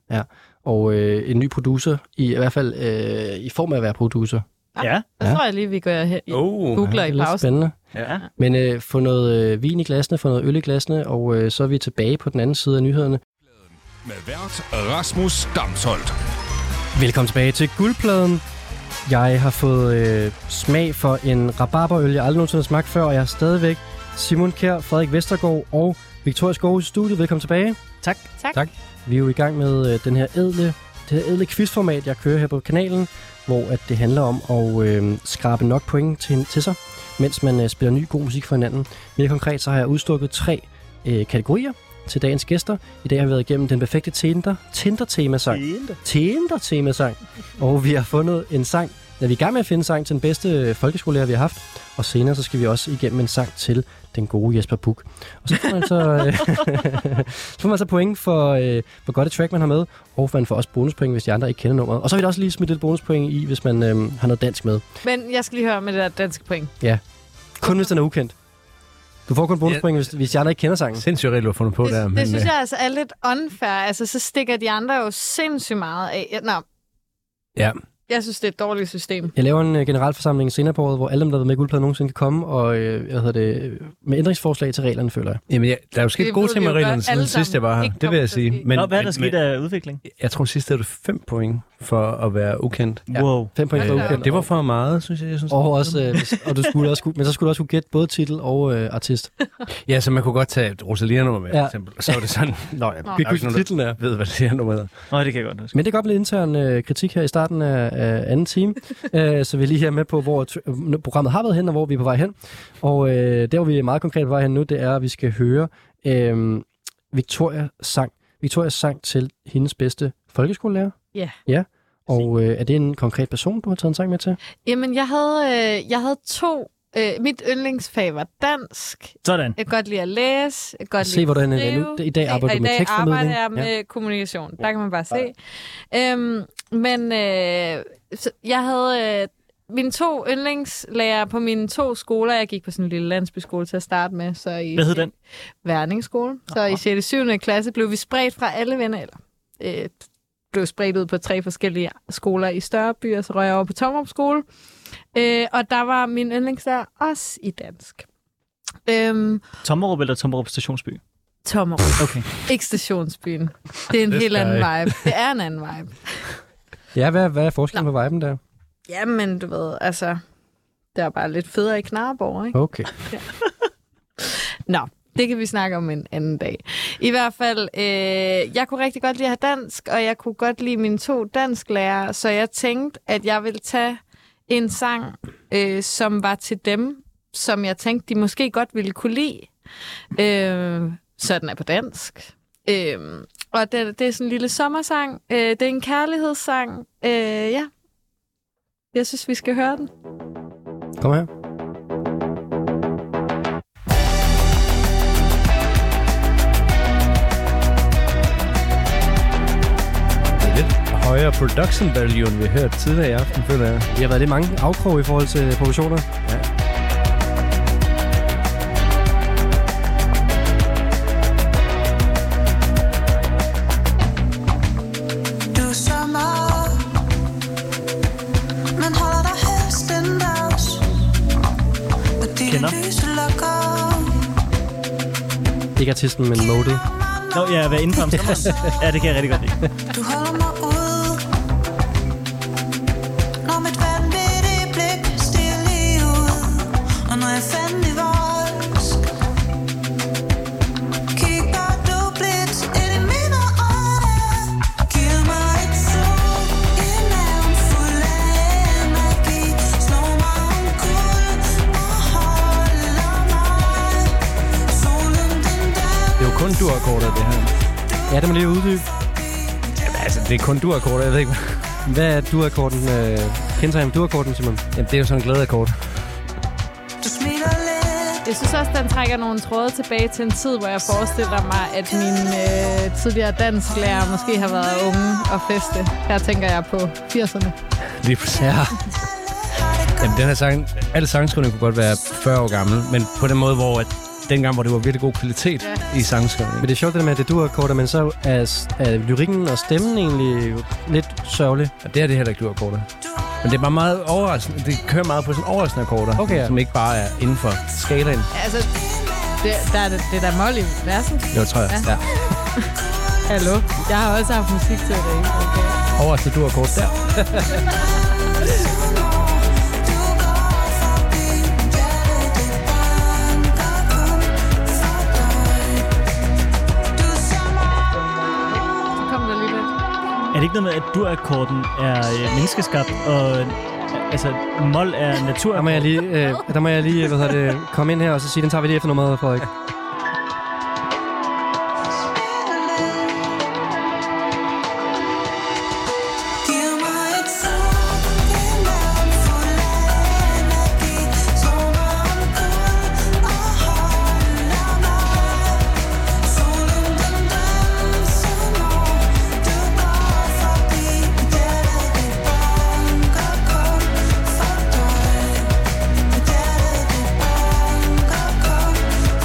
Speaker 2: og øh, en ny producer, i, i hvert fald øh, i form af at være producer.
Speaker 5: Ah,
Speaker 3: ja.
Speaker 5: Så
Speaker 2: Ja.
Speaker 5: tror jeg lige, vi går her.
Speaker 4: oh.
Speaker 5: Googler
Speaker 2: det
Speaker 5: i
Speaker 2: er lidt
Speaker 5: pausen.
Speaker 2: spændende.
Speaker 3: ja.
Speaker 2: Men øh, få noget øh, vin i glasene, få noget øl i glasene, og øh, så er vi tilbage på den anden side af nyhederne.
Speaker 1: Med vært Rasmus Damsholdt.
Speaker 2: Velkommen tilbage til Guldpladen. Jeg har fået øh, smag for en rabarberøl, jeg aldrig nogensinde har smagt før, og jeg har stadigvæk Simon Kjær, Frederik Vestergaard og Victoria Skov i studiet. Velkommen tilbage.
Speaker 3: Tak.
Speaker 5: Tak.
Speaker 4: Tak.
Speaker 2: Vi er jo i gang med øh, den her edle, det her edle quizformat, jeg kører her på kanalen, hvor at det handler om at øh, skrabe nok point til, til sig, mens man øh, spiller ny god musik for hinanden. Mere konkret så har jeg udstukket tre øh, kategorier til dagens gæster. I dag har vi været igennem den perfekte Tinder, Tinder-temasang. Tinder-temasang. Og vi har fundet en sang, ja, vi er i gang med at finde en sang til den bedste øh, folkeskolelærer, vi har haft. Og senere så skal vi også igennem en sang til den gode Jesper Puk. Og så får man så, øh, <laughs> så, får man så point for, øh, hvor godt et track man har med, og man får også bonuspoint, hvis de andre ikke kender nummeret. Og så vil der også lige smide lidt bonuspoint i, hvis man øh, har noget dansk med.
Speaker 5: Men jeg skal lige høre med det der danske point.
Speaker 2: Kun hvis den er ukendt. Du får kun bonuspoint, hvis, hvis de andre ikke kender sangen.
Speaker 4: Sindssygt rigtigt, du har fundet på
Speaker 5: Det,
Speaker 4: der.
Speaker 5: det,
Speaker 4: men,
Speaker 5: det synes
Speaker 4: øh,
Speaker 5: jeg altså er lidt unfair. Altså, så stikker de andre jo sindssygt meget af. Ja, Nå,
Speaker 4: Ja,
Speaker 5: Jeg synes, det er et dårligt system.
Speaker 2: Jeg laver en øh, generalforsamling senere på året, hvor alle dem, der har været med i guldpladen, nogensinde kan komme, og øh, jeg hedder det, øh, med ændringsforslag til reglerne, føler jeg.
Speaker 4: Jamen, jeg, der er jo sket
Speaker 5: Det
Speaker 4: gode
Speaker 5: ved
Speaker 4: ting
Speaker 5: vi
Speaker 4: med
Speaker 5: jo
Speaker 4: reglerne
Speaker 5: godt.
Speaker 4: siden
Speaker 5: Alle
Speaker 4: sidst, jeg
Speaker 5: sammen
Speaker 4: var her.
Speaker 5: ikke
Speaker 4: Det vil
Speaker 5: kommer
Speaker 4: jeg
Speaker 5: til at
Speaker 4: sige.
Speaker 5: ske.
Speaker 4: Men,
Speaker 3: Nå, hvad er der
Speaker 4: men,
Speaker 3: sket af udvikling?
Speaker 4: Jeg tror sidst havde du 5 point for at være ukendt.
Speaker 3: Ja. Wow.
Speaker 2: Fem point for
Speaker 5: Hold da op.
Speaker 2: ukendt.
Speaker 4: Det var for meget, synes jeg. jeg synes,
Speaker 2: og også, øh, hvis- og du skulle også, kunne- men så skulle du også kunne gætte både titel og øh, artist.
Speaker 4: <laughs> Ja, så man kunne godt tage Rosalia nummer med,
Speaker 2: Ja.
Speaker 4: for eksempel. Og så var det
Speaker 2: <laughs>
Speaker 4: sådan, nå ja,
Speaker 2: Vi
Speaker 4: vi
Speaker 2: kunne
Speaker 4: kunne
Speaker 2: ikke
Speaker 4: titlen er. Ved, hvad det her nummer hedder.
Speaker 3: Nå, det kan jeg godt huske.
Speaker 2: Men det kan godt blive intern øh, kritik her i starten af, af anden
Speaker 4: <laughs>
Speaker 2: time, øh, så vi er lige her med på, hvor t- øh, programmet har været hen, og hvor vi er på vej hen. Og øh, der, hvor vi er meget konkret på vej hen nu, det er, at vi skal høre øh, Victoria sang. Victorias sang til hendes bedste folkeskolelærer.
Speaker 5: Ja.
Speaker 2: Ja, og øh, er det en konkret person, du har taget en sang med til?
Speaker 5: Jamen, jeg havde, øh, jeg havde to... Øh, mit yndlingsfag var dansk.
Speaker 3: Sådan.
Speaker 5: Jeg kan godt lide at læse. Jeg kan godt
Speaker 2: Se,
Speaker 5: lide at
Speaker 2: hvordan, øh,
Speaker 5: skrive.
Speaker 2: nu- i dag
Speaker 5: Se,
Speaker 2: arbejder
Speaker 5: og
Speaker 2: du med
Speaker 5: i dag
Speaker 2: tekstformidling.
Speaker 5: arbejder jeg med ja. kommunikation. Der kan man bare se. Øhm, men øh, så jeg havde øh, mine to yndlingslærer på mine to skoler. Jeg gik på sådan en lille landsbyskole til at starte med. Så i
Speaker 3: Hvad hed den?
Speaker 5: Værningsskole. Så i 6. og 7. klasse blev vi spredt fra alle venner, eller øh, blev spredt ud på tre forskellige skoler i større byer, så røg jeg over på Tomrup skole. Øh, og der var min yndlingslærer også i dansk. Øhm,
Speaker 3: Tommerup eller Tommerup Stationsby?
Speaker 5: Tomrup.
Speaker 3: Okay.
Speaker 5: Ikke stationsbyen. Det er en
Speaker 4: This
Speaker 5: helt anden
Speaker 4: guy.
Speaker 5: vibe. Det er en anden vibe.
Speaker 2: Ja, hvad, hvad er forskellen på viben der?
Speaker 5: Jamen, du ved, altså, der er bare lidt federe i Knarborg, ikke?
Speaker 2: Okay.
Speaker 5: <laughs> Nå, det kan vi snakke om en anden dag. I hvert fald, øh, jeg kunne rigtig godt lide at have dansk, og jeg kunne godt lide mine to dansklærere, så jeg tænkte, at jeg ville tage en sang, øh, som var til dem, som jeg tænkte, de måske godt ville kunne lide. Øh, så den er på dansk. Øh, og det, det er sådan en lille sommersang. Øh, det er en kærlighedssang. Øh, ja. Jeg synes, vi skal høre den.
Speaker 2: Kom her.
Speaker 4: Det er lidt højere production value, end vi har hørt tidligere i aften, føler jeg.
Speaker 2: Vi har været lidt mange afkrog i forhold til provisioner.
Speaker 9: Du så meget Men holder dig helst indendørs Og dine
Speaker 3: Kender.
Speaker 9: lyse lukker
Speaker 2: Ikke artisten, men modet.
Speaker 3: Nå, jeg har været inde på om sommeren. Ja, det kan jeg rigtig godt lide.
Speaker 9: Du holder mig ude Når mit vanvittige blik stiger lige ud Og når jeg fandme voldsk Kigger du blidt ind i mine øjne Giver mig et sug i maven fuld af energi Slår mig omkuld og holder mig Solen den
Speaker 4: Det er jo kun du-akkorder, det her.
Speaker 2: Ja, det må lige uddybe.
Speaker 4: Jamen, altså, det er kun du-akkorder, jeg ved ikke. hvad-
Speaker 2: Hvad er du-akkorden? Øh, kendetegn på du-akkorden, Simon?
Speaker 4: Jamen, det er jo sådan en glædeakkord.
Speaker 9: Du smiler lidt
Speaker 5: Jeg synes også, den trækker nogle tråde tilbage til en tid, hvor jeg forestiller mig, at mine øh, tidligere dansklærer måske har været unge og feste. Her tænker jeg på 80'erne.
Speaker 4: Lige præcis. Ja. Jamen, den her sang, alle sangskrivning kunne godt være 40 år gammel, men på den måde, hvor at dengang, hvor det var virkelig god kvalitet i sangskrivning.
Speaker 2: Men det er sjovt det der med, at det er du-akkorder, men så er, er lyrikken og stemmen egentlig jo lidt sørgelig.
Speaker 4: Og det er det heller ikke du-akkorder. Men det er bare meget overraskende. Det kører meget på sådan overraskende akkorder,
Speaker 2: Okay, ja.
Speaker 4: som ikke bare er inden for skalaen.
Speaker 5: Altså, det, der er det, det der mål i versen.
Speaker 4: Jo, tror jeg. Ja.
Speaker 5: <laughs> Hallo? Jeg har også haft musik til det. Okay.
Speaker 4: Overraskende du-akkord
Speaker 2: <laughs>
Speaker 4: der.
Speaker 5: Så kom der lige lidt.
Speaker 3: Er det ikke noget med, at dur-akkorden er øh, menneskeskabt, og øh, altså, mol er natur?
Speaker 2: Der må jeg lige, øh, der må jeg lige hvad hedder det, komme ind her og så sige, den tager vi lige efter nummeret, Frederik.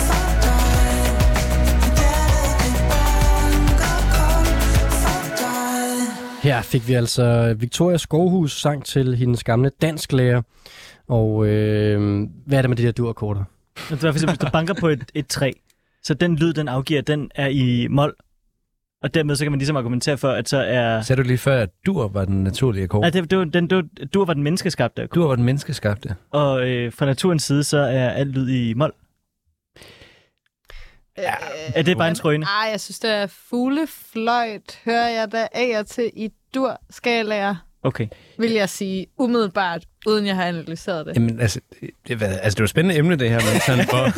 Speaker 9: Fuck
Speaker 2: Her fik vi altså Victoria Skovhus sang til hendes gamle dansklærer. Og øh, hvad er det med de der durkorter?
Speaker 3: Altså, der er for eksempel, hvis du banker på et, et træ, så den lyd, den afgiver, den er i mol. Og dermed så kan man ligesom argumentere for, at så er...
Speaker 4: Sagde du lige før, at dur var den naturlige akkord?
Speaker 3: Nej, det, det, var, den, det, var, dur var den menneskeskabte akkord.
Speaker 4: Dur var den menneskeskabte.
Speaker 3: Og øh, fra naturens side, så er alt lyd i mol.
Speaker 5: Ja,
Speaker 3: Er det bare en trøne?
Speaker 5: Nej, jeg synes, det er fuglefløjt, hører jeg da af og til i durskalaer,
Speaker 3: Okay.
Speaker 5: vil jeg sige umiddelbart, uden jeg har analyseret det.
Speaker 4: Jamen, altså, det, var, altså, det var et spændende emne, det her, men sådan, hvor,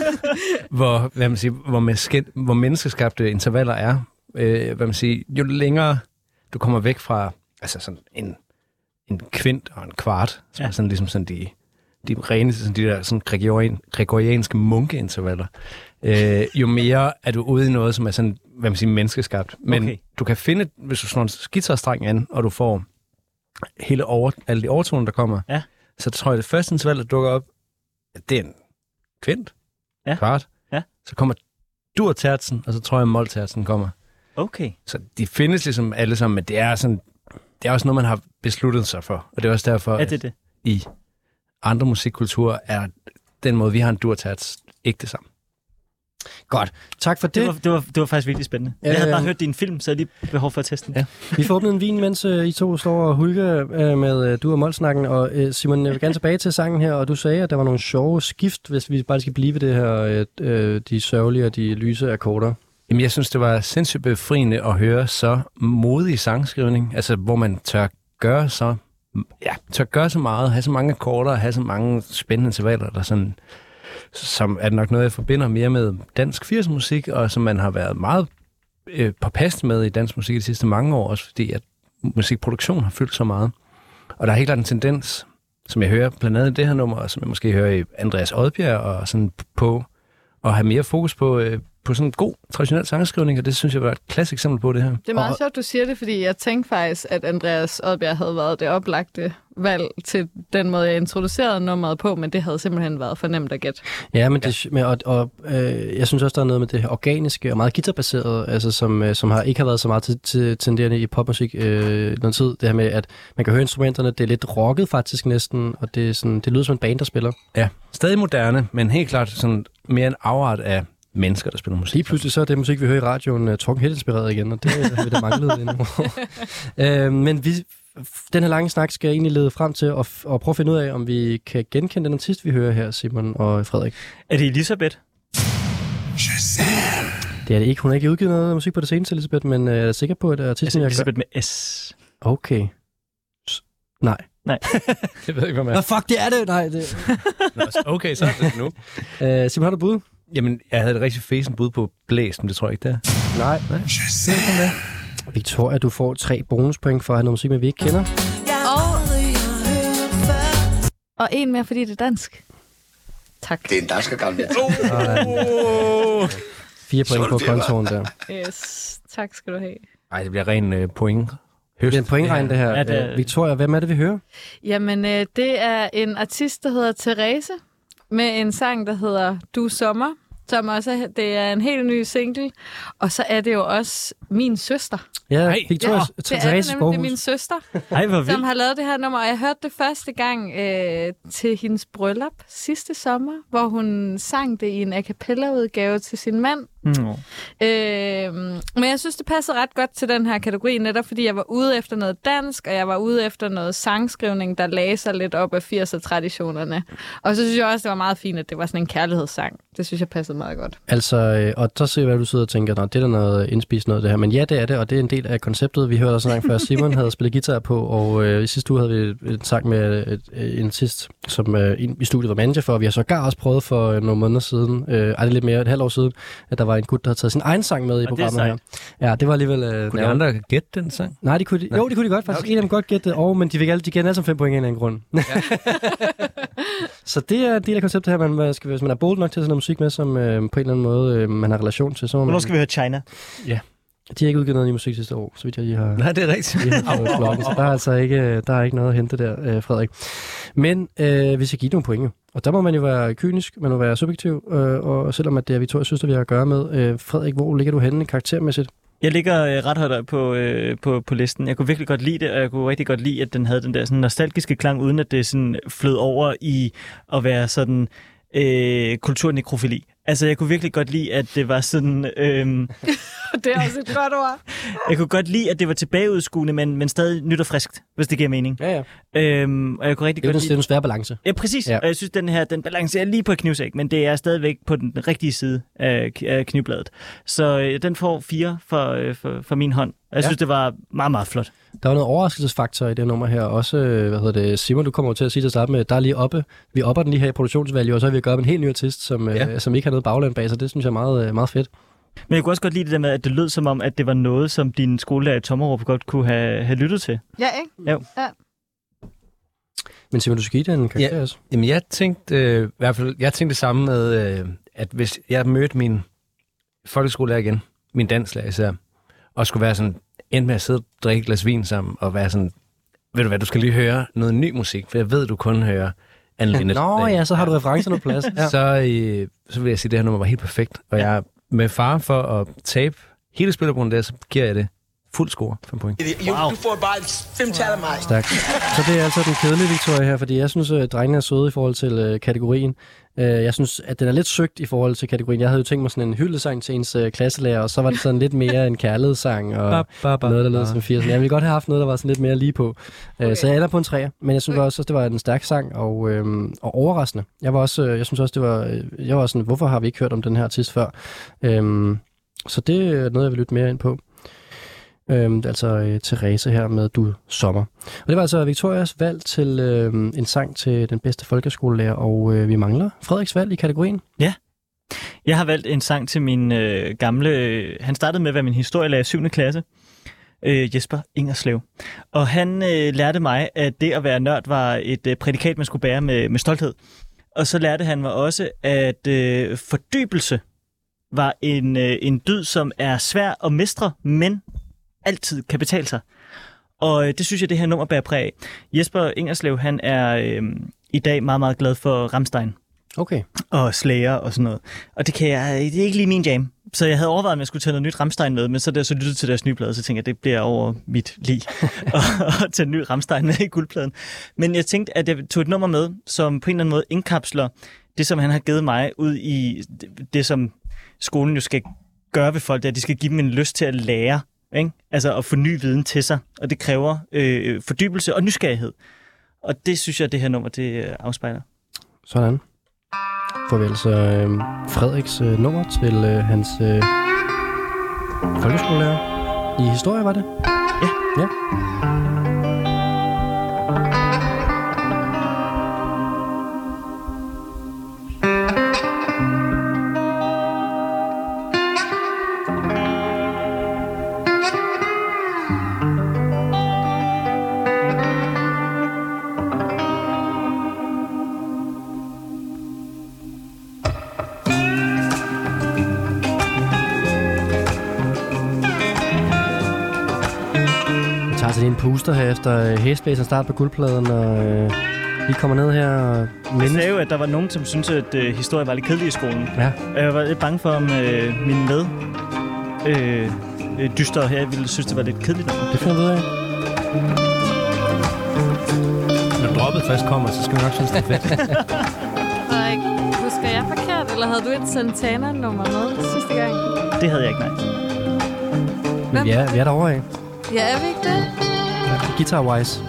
Speaker 4: hvor, hvad man siger, hvor, menneske, hvor menneskeskabte intervaller er. Øh, hvad man siger, jo længere du kommer væk fra altså sådan en, en kvint og en kvart, som
Speaker 3: Ja.
Speaker 4: ja. er sådan, ligesom sådan de, de rene, sådan de der sådan gregorian, gregorianske munkeintervaller, øh, jo mere er du ude i noget, som er sådan, hvad man siger, menneskeskabt. Men
Speaker 3: Okay.
Speaker 4: okay. du kan finde, hvis du slår en guitarstreng an, og du får hele over, alle de overtoner, der kommer,
Speaker 3: Ja.
Speaker 4: så tror jeg, det første interval, der dukker op, at det er en kvint,
Speaker 3: Ja.
Speaker 4: kvart.
Speaker 3: Ja.
Speaker 4: Så kommer dur-tertsen, og så tror jeg, moltertsen kommer.
Speaker 3: Okay.
Speaker 4: Så de findes ligesom alle sammen, men det er sådan, det er også noget, man har besluttet sig for. Og det er også derfor,
Speaker 3: Er det det?
Speaker 4: i andre musikkulturer er den måde, vi har en dur-terts, ikke det samme.
Speaker 2: Godt. Tak for det.
Speaker 3: Det var, det, var, det var faktisk virkelig spændende. Jeg havde
Speaker 2: Øh,
Speaker 3: bare hørt din film, så jeg havde lige behov for at teste den. Ja.
Speaker 2: Vi får åbnet en vin, mens øh, I to står og hulker øh, med øh, du og Molsnakken. Og øh, Simon, jeg vil gerne tilbage til sangen her, og du sagde, at der var nogle sjove skift, hvis vi bare skal blive ved det her, øh, øh, de sørgelige og de lyse akkorder.
Speaker 4: Jamen, jeg synes, det var sindssygt befriende at høre så modig sangskrivning, altså hvor man tør gøre så, ja, tør gøre så meget, have så mange akkorder, og have så mange spændende intervaller, der sådan, som er nok noget, jeg forbinder mere med dansk 80'er musik, og som man har været meget øh, påpasset med i dansk musik de sidste mange år, også fordi at musikproduktion har fyldt så meget. Og der er helt klart en tendens, som jeg hører blandt andet i det her nummer, og som jeg måske hører i Andreas Oddbjerg og sådan på, at have mere fokus på, øh, på sådan en god traditionel sangskrivning, og det synes jeg var et klassisk eksempel på det her.
Speaker 5: Det er meget
Speaker 4: og, <laughs>
Speaker 5: sjovt, du siger det, fordi jeg tænkte faktisk, at Andreas Oddbjerg havde været det oplagte valg til den måde, jeg introducerede nummeret på, men det havde simpelthen været for nemt at gætte.
Speaker 2: Ja, men det, men, og, og øh, jeg synes også, der er noget med det her organiske og meget guitarbaserede, altså som, øh, som har, ikke har været så meget til, til, tenderende i popmusik øh, noget tid. Det her med, at man kan høre instrumenterne, det er lidt rocket faktisk næsten, og det, er sådan, det lyder som en band, der spiller.
Speaker 4: Ja, stadig moderne, men helt klart sådan mere en afart af mennesker, der spiller musik.
Speaker 2: Lige pludselig så er det musik, vi hører i radioen, uh, Torben helt inspireret igen, og det øh, har vi da manglet
Speaker 4: <laughs>
Speaker 2: endnu. uh, men vi, f- den her lange snak skal egentlig lede frem til at, f- at prøve at finde ud af, om vi kan genkende den artist, vi hører her, Simon og Frederik.
Speaker 3: Er det Elisabeth?
Speaker 2: Det er det ikke. Hun har ikke udgivet noget musik på det seneste, Elisabeth, men uh, jeg er sikker på, at
Speaker 3: Altså,
Speaker 2: artisten... jeg
Speaker 3: Elisabeth med S.
Speaker 2: Gør... Okay. S- nej. <laughs>
Speaker 4: Jeg ved ikke, hvad man
Speaker 2: Hvad fuck, det er det? Nej, det...
Speaker 4: er. Okay, så er det <laughs> nu. Øh,
Speaker 2: Uh, Simon, har du bud?
Speaker 4: Jamen, jeg havde et rigtig fesen bud på blæs, men det tror jeg ikke, det er.
Speaker 2: Nej. nej. Victoria, du får tre bonuspoint for at have noget musik, med, vi ikke kender.
Speaker 5: Og en mere, fordi det er dansk. Tak.
Speaker 10: Det er en dansker gammel.
Speaker 2: Fire point på kontoren der.
Speaker 5: Yes. Tak skal du have.
Speaker 4: Nej, det bliver ren øh, point.
Speaker 2: Det er en pointregn, det her.
Speaker 3: Ja, det
Speaker 2: Ja,
Speaker 3: er-
Speaker 4: Øh,
Speaker 2: Victoria, hvem er det, vi hører?
Speaker 5: Jamen, øh, det er en artist, der hedder Therese, med en sang, der hedder Du Sommer, som også er, det er en helt ny single. Og så er det jo også min søster.
Speaker 2: Ja,
Speaker 4: Nej.
Speaker 2: Victoria,
Speaker 5: det er det
Speaker 2: Therese
Speaker 5: nemlig. Det er
Speaker 2: Skovhus.
Speaker 5: min søster,
Speaker 3: <laughs> Ej, hvor
Speaker 5: som
Speaker 3: vildt.
Speaker 5: har lavet det her nummer. Og jeg hørte det første gang øh, til hendes bryllup sidste sommer, hvor hun sang det i en a cappella udgave til sin mand.
Speaker 3: Mm.
Speaker 5: Øh, men jeg synes, det passede ret godt til den her kategori, netop fordi jeg var ude efter noget dansk, og jeg var ude efter noget sangskrivning, der lagde sig lidt op af 80'er-traditionerne. Og så synes jeg også, det var meget fint, at det var sådan en kærlighedssang. Det synes jeg passede meget godt.
Speaker 2: Altså, øh, og så ser jeg, hvad du sidder og tænker, Nå, det er da noget indspist noget det her. Men ja, det er det, og det er en del af konceptet. Vi hørte også en gang før, Simon havde spillet guitar på, og øh, i sidste uge havde vi en sang med øh, øh, en sidst, som øh, en i studiet var manager for, og vi har sågar også prøvet for øh, nogle måneder siden, øh, ej, det er lidt mere, et halvt år siden, at der var en gut, der havde taget sin egen sang med i
Speaker 3: er
Speaker 2: programmet her.
Speaker 3: sejt.
Speaker 2: Ja, det var alligevel... Øh,
Speaker 4: Kunne de
Speaker 2: nærmere.
Speaker 4: andre gætte den sang?
Speaker 2: Nej, det kunne de, jo, det kunne de godt faktisk. Okay. En af dem godt gætte det, og, men de fik alle, de gav alle sammen fem point af en eller anden grund. Ja. <laughs> så det er en del af konceptet her, man skal, hvis man er bold nok til at tage noget musik med, som øh, på en eller anden måde øh, man har relation til, så må
Speaker 3: Hvornår
Speaker 2: man,
Speaker 3: skal vi høre China?
Speaker 2: de har ikke udgivet noget ny musik sidste år, så vidt jeg lige har...
Speaker 4: Nej, det er rigtigt.
Speaker 2: lige har fået flokken. Så der er altså ikke, der er ikke noget at hente der, øh, Frederik. Men øh, vi skal give nogle point jo. Og der må man jo være kynisk, man må være subjektiv, øh, og selvom at det er Victoria Søster, vi har at gøre med. Øh, Frederik, hvor ligger du henne karaktermæssigt?
Speaker 3: Jeg ligger øh, ret højt op på, øh, på, på listen. Jeg kunne virkelig godt lide det, og jeg kunne rigtig godt lide, at den havde den der sådan nostalgiske klang, uden at det sådan flød over i at være sådan øh, kulturnekrofili. Altså, jeg kunne virkelig godt lide, at det var sådan... Øh,
Speaker 5: <laughs> Det er også et godt ord.
Speaker 3: jeg kunne godt lide, at det var tilbageudskuende, men, men stadig nyt og friskt, hvis det giver mening.
Speaker 2: Ja, ja.
Speaker 3: Øhm, og jeg kunne rigtig
Speaker 2: Det er
Speaker 3: godt
Speaker 2: jo den, det er
Speaker 3: lide...
Speaker 2: den svære balance.
Speaker 3: Ja, præcis.
Speaker 2: Ja.
Speaker 3: Ja. Og jeg synes, den her, den balancerer lige på et knivsæk, men det er stadigvæk på den rigtige side af, k- af knivbladet. Så øh, den får fire for, øh, for, for min hånd. Og Jeg
Speaker 2: Ja.
Speaker 3: ja. synes, det var meget, meget flot.
Speaker 2: Der er jo noget overraskelsesfaktor i det her nummer her. Også, øh, hvad hedder det, Simon, du kommer jo til at sige til at starte med, der er lige oppe. Vi opper den lige her i produktionsvalget, og så har vi at gøre med en helt ny artist, som, øh, ja. som ikke har noget bagland bag sig. Det synes jeg er meget, øh, meget fedt.
Speaker 3: Men jeg kunne også godt lide det der med, at det lød som om, at det var noget, som din skolelærer i Tommerup godt kunne have, have lyttet til.
Speaker 5: Ja, ikke?
Speaker 2: Men Simon, du skal give den en karakter
Speaker 4: Ja.
Speaker 2: også.
Speaker 4: Jamen, jeg tænkte øh, i hvert fald, jeg tænkte det samme med, øh, at hvis jeg mødte min folkeskolelærer igen, min danslærer især, og skulle være sådan, endte med at sidde og drikke et glas vin sammen, og være sådan, ved du hvad, du skal lige høre noget ny musik, for jeg ved, du kun hører Anne Linnet.
Speaker 2: Nå ja, så har du referencerne på plads.
Speaker 4: <laughs> ja. så, øh, så vil jeg sige, at det her nummer var helt perfekt, og jeg er med far for at tabe hele spillerbrugen der, så giver jeg det fuld score, 5 point.
Speaker 3: Wow.
Speaker 10: Du får bare fem tal af mig.
Speaker 2: Tak. Så det er altså den kedelige Victoria her, fordi jeg synes, at drengene er søde i forhold til øh, kategorien. Øh, jeg synes, at den er lidt søgt i forhold til kategorien. Jeg havde jo tænkt mig sådan en hyldesang til ens øh, klasselærer, og så var det sådan lidt mere en kærlighedssang og
Speaker 4: ba, ba,
Speaker 2: noget, der lød som 80'erne. Jeg ville godt have haft noget, der var sådan lidt mere lige på. Øh, Så jeg ender på en træer, men jeg synes også, at det var en stærk sang og, øh, og overraskende. Jeg var også, øh, jeg synes også, det var, øh, jeg var sådan, hvorfor har vi ikke hørt om den her artist før? Øh, så det er noget, jeg vil lytte mere ind på. Øhm, det er altså øh, Therese her med Du Sommer. Og det var altså Victorias valg til øh, en sang til den bedste folkeskolelærer, og øh, vi mangler Frederiks valg i kategorien.
Speaker 3: Jeg har valgt en sang til min øh, gamle... Øh, han startede med at være min historielærer i 7. klasse. Øh, Jesper Ingerslev. Og han øh, lærte mig, at det at være nørd var et øh, prædikat, man skulle bære med, med stolthed. Og så lærte han mig også, at øh, fordybelse var en, øh, en dyd, som er svær at mestre, men altid kan betale sig. Og øh, det synes jeg, det her nummer bærer præg af. Jesper Ingerslev, han er øh, i dag meget, meget glad for Ramstein
Speaker 2: Okay.
Speaker 3: og Slayer og sådan noget. Og det, kan jeg, øh, det er ikke lige min jam. Så jeg havde overvejet, om jeg skulle tage noget nyt Ramstein med, men så da jeg så lyttede til deres nye plade, så tænkte jeg, at det bliver over mit liv at tage en ny Ramstein med i guldpladen. Men jeg tænkte, at jeg tog et nummer med, som på en eller anden måde indkapsler det, som han har givet mig ud i det- det, som skolen jo skal gøre ved folk, det er, at de skal give dem en lyst til at lære, ikke? altså at få ny viden til sig, og det kræver øh, fordybelse og nysgerrighed. Og det synes jeg, det her nummer det øh, afspejler.
Speaker 2: Sådan. Får vi altså øh, Frederiks øh, nummer til øh, hans øh, folkeskolelærer. I historie var det? Ja. ja. Jeg tager altså lige en puster her efter øh, hæsblæseren start på guldpladen, og øh, vi kommer ned her og
Speaker 3: Jeg
Speaker 2: mindes.
Speaker 3: sagde jo, at der var nogen, som syntes, at øh, historie var lidt kedelig i skolen.
Speaker 2: Ja.
Speaker 3: Og jeg var lidt bange for, om øh, min med øh, øh, dyster her ville synes, det var lidt kedeligt. nummer.
Speaker 2: Det finder vi ud af.
Speaker 4: Når droppet først kommer, så skal vi nok synes, det er fedt. <laughs>
Speaker 5: Frederik, husker jeg forkert, eller havde du et Santana-nummer med sidste gang?
Speaker 3: Altså, Det havde jeg ikke, nej.
Speaker 2: Men vi er, vi er derovre af.
Speaker 5: Ja, er vi ikke det?
Speaker 2: Guitar-wise.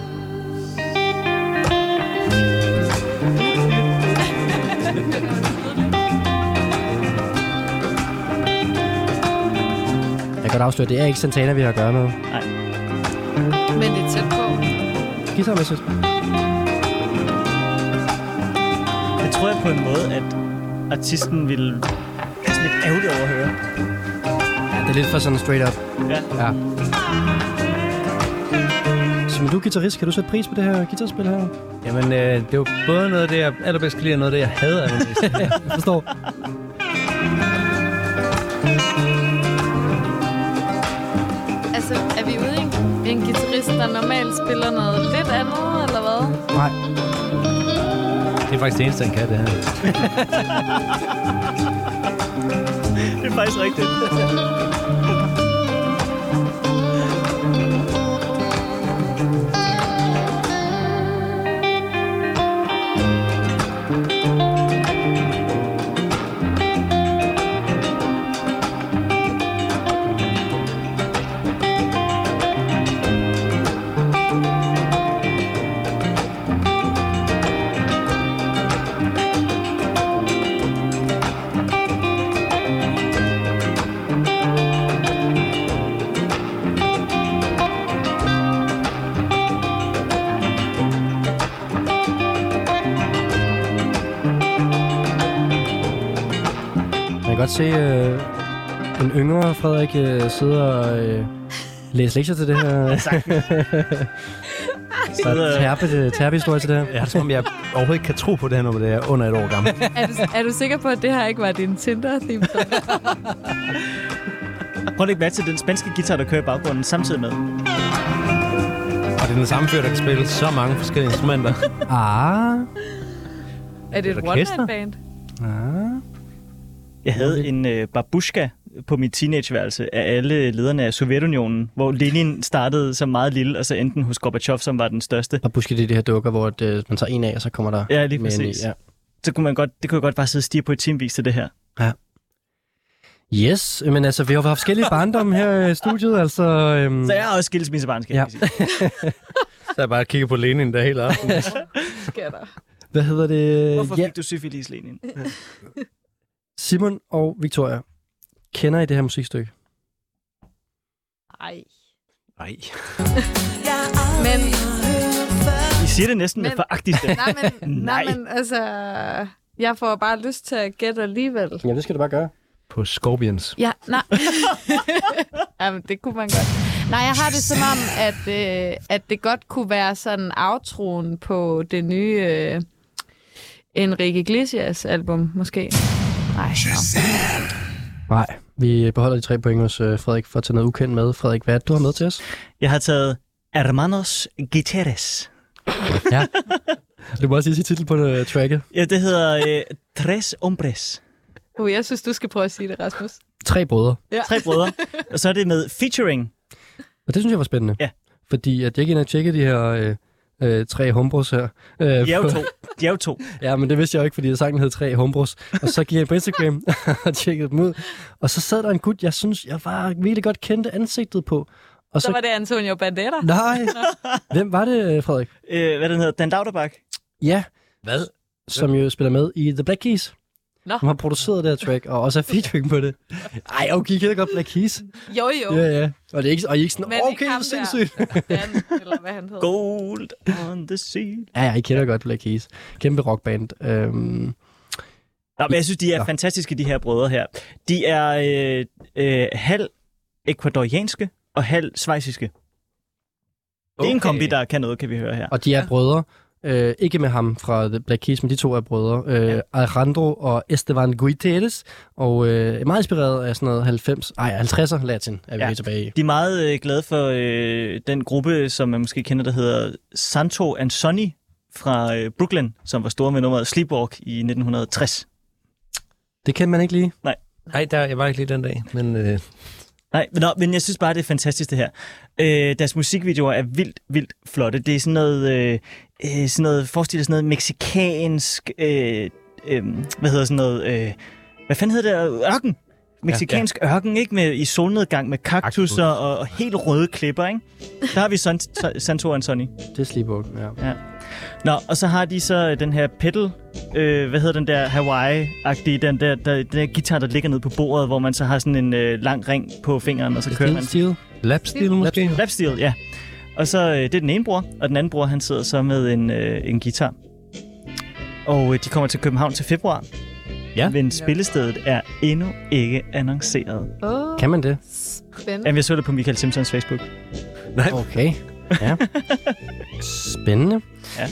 Speaker 2: Jeg kan godt afsløre, det er ikke Santana, vi har at gøre med.
Speaker 5: Men det er tæt på.
Speaker 2: Guitarmæssigt.
Speaker 3: Det tror jeg på en måde, at artisten ville være sådan lidt ærgerlig over at høre.
Speaker 2: Det er lidt for sådan straight up.
Speaker 3: Ja.
Speaker 2: ja. Simon, du er guitarist. Kan du sætte pris på det her
Speaker 3: <laughs>
Speaker 2: guitarspil her?
Speaker 4: Jamen, øh, det var både noget af det, jeg allerbedst kan lide, og noget af det, jeg hader
Speaker 2: <laughs>
Speaker 4: allerbedst.
Speaker 2: Jeg forstår.
Speaker 5: Altså, er vi ude i en, en guitarist, der normalt spiller noget lidt andet, eller hvad? <laughs>
Speaker 2: Nej.
Speaker 4: det er faktisk det eneste, han kan, det her.
Speaker 3: Det er faktisk rigtigt.
Speaker 2: Man kan godt se øh, en yngre Frederik øh, sidde og øh, læse lektier til det her. <laughs> Så er der terpe, terpehistorie til det her.
Speaker 4: Jeg er det, som om jeg overhovedet ikke kan tro på det her nummer, det er under et år gammel.
Speaker 5: Er du, er du sikker på, at det her ikke var din Tinder-theme?
Speaker 3: Prøv at lægge mærke til den spanske guitar, der kører i baggrunden samtidig med.
Speaker 4: Og det er den samme fyr, der kan spille så mange forskellige instrumenter.
Speaker 2: Ah,
Speaker 5: Er det et
Speaker 4: orkester?
Speaker 5: <laughs> one-man-band?
Speaker 3: Jeg havde en øh, babushka på mit teenageværelse af alle lederne af Sovjetunionen, hvor Lenin startede som meget lille, og så endte den hos Gorbachev, som var den største.
Speaker 2: og buske det er de her dukker, hvor at, øh, man tager en af, og så kommer der
Speaker 3: Ja, lige
Speaker 2: mere ind i.
Speaker 3: præcis. Så kunne man godt, det kunne jeg godt bare sidde og stige på i timevis til det her.
Speaker 2: Ja. Yes, men altså, vi har jo haft forskellige barndomme her i studiet, altså... Øhm,
Speaker 3: Så jeg er også skilsmissebarn, skal
Speaker 2: Ja.
Speaker 3: ja. jeg sige.
Speaker 4: Så jeg bare kigger på Lenin der hele aften.
Speaker 5: <laughs> Sker der?
Speaker 2: hvad hedder det?
Speaker 3: Hvorfor
Speaker 2: Ja,
Speaker 3: fik du syfilis, Lenin?
Speaker 2: Simon og Victoria, kender I det her musikstykke?
Speaker 5: <laughs> Ej.
Speaker 4: Nej.
Speaker 5: <laughs> Men,
Speaker 3: I siger det næsten med
Speaker 5: Men-
Speaker 3: foragtigt.
Speaker 5: <laughs> nej, men, nej.
Speaker 3: Nej.
Speaker 5: nej, men altså... Jeg får bare lyst til at gætte alligevel.
Speaker 2: Jamen, det skal du bare gøre.
Speaker 4: På Scorpions.
Speaker 5: Ja, <laughs> nej. Jamen, det kunne man godt. Nej, jeg har det som om, at, øh, at det godt kunne være sådan aftroen på det nye øh, Enrique Iglesias album, måske. Nej, nå.
Speaker 2: Nej, vi beholder de tre point hos øh, Frederik for at tage noget ukendt med. Frederik, hvad er det, du har med til os?
Speaker 3: Jeg har taget Hermanos Guterres.
Speaker 2: Du må også lige sige titel på uh, tracket.
Speaker 3: Ja, det hedder øh, Tres Hombres.
Speaker 5: Uh, jeg synes, du skal prøve at sige det, Rasmus.
Speaker 2: Tre brødre.
Speaker 3: Tre
Speaker 5: <laughs>
Speaker 3: brødre. Og så er det med featuring.
Speaker 2: Og det synes jeg var spændende.
Speaker 3: Ja.
Speaker 2: Fordi at jeg gik ind og tjekkede de her øh, øh, tre humbros her. Øh,
Speaker 3: De er jo
Speaker 2: på-
Speaker 3: to. De er jo to.
Speaker 2: <laughs> Ja, men det vidste jeg jo ikke, fordi sangen hed Tre Humbros. Og så gik jeg på Instagram <laughs> og tjekkede dem ud. Og så sad der en gut, jeg synes, jeg var virkelig godt kendte ansigtet på. Og så...
Speaker 5: Så var det Antonio Bandera.
Speaker 2: Nej! Hvem var det, Frederik?
Speaker 3: Øh, hvad den hedder? Dan Lauterbach.
Speaker 2: Ja. Hvad? Som jo spiller med i The Black Keys.
Speaker 5: Nå.
Speaker 2: Som har produceret det her track, og også er featuring på det. Ej, okay, I kender godt Black Keys.
Speaker 5: Jo, jo.
Speaker 2: Ja, ja. Og, det er ikke, og I er ikke sådan,
Speaker 5: Men ikke
Speaker 2: okay,
Speaker 5: <laughs>
Speaker 2: det
Speaker 5: ham der.
Speaker 2: er sindssygt.
Speaker 5: Dan, eller hvad han hed.
Speaker 3: Gold on the sea.
Speaker 2: Ja, ja, I kender godt Black Keys. Kæmpe rockband. Øhm,
Speaker 3: Nå, men jeg synes, de er fantastiske, de her brødre her. De er øh, øh, halv ekvadorianske og halv svejsiske. Okay. Det er en kombi, der kan noget, kan vi høre her.
Speaker 2: og de er brødre. Øh, ikke med ham fra The Black Keys, men de to er brødre. Øh, Alejandro og Esteban Guiteres. Og øh, meget inspireret af sådan noget 90, ej, 50'er latin, er vi
Speaker 3: Ja.
Speaker 2: ja. tilbage
Speaker 3: <laughs>
Speaker 2: i.
Speaker 3: De er meget øh, glade for øh, den gruppe, som man måske kender, der hedder Santo and Sonny fra øh, Brooklyn, som var store med nummeret Sleepwalk i 1960.
Speaker 2: Det kan man ikke lige.
Speaker 4: Nej, der, jeg var ikke lige den dag, men øh,
Speaker 3: Nej, men, nå, men jeg synes bare, det er fantastisk det her. Øh, deres musikvideoer er vildt, vildt flotte. Det er sådan noget, øh, øh, sådan noget forestil dig sådan noget meksikansk, øh, øh, hvad hedder sådan noget, øh, hvad fanden hedder det, ørken. Meksikansk ja, ja. ørken, ikke? Med, I solnedgang med kaktuser og, og helt røde klipper, ikke? Der har vi
Speaker 2: <laughs>
Speaker 3: San, Santo Antoni.
Speaker 2: Det er Sleepwalk, ja.
Speaker 3: Nå, og så har de så den her pedal, øh, hvad hedder den der Hawaii-agtige, den der, der, den der guitar, der ligger ned på bordet, hvor man så har sådan en øh, lang ring på fingeren, og så kører man.
Speaker 2: Steel.
Speaker 4: Lapsteel måske?
Speaker 3: Rap Steel, ja. Og så, øh, det er den ene bror, og den anden bror, han sidder så med en, øh, en guitar. Og øh, de kommer til København til februar.
Speaker 4: Ja.
Speaker 3: Men spillestedet er endnu ikke annonceret.
Speaker 5: Åh, oh,
Speaker 2: Kan man det?
Speaker 5: spændende.
Speaker 3: Jamen, jeg så det på Michael Simpsons Facebook.
Speaker 2: Okay, ja. Spændende.
Speaker 3: Ja.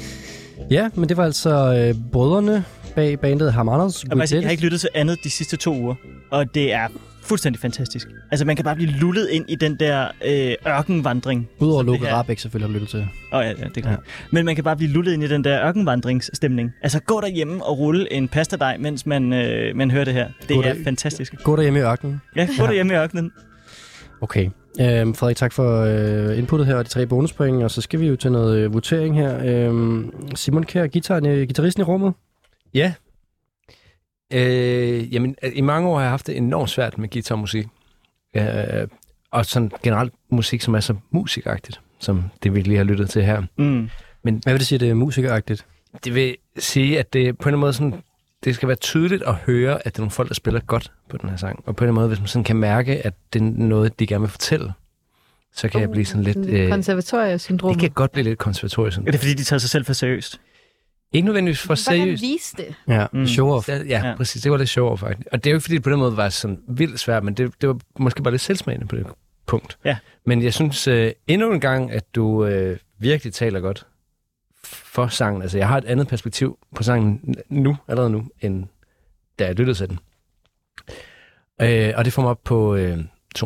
Speaker 2: Ja, men det var altså øh, brødrene bag bandet Hamaners.
Speaker 3: Og faktisk, jeg har
Speaker 2: Guiteres.
Speaker 3: ikke lyttet til andet de sidste to uger, og det er fuldstændig fantastisk. Altså, man kan bare blive lullet ind i den der øh, ørkenvandring.
Speaker 2: Udover
Speaker 3: Som det
Speaker 2: Luke
Speaker 3: her.
Speaker 2: Rabeck selvfølgelig har lyttet til.
Speaker 3: Åh oh, ja, ja, det kan
Speaker 2: Ja.
Speaker 3: ja. Men man kan bare blive lullet ind i den der ørkenvandringsstemning. Altså, gå derhjemme og rulle en pastadej, mens man, øh, man hører det her. Det
Speaker 2: Gå
Speaker 3: er
Speaker 2: der-
Speaker 3: fantastisk.
Speaker 2: Gå derhjemme i ørkenen.
Speaker 3: Ja, gå
Speaker 2: Ja.
Speaker 3: derhjemme i ørkenen.
Speaker 2: Okay. Øhm, Frederik, tak for øh, inputtet her og de tre bonuspoint, og så skal vi jo til noget øh, votering her. Øhm, Simon Kjær, guitaren, øh, guitaristen i rummet.
Speaker 4: Ja. Øh, jamen, øh, i mange år har jeg haft det enormt svært med guitarmusik. Øh, og sådan generelt musik, som er så musikagtigt, som det vi lige har lyttet til her.
Speaker 3: Mm.
Speaker 2: Hvad vil det sige, det er musikeragtigt?
Speaker 4: Det vil sige, at det på en eller anden måde sådan, det skal være tydeligt at høre, at det er nogle folk, der spiller godt på den her sang. Og på en eller anden måde, hvis man sådan kan mærke, at det er noget, de gerne vil fortælle, så kan uh, jeg blive sådan lidt... Øh,
Speaker 5: Konservatoriesyndrom.
Speaker 4: det kan godt blive lidt konservatorisk.
Speaker 3: Er det fordi, de tager sig selv for seriøst?
Speaker 4: Ikke nødvendigvis for seriøst.
Speaker 5: vise det?
Speaker 2: Ja,
Speaker 3: Mm.
Speaker 2: mm. show off.
Speaker 4: Ja, ja,
Speaker 3: Ja.
Speaker 4: præcis. Det var lidt sjovere, faktisk. Og det er jo ikke, fordi det på den måde var sådan vildt svært, men det, det var måske bare lidt selvsmagende på det punkt.
Speaker 3: Ja.
Speaker 4: Men jeg synes øh, endnu en gang, at du øh, virkelig taler godt for sangen. Altså, jeg har et andet perspektiv på sangen n- nu, allerede nu, end da jeg lyttede til den. Øh, og det får mig op på øh, 2,5.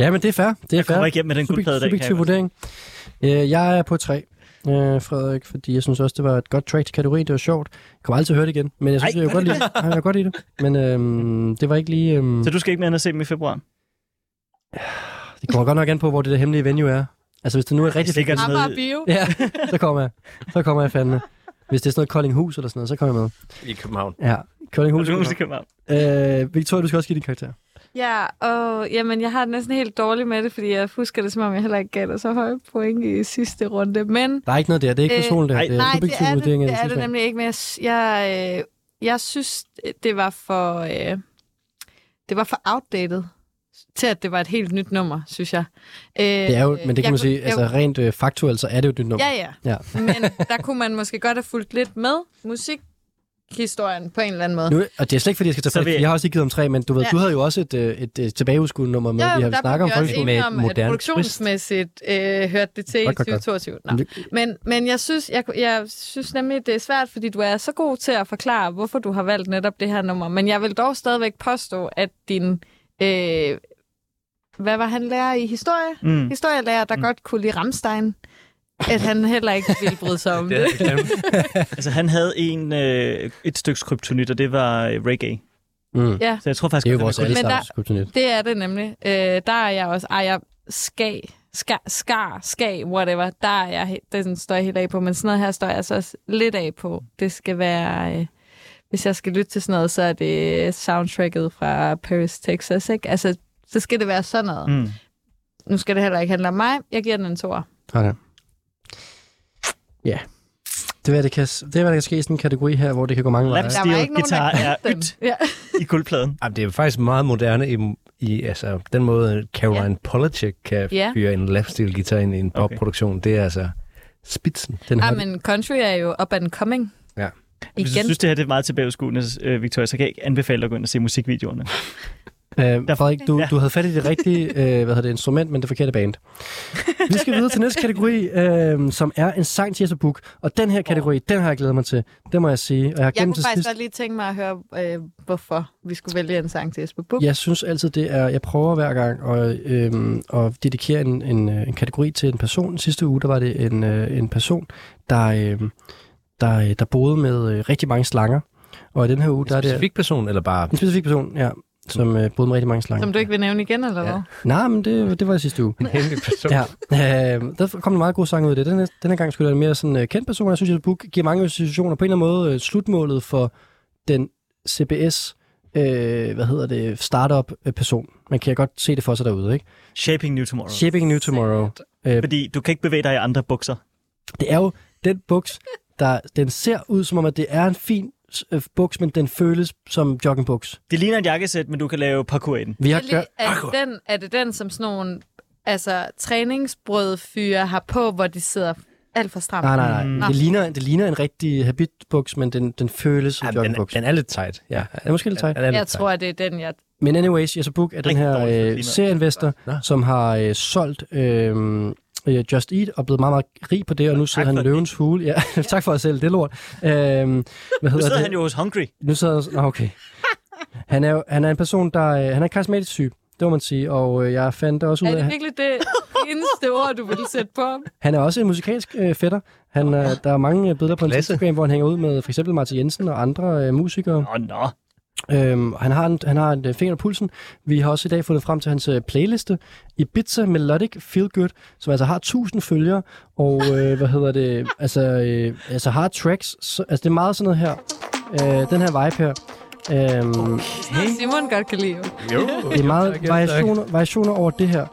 Speaker 2: Ja, men det er fair. Det er fair.
Speaker 3: Kommer igennem med den guldplade i dag, kan jeg
Speaker 2: subjektiv
Speaker 3: godt-
Speaker 2: vurdering. Øh, jeg er på tre, øh, Frederik, fordi jeg synes også, det var et godt track til kategorien. Det var sjovt. Jeg kommer aldrig til at høre det igen, men jeg synes,
Speaker 3: Ej,
Speaker 2: Ej, jeg
Speaker 3: gør
Speaker 2: kan godt
Speaker 3: det
Speaker 2: lide det. Ej, Jeg kan godt lide det. Men øhm, det var ikke lige... Øhm,
Speaker 3: Så du skal ikke mere end at se dem i februar?
Speaker 2: det kommer godt nok an på, hvor det der hemmelige venue er. Altså, hvis det nu er rigtig
Speaker 3: Hvis det ikke er sådan
Speaker 5: Amager
Speaker 3: noget...
Speaker 5: Bio.
Speaker 2: Ja, så kommer jeg. Så kommer jeg fandme. Hvis det er sådan noget Koldinghus eller sådan noget, så kommer jeg med.
Speaker 4: I København.
Speaker 2: Ja, Koldinghus.
Speaker 3: Du skal komme op.
Speaker 2: Øh, Victoria, du skal også give din karakter.
Speaker 5: Ja, og jamen, jeg har det næsten helt dårligt med det, fordi jeg husker det, som om jeg heller ikke gav dig så høje point i sidste runde. Men
Speaker 2: Der er ikke noget der. Det er ikke
Speaker 5: Øh,
Speaker 2: personligt.
Speaker 3: nej,
Speaker 2: Øh, det er
Speaker 5: nej, det
Speaker 2: subjektiv
Speaker 5: er det,
Speaker 2: vurdering af
Speaker 5: det, er det
Speaker 2: sidste.
Speaker 5: nemlig ikke. Men jeg, s- jeg, øh, jeg synes, det var for... Øh, det var for outdated til, at det var et helt nyt nummer, synes jeg. Øh,
Speaker 2: Det er jo, men det kan man sige, altså rent øh, faktuelt, så er det jo dit nummer.
Speaker 5: Ja, ja.
Speaker 2: Ja.
Speaker 5: Men der kunne man måske godt have fulgt lidt med musikhistorien på en eller anden måde.
Speaker 2: Nu, og det er slet ikke, fordi jeg skal tage
Speaker 3: Så
Speaker 2: fat,
Speaker 3: vil-
Speaker 2: jeg har også ikke givet om tre, men du ved,
Speaker 5: Ja.
Speaker 2: du havde jo også et, øh, et, et tilbageudskuende nummer med,
Speaker 5: Jo,
Speaker 2: ja, vi
Speaker 5: jo,
Speaker 2: har
Speaker 5: der
Speaker 2: snakket om
Speaker 5: blev vi også
Speaker 2: folkeskolen.
Speaker 5: enige om,
Speaker 4: med
Speaker 5: at
Speaker 4: et moderne
Speaker 5: produktionsmæssigt øh, hørte det til i
Speaker 2: Godt, godt, godt.
Speaker 5: 2022. Nå. Men, men jeg, synes, jeg, kunne- jeg synes nemlig, det er svært, fordi du er så god til at forklare, hvorfor du har valgt netop det her nummer. Men jeg vil dog stadigvæk påstå, at din... Øh, hvad var han lærer i historie?
Speaker 3: Mm.
Speaker 5: Historielærer, der godt kunne lide Ramstein. At han heller ikke ville bryde sig
Speaker 3: <laughs>
Speaker 5: om det.
Speaker 3: Altså, han havde en, øh, et stykke kryptonit, og det var øh, reggae.
Speaker 2: Mm.
Speaker 5: Ja,
Speaker 3: Så jeg tror faktisk,
Speaker 2: Det er jo
Speaker 3: godt,
Speaker 2: vores
Speaker 3: han er
Speaker 2: alle
Speaker 5: Men
Speaker 2: sammen
Speaker 5: der-
Speaker 2: kryptonit.
Speaker 5: det er det nemlig. Øh, der er jeg også... Ej, jeg skag, skar, skar, skag, whatever. Der er jeg, he- det er sådan, står jeg helt af på. Men sådan noget her står jeg altså også lidt af på. Det skal være... Øh, hvis jeg skal lytte til sådan noget, så er det soundtracket fra Paris, Texas, ikke? Altså, så skal det være sådan noget.
Speaker 3: Mm.
Speaker 5: Nu skal det heller ikke handle om mig. Jeg giver den en toer.
Speaker 2: Okay. Ja. Det er, hvad det kan, det er, hvad der kan ske i sådan en kategori her, hvor det kan gå mange veje.
Speaker 3: Laps-
Speaker 5: Der var
Speaker 3: Steel
Speaker 5: ikke nogen,
Speaker 3: guitar
Speaker 5: der
Speaker 3: er
Speaker 5: kendte
Speaker 3: ydt.
Speaker 5: den. Ja.
Speaker 3: I guldpladen.
Speaker 4: Jamen, det er faktisk meget moderne i, i altså, den måde, Caroline ja. Polachek kan
Speaker 5: Ja.
Speaker 4: ja. fyre en lapsteel guitar ind i en
Speaker 3: Okay.
Speaker 4: popproduktion. Det er altså spidsen.
Speaker 2: Den
Speaker 5: Ah,
Speaker 2: har,
Speaker 5: men country er jo up and coming.
Speaker 4: Ja.
Speaker 3: Hvis du
Speaker 5: Igen.
Speaker 3: synes, det her det er meget tilbageskuende, øh, Victoria, så kan jeg ikke anbefale dig at gå ind og se musikvideoerne.
Speaker 2: øh, Frederik, du,
Speaker 3: Ja.
Speaker 2: du havde fat i det rigtige øh, hvad hedder det, instrument, men det forkerte band. Vi skal videre til næste kategori, øh, som er en sang til Jesper Buch. Og den her kategori, den har jeg glædet mig til. Det må jeg sige. Og jeg har
Speaker 5: Jeg
Speaker 2: gemt
Speaker 5: kunne
Speaker 2: til
Speaker 5: faktisk
Speaker 2: sidst.
Speaker 5: godt lige tænke mig at høre, øh, hvorfor vi skulle vælge en sang til Jesper Buch.
Speaker 2: Jeg synes altid, det er... Jeg prøver hver gang at, øhm, at dedikere en, en, øh, en kategori til en person. Sidste uge, der var det en, øh, en person, der, øhm, der, øh, der boede med øh, rigtig mange slanger. Og i den her uge, der er det...
Speaker 4: Specifik person, eller bare...
Speaker 2: En specifik person, ja, som øh, boede med rigtig mange slanger.
Speaker 5: Som du ikke vil nævne igen, eller hvad?
Speaker 2: Ja. Nej, men det, det var i sidste uge.
Speaker 4: En hemmelig person.
Speaker 2: Ja, øh, der kom en meget god sang ud af det. Den her, den her gang skulle der en mere sådan, øh, kendt person. Jeg synes, at Book giver mange institutioner på en eller anden måde øh, slutmålet for den CBS, øh, hvad hedder det, startup-person. Man kan godt se det for sig derude, ikke?
Speaker 3: Shaping New Tomorrow.
Speaker 2: Shaping New Tomorrow. Øh.
Speaker 3: Fordi du kan ikke bevæge dig i andre bukser.
Speaker 2: Det er jo den buks, der, den ser ud som om, at det er en fin øh, buks, men den føles som joggingbuks.
Speaker 3: Det ligner et jakkesæt, men du kan lave parkour i den.
Speaker 2: Vi har
Speaker 5: Er
Speaker 2: gør,
Speaker 5: det, er, det den, er det den, som sådan nogle altså, træningsbrødfyre har på, hvor de sidder alt for stramt?
Speaker 2: Nej, nej, nej.
Speaker 5: Mm.
Speaker 2: Det ligner, det ligner en rigtig habitbuks, men den, den føles som
Speaker 4: Ja,
Speaker 2: ja,
Speaker 4: den,
Speaker 2: joggingbuks.
Speaker 4: den er lidt tight. Ja,
Speaker 2: Den er måske lidt tight.
Speaker 4: Den er
Speaker 5: Jeg
Speaker 4: lidt tight.
Speaker 5: tror, det er den, jeg...
Speaker 2: Men anyways, Jesper Buch er den
Speaker 3: Rigtig
Speaker 2: her
Speaker 3: dårligt for
Speaker 2: øh,
Speaker 3: klimaet.
Speaker 2: serieinvestor,
Speaker 4: Nå.
Speaker 2: som har øh, solgt øh, øh, Just Eat og blevet meget, meget rig på det, og nu sidder han i
Speaker 3: for det.
Speaker 2: løvens hule.
Speaker 5: <laughs>
Speaker 2: Ja, tak for at sælge det lort. Øh, hvad
Speaker 3: Nu
Speaker 2: hedder
Speaker 3: sidder
Speaker 2: det?
Speaker 3: han jo hos Hungry.
Speaker 2: Nu sidder han... Nå,
Speaker 5: <laughs>
Speaker 2: okay. Han er, jo, han er en person, der... Øh, han er karismatisk syg, det må man sige, og øh, jeg fandt også ud
Speaker 5: Er
Speaker 2: af...
Speaker 5: det
Speaker 2: at
Speaker 5: virkelig det eneste ord, du ville sætte på ham?
Speaker 2: Han er også en musikalsk øh, fætter. Han, øh, der er mange øh, billeder på hans
Speaker 4: Klasse.
Speaker 2: Instagram, hvor han hænger ud med for eksempel Martin Jensen og andre øh, musikere.
Speaker 3: Nå, nå.
Speaker 2: Øhm, han har, en, han har en øh, finger på pulsen. Vi har også i dag fundet frem til hans øh, playliste. Ibiza Melodic Feel Good, som altså har 1000 følgere, og øh, hvad hedder det, <laughs> altså, øh, altså har tracks. Så, altså det er meget sådan noget her. Øh, den her vibe her. Øhm,
Speaker 5: Hey. Simon godt kan lide.
Speaker 4: Jo.
Speaker 2: det er meget variationer, variationer over det her.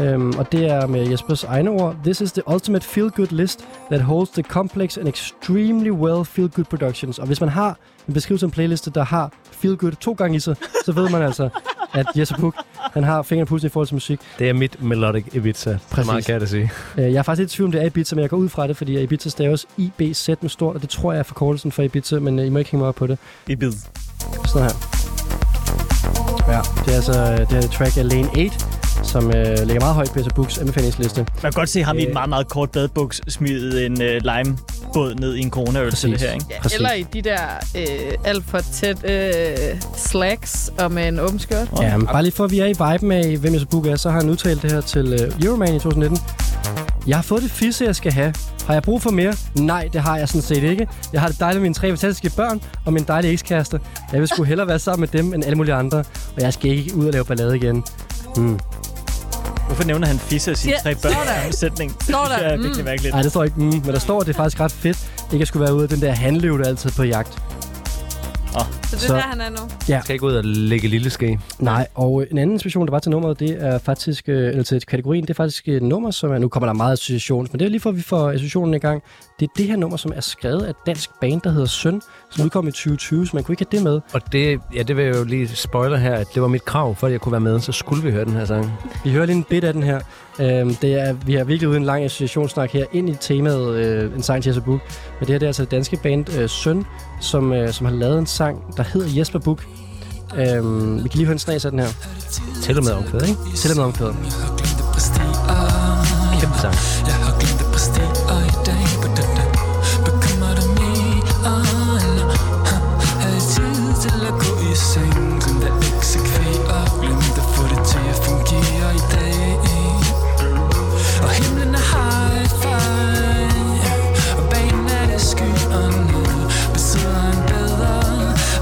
Speaker 2: Øhm, og det er med Jespers egne ord. This is the ultimate feel-good list that holds the complex and extremely well feel-good productions. Og hvis man har en beskrivelse af en playliste, der har feel-good to gange i sig, så ved man altså, at Jesper Puk, han har fingeren på pulsen i forhold til musik.
Speaker 4: Det er mit melodic Ibiza. Præcis. Meget kan jeg da sige.
Speaker 2: Øh, jeg er faktisk lidt i tvivl om, det er Ibiza, men jeg går ud fra det, fordi Ibiza staves IBZ med stort, og det tror jeg er forkortelsen for Ibiza, men øh, I må ikke hænge mig op på det.
Speaker 3: I bid.
Speaker 2: Sådan her. Ja, det er altså øh, det her track af Lane 8, som øh, ligger meget højt på Peter Books anbefalingsliste.
Speaker 3: Man kan godt se ham i
Speaker 2: Øh.
Speaker 3: et meget, meget kort badebuks smide en øh, limebåd ned i en coronaøl til det
Speaker 2: Præcis.
Speaker 3: her, ikke?
Speaker 5: Ja,
Speaker 2: Præcis.
Speaker 5: eller i de der øh, alt for tæt øh, slacks og med en åben skørt.
Speaker 2: Ja, men bare lige for at vi er i viben af, hvem Jesper Buch er, så har han udtalt det her til øh, Euroman i 2019. Jeg har fået det fisse, jeg skal have. Har jeg brug for mere? Nej, det har jeg sådan set ikke. Jeg har det dejligt med mine tre fantastiske børn og min dejlige ekskæreste. Jeg vil sgu hellere være sammen med dem end alle mulige andre, og jeg skal ikke ud og lave ballade igen. Hmm.
Speaker 3: Hvorfor nævner han fisse og sine
Speaker 5: Ja,
Speaker 3: tre børn
Speaker 5: står
Speaker 3: i
Speaker 5: der.
Speaker 3: samme sætning?
Speaker 5: Står der.
Speaker 3: <laughs> Det er
Speaker 5: Mm.
Speaker 3: virkelig mærkeligt.
Speaker 2: Nej, det står ikke, mm, men der står, at det er faktisk ret fedt, ikke at skulle være ude af den der handløv, der er altid på jagt.
Speaker 5: Så det
Speaker 2: Så-
Speaker 5: er der, han er nu.
Speaker 4: Jeg skal ikke ud og lægge lille ske.
Speaker 2: Nej, og en anden inspiration, der var til nummeret, det er faktisk, øh, eller til kategorien, det er faktisk et nummer, som er, nu kommer der meget association, men det er lige for, at vi får associationen i gang. Det er det her nummer, som er skrevet af et dansk band, der hedder Søn, som udkom i 2020, så man kunne ikke have det med.
Speaker 4: Og det, ja, det vil jeg jo lige spoiler her, at det var mit krav, for at jeg kunne være med, så skulle vi høre den her sang.
Speaker 2: Vi hører lige en bit af den her. Øhm, det er, vi har virkelig ude en lang associationssnak her ind i temaet øh, en sang til Jesper Buch. Men det her det er altså det danske band øh, Søn, som, øh, som har lavet en sang, der hedder Jesper Buch. Øhm, vi kan lige høre en snas af den her.
Speaker 4: Til og med omkvædet, ikke?
Speaker 2: Til og med omkvædet.
Speaker 4: Kæmpe sang.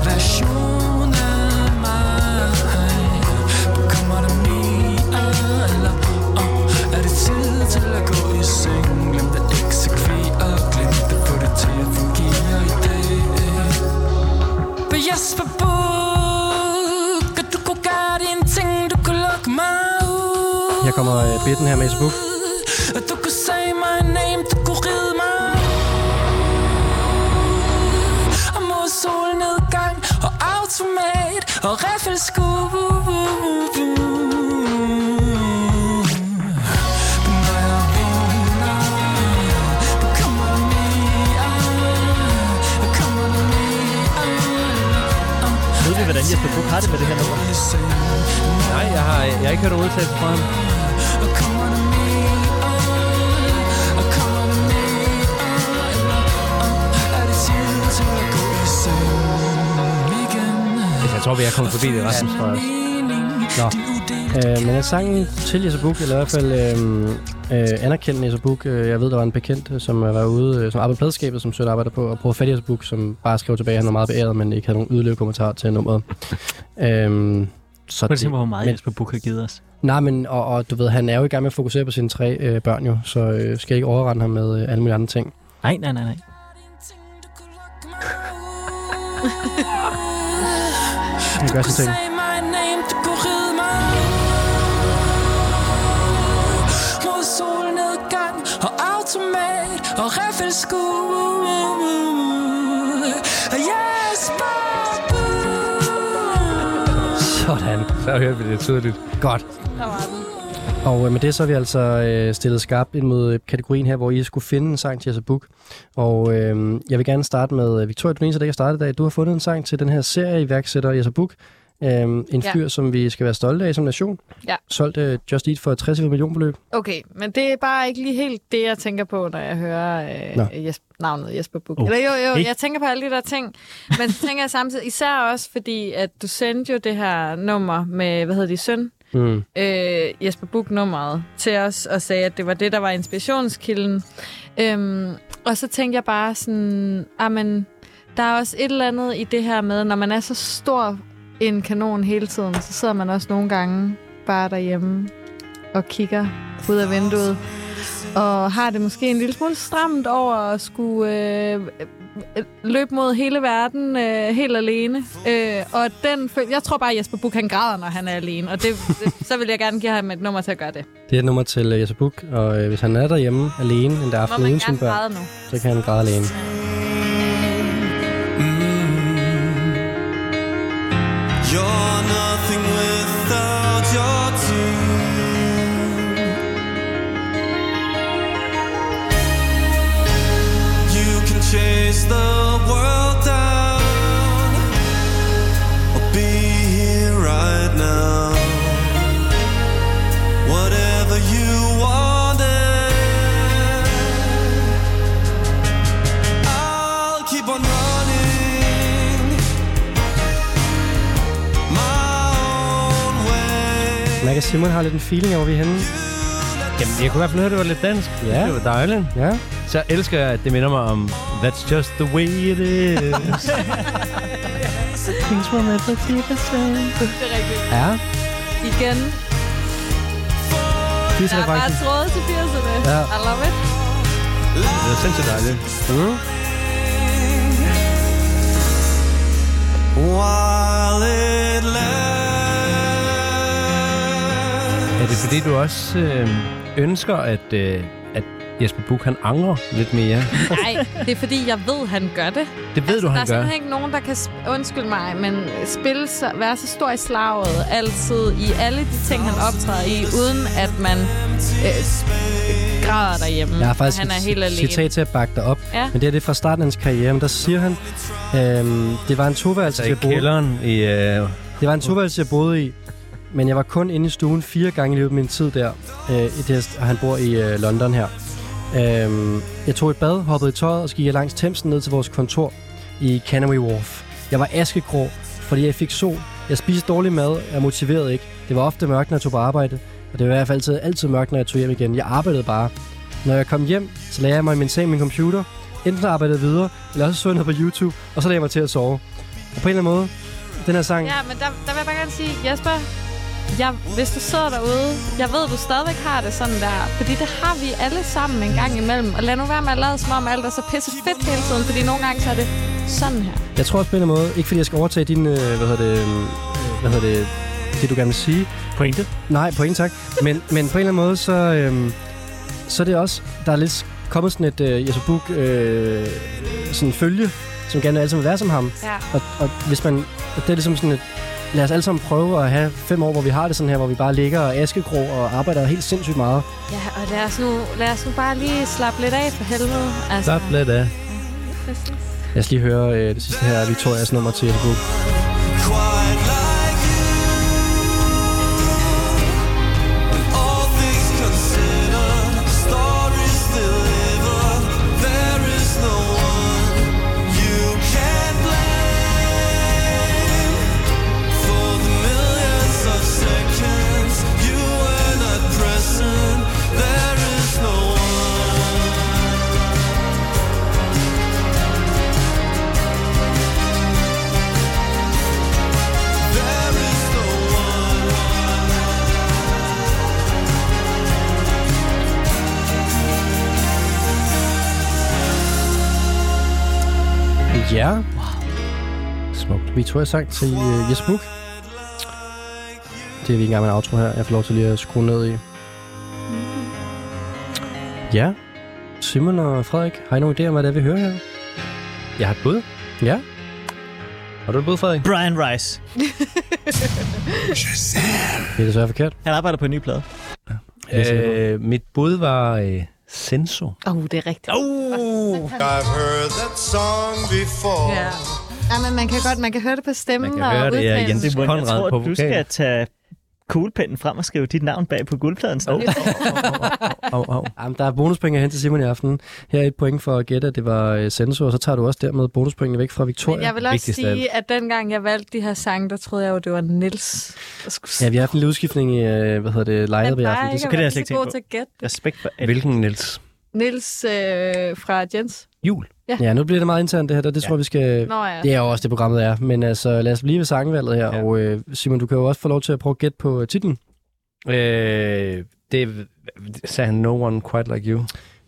Speaker 11: Version af mig Kommer der mere eller uh, Er det tid til at gå i seng Glem at eksekvere Glem at få det til at fungere i dag Men Jesper Buch Du kunne gøre dine ting Du kunne lukke mig ud
Speaker 2: Her kommer øh, bitten her med Jesper Buch.
Speaker 11: Og du kunne sige my name Du kunne ride mig Og mod solnedgang Og automat Og riffelskud
Speaker 3: Ved vi, hvordan Jesper Buch har det med det her nummer?
Speaker 4: Nej, jeg har, jeg har ikke hørt nogen udtalelse fra ham. Altså, Jeg tror, vi er kommet forbi det resten, tror jeg.
Speaker 2: Øh, men er sangen til Jesper Buch, eller i hvert fald øh, øh, anerkendende Jesper Buch, øh, jeg ved, der var en bekendt, øh, som øh, var ude, øh, som arbejdede på pladskabet, som søgte arbejder på, og prøvede fat i Jesper Buch, som bare skrev tilbage, at han var meget beæret, men ikke havde nogen yderligere kommentar til nummeret. øh, så
Speaker 3: Prøv at tænke på,
Speaker 2: det,
Speaker 3: hvor meget
Speaker 2: Men-
Speaker 3: Jesper Buch har givet os.
Speaker 2: nej, men og, og, du ved, han er jo i gang med at fokusere på sine tre øh, børn jo, så øh, skal jeg ikke overrende ham med øh, alle mulige andre ting.
Speaker 3: Nej, nej, nej, nej.
Speaker 2: Han gør sine ting.
Speaker 11: Og automat og riffelskud Jesper Buch
Speaker 2: Sådan.
Speaker 4: Så hørte vi det tydeligt.
Speaker 2: Godt. Og øh, med det så har vi altså øh, stillet skarpt ind mod øh, kategorien her, hvor I skulle finde en sang til jeres book. Og øh, jeg vil gerne starte med øh, Victoria, du er den eneste, der ikke har startet i dag. Du har fundet en sang til den her serie iværksætter Jesper Buch. Øhm, en
Speaker 5: Ja.
Speaker 2: fyr, som vi skal være stolte af som nation.
Speaker 5: Ja.
Speaker 2: Solgte øh, Just Eat for 60 million beløb.
Speaker 5: Okay, men det er bare ikke lige helt det, jeg tænker på, når jeg hører
Speaker 2: Nå.
Speaker 5: øh, Jesper, navnet Jesper Buch.
Speaker 3: Oh.
Speaker 5: Eller jo, jo,
Speaker 3: Ikke?
Speaker 5: jeg tænker på alle de der ting, men så tænker jeg samtidig, især også fordi, at du sendte jo det her nummer med, hvad hedder de, søn?
Speaker 2: Mm.
Speaker 5: øh, Jesper Buch-nummeret til os og sagde, at det var det, der var inspirationskilden. Øhm, og så tænkte jeg bare sådan, amen, der er også et eller andet i det her med, når man er så stor en kanon hele tiden, så sidder man også nogle gange bare derhjemme og kigger ud af vinduet. Og har det måske en lille smule stramt over at skulle øh, øh, løbe mod hele verden øh, helt alene. Øh, og den, føl- jeg tror bare, at Jesper Buch han græder, når han er alene. Og det, <laughs> det, så vil jeg gerne give ham et nummer til at gøre det.
Speaker 2: Det er et nummer til øh, Jesper Buch, og øh, hvis han er derhjemme alene en
Speaker 5: Må
Speaker 2: der aften
Speaker 5: man
Speaker 2: uden sine
Speaker 5: gerne
Speaker 2: børn,
Speaker 5: græde nu?
Speaker 2: så kan han græde alene.
Speaker 9: You're nothing without your team. You can chase the world down or be here right now. Whatever you wanted, I'll keep on running.
Speaker 2: Man kan Simon har lidt en feeling over, vi er henne.
Speaker 4: Jamen, jeg kunne i hvert fald høre, at det var lidt dansk.
Speaker 2: Ja.
Speaker 4: Det var dejligt.
Speaker 2: Ja.
Speaker 4: Så elsker jeg, at det minder mig om That's just the way it
Speaker 5: Det
Speaker 4: is.
Speaker 5: er rigtigt.
Speaker 2: <laughs> Ja.
Speaker 5: Igen.
Speaker 2: Disse
Speaker 5: Der er bare
Speaker 2: referencer.
Speaker 5: tråde til 80'erne.
Speaker 2: Ja.
Speaker 5: I love it.
Speaker 4: det er sindssygt dejligt.
Speaker 2: Mm.
Speaker 9: While it lasts.
Speaker 4: Er det fordi, du også øh, ønsker, at, øh, at Jesper Buch, han angrer
Speaker 5: <laughs>
Speaker 4: lidt mere?
Speaker 5: Nej, det er fordi, jeg ved, han gør det.
Speaker 4: Det ved altså, du,
Speaker 5: der
Speaker 4: han
Speaker 5: er
Speaker 4: gør.
Speaker 5: simpelthen ikke nogen, der kan, sp- undskyld mig, men spille, så, være så stor i slaget altid i alle de ting, han optræder i, uden at man øh, græder derhjemme.
Speaker 2: Jeg har faktisk
Speaker 5: han er
Speaker 2: et
Speaker 5: helt
Speaker 2: ci-
Speaker 5: alene.
Speaker 2: citat til at bakke dig op.
Speaker 5: Ja.
Speaker 2: Men det er det fra starten af hans karriere, men der siger han, øhm, det var en toværelse, jeg boede
Speaker 4: Altså, i... Øh,
Speaker 2: Det var en toværelse, jeg boede i, men jeg var kun inde i stuen fire gange i løbet af min tid der, øh, i det, og han bor i øh, London her. Øhm, jeg tog et bad, hoppede i tøjet, og så gik jeg langs Thamesen ned til vores kontor i Canary Wharf. Jeg var askegrå, fordi jeg fik sol. Jeg spiste dårlig mad, jeg motiverede ikke. Det var ofte mørkt, når jeg tog på arbejde, og det var i hvert fald altid, altid mørkt, når jeg tog hjem igen. Jeg arbejdede bare. Når jeg kom hjem, så lagde jeg mig i min seng med min computer. Enten arbejdede jeg videre, eller også så jeg noget på YouTube, og så lagde jeg mig til at sove. Og på en eller anden måde, den her sang,
Speaker 5: Ja, men der, der vil jeg bare gerne sige, Jesper, jeg, hvis du sidder derude, jeg ved, du stadigvæk har det sådan der. Fordi det har vi alle sammen en gang imellem. Og lad nu være med at lade som om alt er så pisse fedt hele tiden, fordi nogle gange så er det sådan her.
Speaker 2: Jeg tror også på en eller anden måde, ikke fordi jeg skal overtage din, øh, hvad hedder det, øh, hvad hedder det, det du gerne vil sige.
Speaker 3: Pointe.
Speaker 2: Nej, på ingen tak. Men, men på en eller anden måde, så, øh, så er det også, der er lidt kommet sådan et øh, Jesper Buch øh, sådan følge, som gerne altid vil være som ham.
Speaker 5: Ja.
Speaker 2: Og, og hvis man, og det er ligesom sådan et, lad os alle sammen prøve at have fem år, hvor vi har det sådan her, hvor vi bare ligger og askegrå og arbejder helt sindssygt meget.
Speaker 5: Ja, og lad os, nu, lad os nu bare lige slappe lidt af for helvede. Altså,
Speaker 4: slap lidt af.
Speaker 5: præcis.
Speaker 2: Lad os lige høre øh, det sidste her, Victorias nummer til Jesper Buch.
Speaker 9: Quite like you. All things considered, stories delivered. There is no one you can blame for the millions of seconds you were not present. There is no one. There is no one.
Speaker 2: Ja. Wow. Smukt. Vi tror, jeg sang til uh, Jes Buch. Det er vi ikke engang med en outro her. Jeg får lov til lige at skrue ned i. Ja. Simon og Frederik, har I nogen idé om, hvad det er, vi hører her?
Speaker 4: Jeg har et bud.
Speaker 2: Ja.
Speaker 4: Har du et bud, Frederik?
Speaker 3: Brian
Speaker 2: <laughs>
Speaker 3: Rice.
Speaker 2: Det er desværre forkert.
Speaker 3: Han arbejder på en ny plade.
Speaker 2: Jeg er sikker på.
Speaker 4: Øh, mit bud var øh, Senso.
Speaker 5: Åh, oh, det er rigtigt.
Speaker 9: I've heard that song before.
Speaker 5: Ja. ja, men man kan godt, man kan høre det på stemmen
Speaker 4: Man kan høre
Speaker 5: og
Speaker 4: det, ja,
Speaker 5: udtalen.
Speaker 4: Jens.
Speaker 3: Simon, jeg
Speaker 4: Conrad
Speaker 3: tror,
Speaker 4: på
Speaker 3: du
Speaker 4: vokal.
Speaker 3: skal tage kuglepinden frem og skrive dit navn bag på guldpladen. Oh.
Speaker 4: Au, au.
Speaker 2: Jamen, der er bonuspenge hen til Simon i aften. Her er et point for at gætte, at det var uh, Senso, og så tager du også dermed bonuspengene væk fra
Speaker 5: Men
Speaker 2: Victoria.
Speaker 5: jeg vil også
Speaker 4: Vigtigst af
Speaker 5: sige, at dengang jeg valgte de her sange, der troede jeg jo, det var Nils. der skulle
Speaker 2: Ja, vi har haft en lille udskiftning i, uh, hvad hedder det, lejet i aften. Det
Speaker 5: så
Speaker 2: er
Speaker 3: kan det,
Speaker 5: kan
Speaker 3: jeg slet
Speaker 5: det
Speaker 3: ikke
Speaker 5: ikke god
Speaker 3: tænke
Speaker 5: til at gætte.
Speaker 3: Respekt for alt.
Speaker 4: Hvilken, Niels?
Speaker 5: Nils øh, fra Jens.
Speaker 4: Jul.
Speaker 5: Ja.
Speaker 2: Ja, nu bliver det meget internt det her, og det ja. tror jeg, vi skal...
Speaker 5: Nå ja.
Speaker 2: Det er jo også det, programmet er. Men altså, lad os blive ved sangvalget her.
Speaker 4: Ja.
Speaker 2: Ja. Og øh, Simon, du kan jo også få lov til at prøve at gætte på øh, titlen.
Speaker 4: Øh, det sagde han, no one quite like you.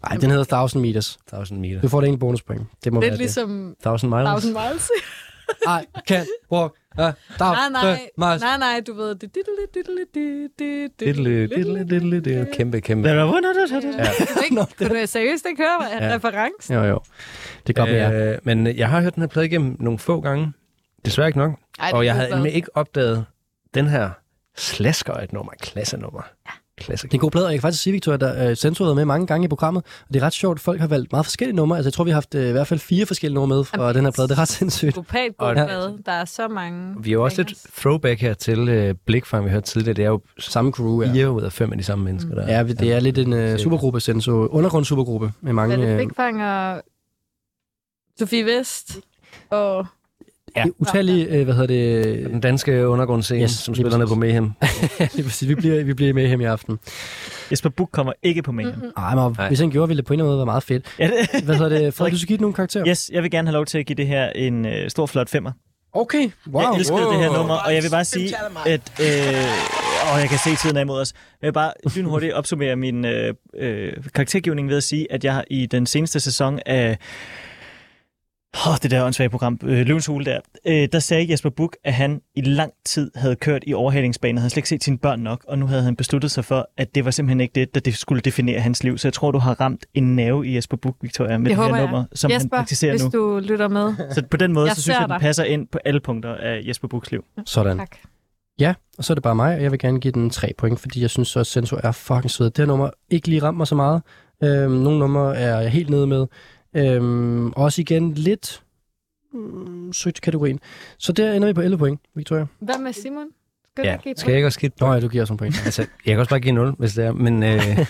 Speaker 2: Nej, den hedder 1000 Meters.
Speaker 4: 1000 meter.
Speaker 2: Du får det ene bonuspoint. Det må
Speaker 5: Lidt
Speaker 2: være
Speaker 5: ligesom
Speaker 4: 1000 miles.
Speaker 5: Thousand Miles.
Speaker 2: det. Ej, kan walk.
Speaker 5: <laughs>
Speaker 2: Uh,
Speaker 5: nej, nej,
Speaker 2: Mars.
Speaker 5: nej, nej, du ved det. Diddle, diddle, diddle,
Speaker 4: Diddle,
Speaker 5: diddle,
Speaker 4: diddle, diddle, diddle. Kæmpe, kæmpe.
Speaker 5: Ja. Ikke? Kunne du seriøst ikke høre ja. referencen?
Speaker 4: Jo, jo.
Speaker 2: Det kan godt være.
Speaker 4: Øh, men jeg har hørt den her plade igennem nogle få gange. Desværre ikke nok.
Speaker 5: Ej, det
Speaker 4: og jeg
Speaker 5: kunne
Speaker 4: havde
Speaker 5: være-
Speaker 4: nemlig ikke opdaget den her slasker af et nummer. Klassenummer. Klasse.
Speaker 2: Det er en god plade, og jeg kan faktisk sige, Victoria, der øh, Sensor har været med mange gange i programmet, og det er ret sjovt, folk har valgt meget forskellige numre. Altså, jeg tror, vi har haft øh, i hvert fald fire forskellige numre med fra
Speaker 5: Jamen,
Speaker 2: den her plade. Det er ret sindssygt.
Speaker 5: Psykopat
Speaker 4: Og-
Speaker 5: god mad. Der er så mange.
Speaker 4: Vi er jo også lidt
Speaker 5: fingers.
Speaker 4: throwback her til øh, Blikfang, vi hørte tidligere. Det er jo
Speaker 2: Samme crew, ja. Mm.
Speaker 4: fire ud af fem af de samme mennesker, der
Speaker 2: Ja, vi- det er lidt en øh, supergruppe, Senso. Undergrundssupergruppe med mange...
Speaker 5: Hvad er det?
Speaker 2: øh,
Speaker 5: Big Bang og Sofie Vest og
Speaker 2: ja. utallige, øh, hvad hedder det,
Speaker 4: Den danske undergrundsscene,
Speaker 2: Yes,
Speaker 4: yes, som
Speaker 2: lige
Speaker 4: spiller ned på Mayhem.
Speaker 2: <laughs> Lige præcis. Vi bliver, vi bliver med hjem i aften.
Speaker 3: Jesper Buch kommer ikke på mail. Mm-hmm.
Speaker 2: Ej, men hvis han gjorde, ville det på en eller anden måde være meget fedt.
Speaker 3: Ja, det,
Speaker 2: Hvad hedder
Speaker 3: <laughs>
Speaker 2: det? Frederik, du skal give det nogle karakterer.
Speaker 3: yes, jeg vil gerne have lov til at give det her en øh, stor flot femmer.
Speaker 2: Okay. Wow.
Speaker 3: Jeg elskede det her
Speaker 1: Wow.
Speaker 3: nummer, og jeg vil bare sige, at... Øh, og jeg kan se tiden er imod os. Jeg vil bare lynhurtigt opsummere min øh, øh, karaktergivning ved at sige, at jeg i den seneste sæson af... Åh, det der åndssvage program, øh, Løvens Hule der, øh, der sagde Jesper Buch, at han i lang tid havde kørt i overhalingsbanen, havde slet ikke set sine børn nok, og nu havde han besluttet sig for, at det var simpelthen ikke det, der det skulle definere hans liv. Så jeg tror, du har ramt en nerve i Jesper Buch, Victoria, med
Speaker 5: Det
Speaker 3: det,
Speaker 5: håber
Speaker 3: her
Speaker 5: jeg.
Speaker 3: nummer, som han
Speaker 5: Jesper,
Speaker 3: praktiserer
Speaker 5: hvis
Speaker 3: nu.
Speaker 5: du lytter med.
Speaker 3: Så på den måde,
Speaker 5: Jeg
Speaker 3: så synes
Speaker 5: ser
Speaker 3: jeg, den
Speaker 5: dig.
Speaker 3: passer ind på alle punkter af Jesper Buchs liv.
Speaker 2: Sådan.
Speaker 5: Tak.
Speaker 2: Ja, og så er det bare mig, og jeg vil gerne give den 3 point, fordi jeg synes også, Senso er fucking sved. Det her nummer ikke lige ramt mig så meget. Øhm, nogle numre er jeg helt nede med. Øhm, også igen lidt mm, søgt til kategorien. Så der ender vi på 11 point, Victoria.
Speaker 5: Hvad med Simon? Skal
Speaker 4: Ja,
Speaker 5: du give
Speaker 4: skal jeg ikke også give et
Speaker 2: Nå
Speaker 4: point?
Speaker 2: ja, du giver også nogle <laughs> point.
Speaker 4: Altså, jeg kan også bare give 0, hvis det er. <laughs> Men øh,
Speaker 2: På en eller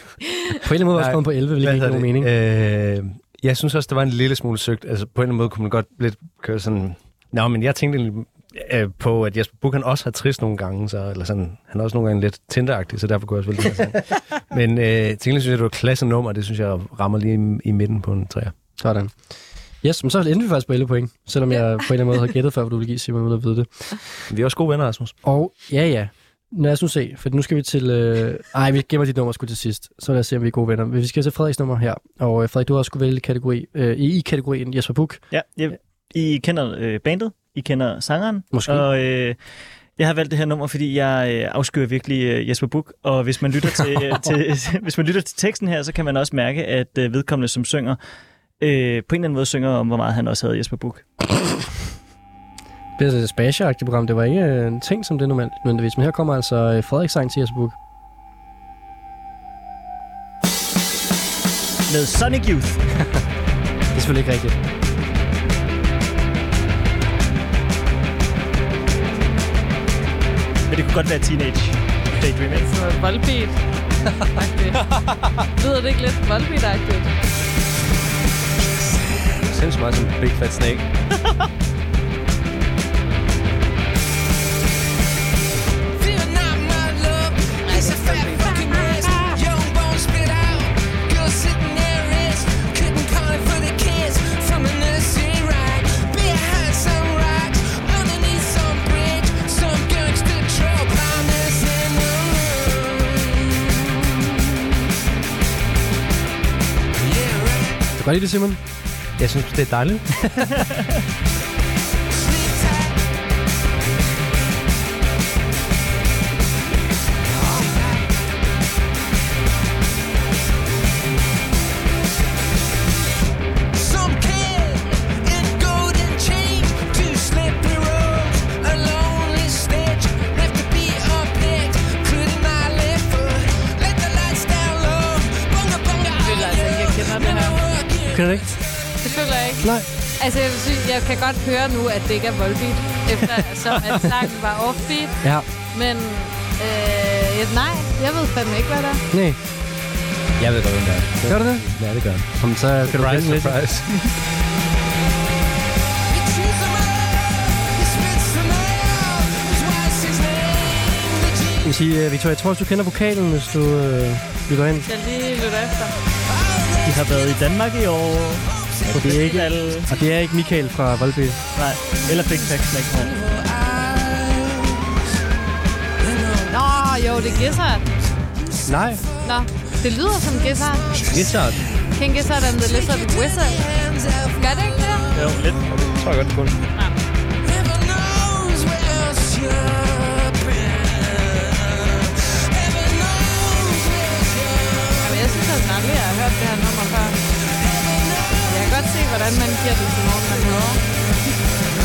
Speaker 2: anden måde var jeg
Speaker 4: Nej,
Speaker 2: kommet på 11, hvilket ikke
Speaker 4: hedder
Speaker 2: giver nogen mening.
Speaker 4: det? Øh, jeg synes også, det var en lille smule søgt. Altså, på en eller anden måde kunne man godt lidt køre sådan... Nå, men jeg tænkte egentlig, øh, på, at Jesper Buch, han også har trist nogle gange, så, eller sådan, han er også nogle gange lidt tinderagtig, så derfor kunne jeg også vælge det her sang.
Speaker 2: <laughs>
Speaker 4: Men øh, til gengæld synes jeg, det var et klasse nummer, og det synes jeg rammer lige i, i midten på en træer.
Speaker 2: Sådan. Yes, men så endte vi faktisk på 11 point, selvom jeg på en eller anden måde havde gættet før, hvad du ville give Simon, uden at vide det.
Speaker 4: Vi er også gode venner, Rasmus.
Speaker 2: Og ja, ja. Lad os nu se, for nu skal vi til... Øh... Ej, vi gemmer dit nummer sgu til sidst. Så lad os se, om vi er gode venner. Men Vi skal til Frederiks nummer her. Og øh, Frederik, du har også skulle vælge kategori, øh, i kategorien Jesper Buch.
Speaker 3: Ja, jeg, I kender øh, bandet, I kender sangeren,
Speaker 2: Måske.
Speaker 3: og øh, jeg har valgt det her nummer, fordi jeg øh, afskyer virkelig øh, Jesper Buch, og hvis man, lytter til, øh,
Speaker 2: <laughs>
Speaker 3: til, <laughs> hvis man lytter til teksten her, så kan man også mærke, at øh, vedkommende som synger, øh, på en eller anden måde synger om, hvor meget han også havde Jesper Buch.
Speaker 2: Det bliver sådan et spasje program. Det var ikke øh, en ting, som det normalt nødvendigvis. Men her kommer altså øh, Frederiks sang til Jesper Buch.
Speaker 3: Med Sonic Youth.
Speaker 2: <laughs> Det er selvfølgelig ikke rigtigt.
Speaker 3: Men det kunne godt være Teenage Daydream, ikke?
Speaker 5: Sådan noget voldbeat Lyder det ikke lidt voldbeat
Speaker 4: Sindssygt meget som Big Fat Snake.
Speaker 9: Fear not my love. It's a fat fucking mess. Young bone spit out. Girl sitting there is. Couldn't call it for the kids from a nursery rhyme. Behind some rocks, underneath some bridge. Some gangster trail partners in the room. Yeah, right.
Speaker 2: Du kan godt lide det, Simon.
Speaker 4: Jeg synes, det er dejligt.
Speaker 2: <laughs>
Speaker 9: Sleep tight. Some kid in golden chains, two slippery roads, a lonely stitch, left to be unpicked, couldn't I live for? Let the lights down low, bunga bunga,
Speaker 5: Det lyder altså ikke, jeg kender det her.
Speaker 2: Kan du ikke?
Speaker 5: Det føler jeg ikke.
Speaker 2: Nej.
Speaker 5: Altså, jeg, vil sige, jeg kan godt høre nu, at det ikke er voldbeat, efter som at sangen var offbeat.
Speaker 2: Ja.
Speaker 5: Men øh, ja, nej, jeg ved fandme ikke, hvad der er.
Speaker 2: Nej.
Speaker 4: Jeg ved godt, hvem det er.
Speaker 2: Gør du det?
Speaker 4: Ja, det gør han.
Speaker 2: Jamen, så kan du
Speaker 4: Surprise,
Speaker 2: vælge
Speaker 4: <laughs>
Speaker 2: lidt.
Speaker 4: surprise.
Speaker 2: Jeg vil sige, øh, Victoria, jeg tror også, du kender vokalen, hvis du øh, lytter ind.
Speaker 5: Jeg lige lytter efter.
Speaker 3: De har været i Danmark i år. Og det er ikke alle...
Speaker 2: Og det er ikke Michael fra Voldby.
Speaker 3: Nej, eller Big Tax Snack Hall.
Speaker 5: Nå, jo, det er Gizzard.
Speaker 2: Nej,
Speaker 5: Nå, det lyder som Gizzard.
Speaker 2: Lizard.
Speaker 5: King Gizzard and the Lizard Wizard. Gør det ikke det?
Speaker 3: Jo, lidt.
Speaker 4: tror jeg godt, det kunne.
Speaker 5: Jamen, jeg synes, at den aldrig har hørt det her nummer før. Jeg kan godt se, hvordan man giver det til nogen, man hører.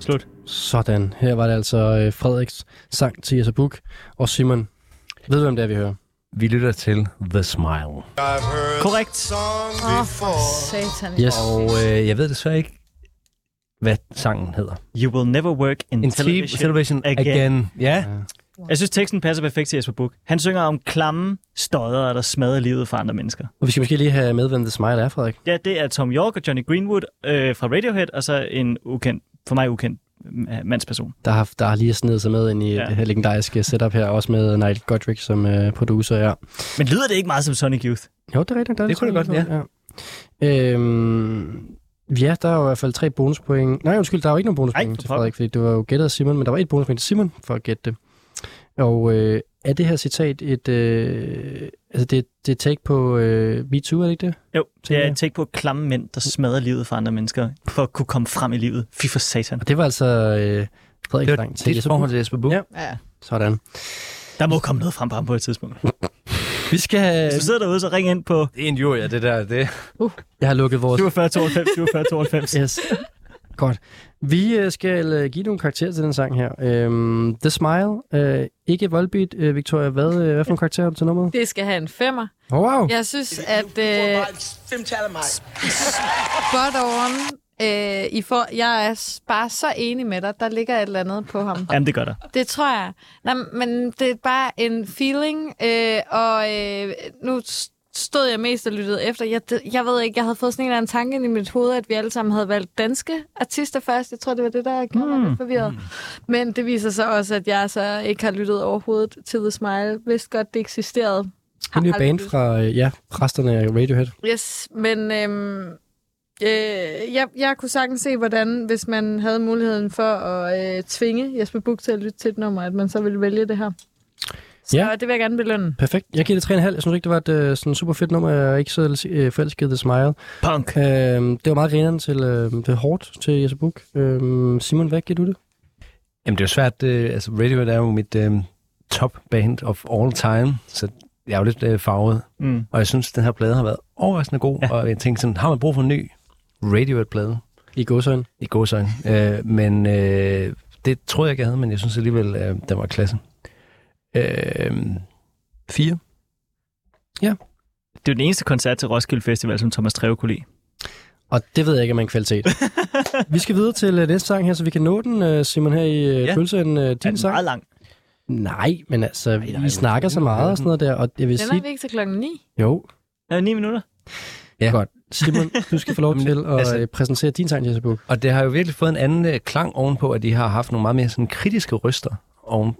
Speaker 3: Slut.
Speaker 2: Sådan. Her var det altså øh, Frederiks sang til Jessa Buk og Simon. Ved du, hvem det er, vi hører?
Speaker 4: Vi lytter til The Smile.
Speaker 3: Korrekt.
Speaker 5: Åh, for satan.
Speaker 4: <laughs>
Speaker 2: Yes.
Speaker 4: Og øh, jeg ved desværre ikke, hvad sangen hedder.
Speaker 3: You will never work in,
Speaker 4: En
Speaker 3: television.
Speaker 4: television, television again. again. Ja.
Speaker 3: Jeg synes, teksten passer perfekt til Jesper Buch. Han synger om klamme stodder, der smadrer livet for andre mennesker.
Speaker 2: Og vi skal måske lige have med, hvem The Smile er, Frederik.
Speaker 3: Ja, det er Tom York og Johnny Greenwood øh, fra Radiohead, og så en ukendt, for mig ukendt øh, mandsperson.
Speaker 2: Der har, der har lige snedet sig med ind i ja.
Speaker 3: Ja.
Speaker 2: det her legendariske setup her, også med Nigel Godric som øh, producer, ja.
Speaker 3: Men lyder det ikke meget som Sonic Youth?
Speaker 2: Jo, det er rigtigt. Der er
Speaker 4: Det kunne det
Speaker 2: sådan
Speaker 4: godt,
Speaker 2: lidt, ja. Øhm, ja, der er jo i hvert fald tre bonuspoint. Nej, undskyld, der er jo ikke nogen bonuspoint
Speaker 3: Ej,
Speaker 2: Ej,
Speaker 3: for
Speaker 2: til
Speaker 3: pokker.
Speaker 2: Frederik, fordi det var jo gættet af Simon, men der var et bonuspoint til Simon for at gætte det. Og øh, er det her citat et... Øh, altså, det, det er et take på øh, Me Too, er det ikke det?
Speaker 3: Jo, det
Speaker 2: Tænker
Speaker 3: er
Speaker 2: jeg.
Speaker 3: et take på klamme mænd, der smadrer livet for andre mennesker, for at kunne komme frem i livet. Fy for satan.
Speaker 2: Og det var altså øh, Frederik
Speaker 4: Det var
Speaker 2: Lang til
Speaker 4: dit
Speaker 2: Jesper Buch.
Speaker 4: forhold til Jesper Buch.
Speaker 2: Ja.
Speaker 5: Ja.
Speaker 2: Sådan.
Speaker 3: Der må komme noget frem på ham på et tidspunkt.
Speaker 2: Vi skal...
Speaker 3: Hvis du sidder derude, så ring ind på
Speaker 4: Det er en jury, det der. Det.
Speaker 2: Jeg har lukket vores
Speaker 3: 47 92 47 92.
Speaker 2: <laughs> Yes. Godt. Vi øh, skal øh, give nogle karakterer til den sang her. Øhm, The Smile, øh, ikke Volbeat. Øh, Victoria, hvad, øh, hvad for en karakter har du til nummeret?
Speaker 5: Det skal have en femmer.
Speaker 2: Oh, wow.
Speaker 5: Jeg synes, at øh,
Speaker 10: Femtal af mig.
Speaker 5: spot on, øh, I får, jeg er s- bare så enig med dig. Der ligger et eller andet på ham.
Speaker 3: Jamen, det gør der.
Speaker 5: Det tror jeg. Nå, men det er bare en feeling, øh, og øh, nu s- stod jeg mest og lyttede efter. Jeg, det- jeg ved ikke, jeg havde fået sådan en eller anden tanke ind i mit hoved, at vi alle sammen havde valgt danske artister først. Jeg tror, det var det, der gjorde
Speaker 3: Mm.
Speaker 5: mig lidt forvirret. Men det viser sig også, at jeg så ikke har lyttet overhovedet til The Smile. Vidste godt, det eksisterede.
Speaker 2: Hun er jo
Speaker 5: Har
Speaker 2: band
Speaker 5: aldrig
Speaker 2: fra øh, ja, resterne af Radiohead.
Speaker 5: Yes, men øhm, øh, jeg, jeg kunne sagtens se, hvordan, hvis man havde muligheden for at øh, tvinge Jesper Buch til at lytte til et nummer, at man så ville vælge det her. Så
Speaker 2: Ja.
Speaker 5: ja. det vil jeg gerne belønne.
Speaker 2: Perfekt. Jeg giver det 3,5. Jeg synes ikke, det var et øh, sådan super fedt nummer. Jeg er ikke så øh, forelsket i The Smile.
Speaker 3: Punk.
Speaker 2: Øhm, det var meget grineren til øh, det er hårdt til Jesse Buch. Øhm, Simon, hvad giver
Speaker 3: <laughs>
Speaker 2: du det?
Speaker 4: Jamen, det er jo svært. Øh, altså, Radiohead er jo mit øh, top band of all time, så jeg er jo lidt øh, farvet.
Speaker 3: Mm.
Speaker 4: Og jeg synes, den her plade har været overraskende god,
Speaker 3: Ja.
Speaker 4: ja. og jeg tænkte sådan, har man brug for en ny Radiohead-plade?
Speaker 2: I godsøjne.
Speaker 4: I godsøjne. Øh, men øh, det troede jeg ikke, jeg havde, men jeg synes alligevel, øh, den var klasse. Øh, fire.
Speaker 3: Det er jo den eneste koncert til Roskilde Festival, som Thomas Treve kunne lide.
Speaker 2: Og det ved jeg ikke, om er en
Speaker 3: <laughs>
Speaker 2: kvalitet. vi skal videre til øh, næste sang her, så vi kan nå den, øh, Simon, her i øh,
Speaker 4: Ja.
Speaker 2: ja. pølsen. Øh,
Speaker 3: Den
Speaker 2: din
Speaker 3: er
Speaker 2: sang.
Speaker 3: meget lang.
Speaker 2: Nej, men altså, nej,
Speaker 4: nej,
Speaker 2: I snakker
Speaker 4: undskyld.
Speaker 2: så meget og sådan noget der, og jeg vil
Speaker 5: Den er
Speaker 2: sige...
Speaker 5: vi ikke til klokken 9.
Speaker 2: Jo,
Speaker 3: Ja, 9 minutter.
Speaker 4: Ja.
Speaker 2: ja. godt. Simon, du skal
Speaker 3: <laughs>
Speaker 2: få lov
Speaker 4: Jamen,
Speaker 2: til at
Speaker 4: altså-
Speaker 2: altså... præsentere din sang, Jesse Buk.
Speaker 4: <laughs> Og det har jo virkelig fået en anden øh, klang ovenpå, at de har haft nogle meget mere sådan, kritiske ryster oven,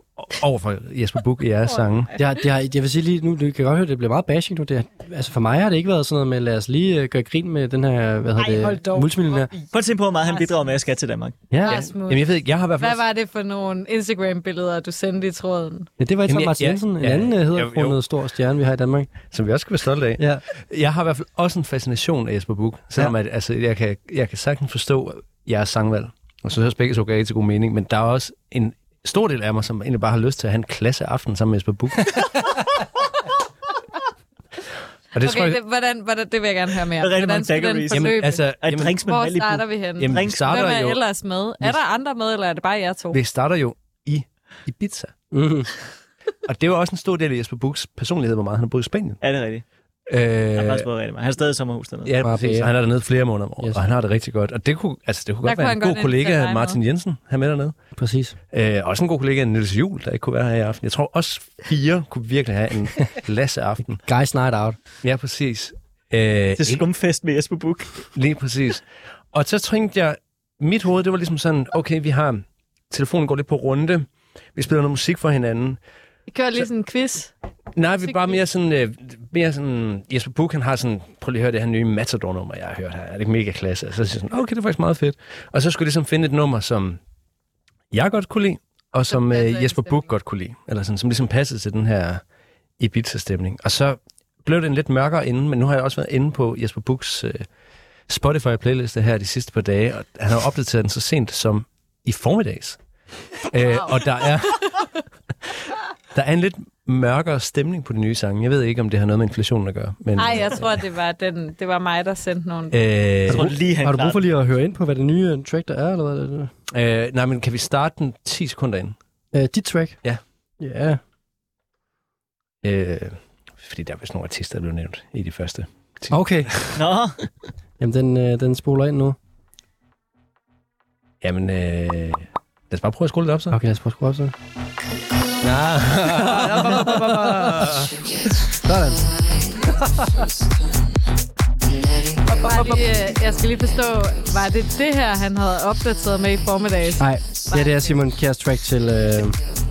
Speaker 4: over for Jesper Buch i jeres sange.
Speaker 2: Det har, det har, jeg vil sige lige nu, du kan godt høre, det bliver meget bashing nu. Det har, altså for mig har det ikke været sådan noget med, lad os lige øh, gøre grin med den her, hvad
Speaker 10: Ej,
Speaker 3: Øh,
Speaker 2: hedder
Speaker 10: hold
Speaker 2: det,
Speaker 10: dog
Speaker 2: multimillionær.
Speaker 3: Prøv at tænke på, hvor meget han bidrager med at skal til Danmark.
Speaker 2: Ja, ja.
Speaker 5: Rasmus.
Speaker 4: Jamen, jeg ved ikke, jeg har i hvert fald...
Speaker 5: Hvad var det for nogle Instagram-billeder, du sendte i tråden?
Speaker 2: ja, det var ikke
Speaker 4: Jamen,
Speaker 2: så
Speaker 4: jeg-
Speaker 2: Martin
Speaker 4: ja,
Speaker 2: Jensen, en
Speaker 4: ja,
Speaker 2: anden
Speaker 4: jo,
Speaker 2: øh,
Speaker 4: jo.
Speaker 2: hedderkronede stor stjerne, vi har i Danmark.
Speaker 4: som vi også skal være stolte af.
Speaker 2: Ja.
Speaker 4: Jeg har i hvert fald også en fascination af Jesper Buch, selvom ja. at, altså, jeg, kan, jeg kan sagtens forstå jeres sangvalg. Og så høres begge så gav til god mening, men der er også en stor del af mig, som egentlig bare har lyst til at have en klasse aften sammen med Jesper
Speaker 2: <laughs>
Speaker 4: Buch. og det okay, tror
Speaker 5: Okay,
Speaker 4: jeg...
Speaker 5: det, hvordan, hvordan, det vil jeg gerne høre mere.
Speaker 3: Det er rigtig
Speaker 5: Hvordan
Speaker 3: mange
Speaker 5: skulle den
Speaker 3: daiquiris.
Speaker 5: forløbe?
Speaker 4: Jamen, altså,
Speaker 3: At
Speaker 4: jamen,
Speaker 3: drinks med
Speaker 5: Hvor
Speaker 3: Malibu.
Speaker 5: starter vi henne?
Speaker 4: jamen, vi
Speaker 5: Hvem
Speaker 3: Drinks-
Speaker 4: starter
Speaker 5: er
Speaker 4: jo,
Speaker 5: ellers med? Er der andre med, eller er det bare jer to?
Speaker 4: vi starter jo i Ibiza.
Speaker 2: Mm.
Speaker 4: Og det var også en stor del af Jesper Buchs personlighed, hvor meget han har boet i Spanien.
Speaker 3: Er det rigtigt?
Speaker 4: Øh,
Speaker 3: Han har faktisk boet rigtig meget. Han er stadig i sommerhus dernede.
Speaker 4: Ja,
Speaker 2: Bare
Speaker 4: præcis.
Speaker 2: bære.
Speaker 4: Og han er dernede flere måneder om året,
Speaker 2: Yes.
Speaker 4: og han har det rigtig godt. Og det kunne, altså, det kunne
Speaker 5: Der
Speaker 4: godt
Speaker 5: kunne
Speaker 4: være
Speaker 5: han
Speaker 4: en
Speaker 5: godt
Speaker 4: god kollega
Speaker 5: invitere
Speaker 4: af
Speaker 5: dig
Speaker 4: Martin Jensen, han med dernede.
Speaker 2: Præcis.
Speaker 4: Øh, også en god kollega af Niels Juhl, der ikke kunne være her i aften. Jeg tror også fire kunne virkelig have
Speaker 2: <laughs>
Speaker 4: en klasse aften.
Speaker 2: Guys night out.
Speaker 4: Ja, præcis. Øh,
Speaker 3: Til skumfest med Jesper Buch.
Speaker 4: lige præcis. Og så tænkte jeg, mit hoved, det var ligesom sådan, okay, vi har, telefonen går lidt på runde, vi spiller noget musik for hinanden.
Speaker 5: Vi kører lige sådan en quiz.
Speaker 4: Nej, vi er bare mere sådan, øh, mere sådan, Jesper Buch, han har sådan, prøv lige at høre det her nye Matador-nummer, jeg har hørt her, er det ikke mega klasse? Og så siger jeg sådan, okay, det er faktisk meget fedt. Og så skulle jeg ligesom finde et nummer, som jeg godt kunne lide, og som
Speaker 5: passer
Speaker 4: øh,
Speaker 5: ind i
Speaker 4: Jesper Buch
Speaker 5: stemningen.
Speaker 4: godt kunne lide, eller sådan, som ligesom passede til den her Ibiza-stemning. Og så blev den lidt mørkere inden, men nu har jeg også været inde på Jesper Buchs øh, Spotify-playliste her de sidste par dage, og han har opdateret den så sent som i
Speaker 5: <laughs>
Speaker 4: formiddags. Øh, og der er, <laughs> der er en lidt mørkere stemning på de nye sange. Jeg ved ikke, om det har noget med inflationen at gøre. Men,
Speaker 5: Nej, jeg tror, det var, den, det var mig, der sendte nogle...
Speaker 4: Øh,
Speaker 3: Jeg tror lige, han
Speaker 2: Har du brug for
Speaker 3: klarede
Speaker 2: lige at høre ind på, hvad det nye øh, track der er, eller hvad det
Speaker 4: øh, nej, men kan vi starte den 10 sekunder ind?
Speaker 2: er? Øh, dit track?
Speaker 4: Ja.
Speaker 2: Ja.
Speaker 4: Øh, fordi der er vist nogle artister, der blev nævnt i de første.
Speaker 2: Okay.
Speaker 3: den. Nå,
Speaker 2: Jamen, den, øh, den spoler ind nu.
Speaker 4: Jamen, øh, lad os bare prøve at skrue lidt op, så.
Speaker 2: Okay, lad os prøve at skrue op så.
Speaker 4: Ah. <laughs>
Speaker 5: Bare lige, øh, jeg skal lige forstå, var det det her, han havde opdateret med i formiddags?
Speaker 2: Nej, ja, det er Simon Kjærs track til... Øh,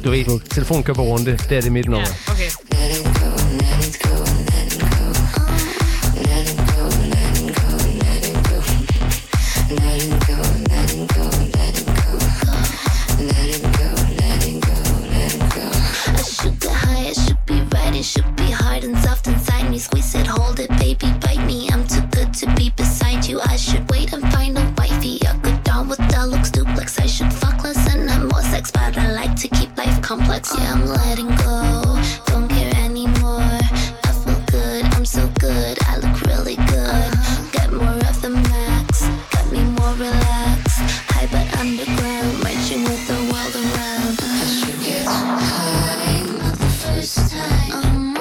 Speaker 4: Du ved, telefonen kører på runde. Det er det mit nummer. Ja.
Speaker 5: Okay.
Speaker 12: I should get high, it should be right, it should be hard and soft inside me. Squeeze it, hold it, baby, bite me. I'm too good to be beside you. I should wait and find a wifey. A good dawn with the looks duplex. I should fuck less and have more sex, but I like to keep life complex. Yeah, I'm letting go, don't care anymore. I feel good, I'm so good, I look really good. Get more of the max, got me more relaxed. High but underground, marching with the world around. I should get first time. Um,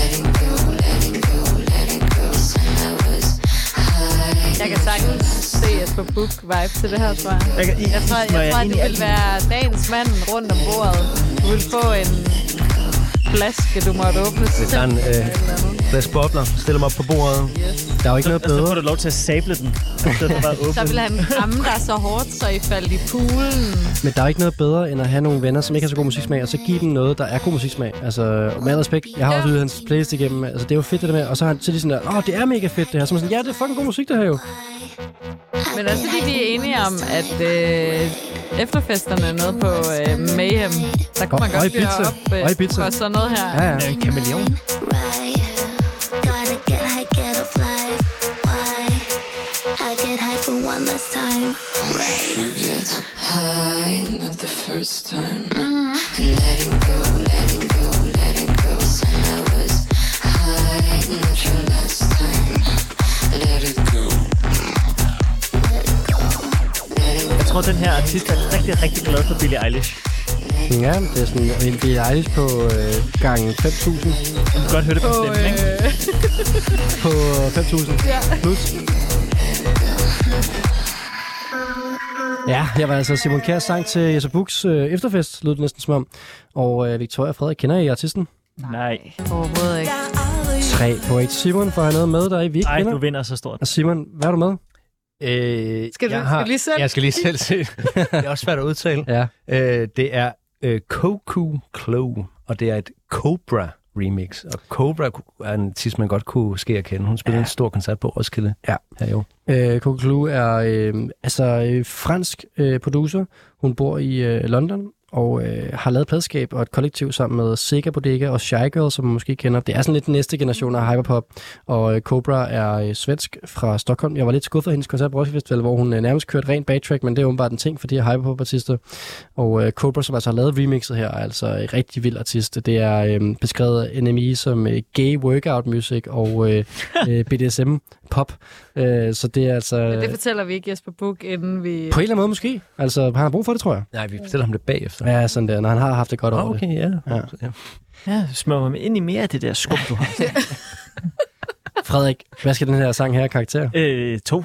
Speaker 12: letting go, letting go, letting go. Said I was
Speaker 5: Jeg kan sagtens se Jesper Buch vibe til det her, tror jeg.
Speaker 3: Jeg kan-
Speaker 5: Jeg tror,
Speaker 3: Må
Speaker 5: jeg
Speaker 3: jeg
Speaker 5: tror det
Speaker 3: egentlig-
Speaker 5: ville være dagens mand rundt om bordet. Du ville få en flaske, du måtte åbne.
Speaker 4: Det er en øh, glas bobler. Stiller mig op på bordet.
Speaker 2: der er jo ikke noget
Speaker 3: så får
Speaker 2: bedre.
Speaker 3: du lov til at sable den. i stedet for bare at åbne
Speaker 5: Så
Speaker 3: den.
Speaker 5: ville han ramme dig så hårdt, så I faldt i poolen.
Speaker 2: Men der er ikke noget bedre, end at have nogle venner, som ikke har så god musiksmag, og så give dem noget, der er god musiksmag. Altså, med al respekt, jeg har også lyttet hans playlist igennem. Altså, det er jo fedt, det der med. Og så har han til sådan der, åh, det er mega fedt det her. Så er man sådan, ja, det er fucking god musik, det her jo.
Speaker 5: Men også fordi vi er enige om, at øh, efterfesterne er nede på øh, Mayhem. Der kunne man
Speaker 2: Og- og i
Speaker 5: godt fyre
Speaker 2: pizza.
Speaker 5: op øh,
Speaker 2: Og i pizza.
Speaker 5: for sådan noget her.
Speaker 2: Ja, ja.
Speaker 3: Øh, kameleon.
Speaker 12: right. Gotta get high, get a fly. Why? I get high for one last time. Mm-hmm.
Speaker 3: Jeg tror, den her artist er rigtig, rigtig glad for Billie Eilish.
Speaker 2: Ja, det er sådan en Billie Eilish på øh, gang 5.000.
Speaker 3: Du kan godt høre det på stemmen, ikke?
Speaker 2: øh, På 5.000 plus. Ja, jeg var altså Simon Kjær sang til Jesper Buchs øh, efterfest, lød det næsten som om. Og øh, Victoria og Frederik, kender I artisten?
Speaker 3: Nej.
Speaker 5: Overhovedet ikke.
Speaker 2: Tre point. Simon, for han noget med dig, vi ikke
Speaker 3: Ej,
Speaker 2: kender.
Speaker 3: du vinder så stort.
Speaker 2: Og Simon, hvad er du med?
Speaker 4: Øh,
Speaker 5: Skal du-
Speaker 4: jeg
Speaker 5: skal du lige selv?
Speaker 4: Jeg skal lige selv se. det er også svært at udtale.
Speaker 2: Ja.
Speaker 4: Øh, det er øh, Koku Klo, og det er et Cobra remix. Og Cobra ku- er en artist, man godt kunne ske at kende. Hun spillede ja. en stor koncert på Roskilde
Speaker 2: Ja.
Speaker 4: her i år.
Speaker 2: Øh, Coco Clou er øh, altså øh, fransk øh, producer. Hun bor i øh, London og øh, har lavet et pladskab og et kollektiv sammen med Sega Bodega og Shy Girl, som man måske kender. Det er sådan lidt den næste generation af hyperpop. Og øh, Cobra er øh, svensk fra Stockholm. Jeg var lidt skuffet af hendes koncert på Roskilde Festival, hvor hun øh, nærmest kørte rent backtrack, men det er åbenbart en ting for de her hyperpop-artister. Og øh, Cobra, som altså har lavet remixet her, er altså en rigtig vild artist. Det er øh, beskrevet af NME som øh, gay workout music og øh, øh, BDSM pop. Øh, så det er altså...
Speaker 5: Men det fortæller vi ikke Jesper Buch, inden vi...
Speaker 2: På en eller anden måde måske. Altså, han har brug for det, tror jeg.
Speaker 4: Nej, vi fortæller ham det bagefter.
Speaker 2: Ja, sådan der, når han har haft det godt
Speaker 4: Nå,
Speaker 2: over det.
Speaker 4: okay, ja.
Speaker 2: Ja.
Speaker 4: ja.
Speaker 3: Ja, smør mig ind i mere af det der skum, du har.
Speaker 2: <laughs> Frederik, hvad skal den her sang her karakter?
Speaker 3: øh,
Speaker 2: <laughs>
Speaker 3: to.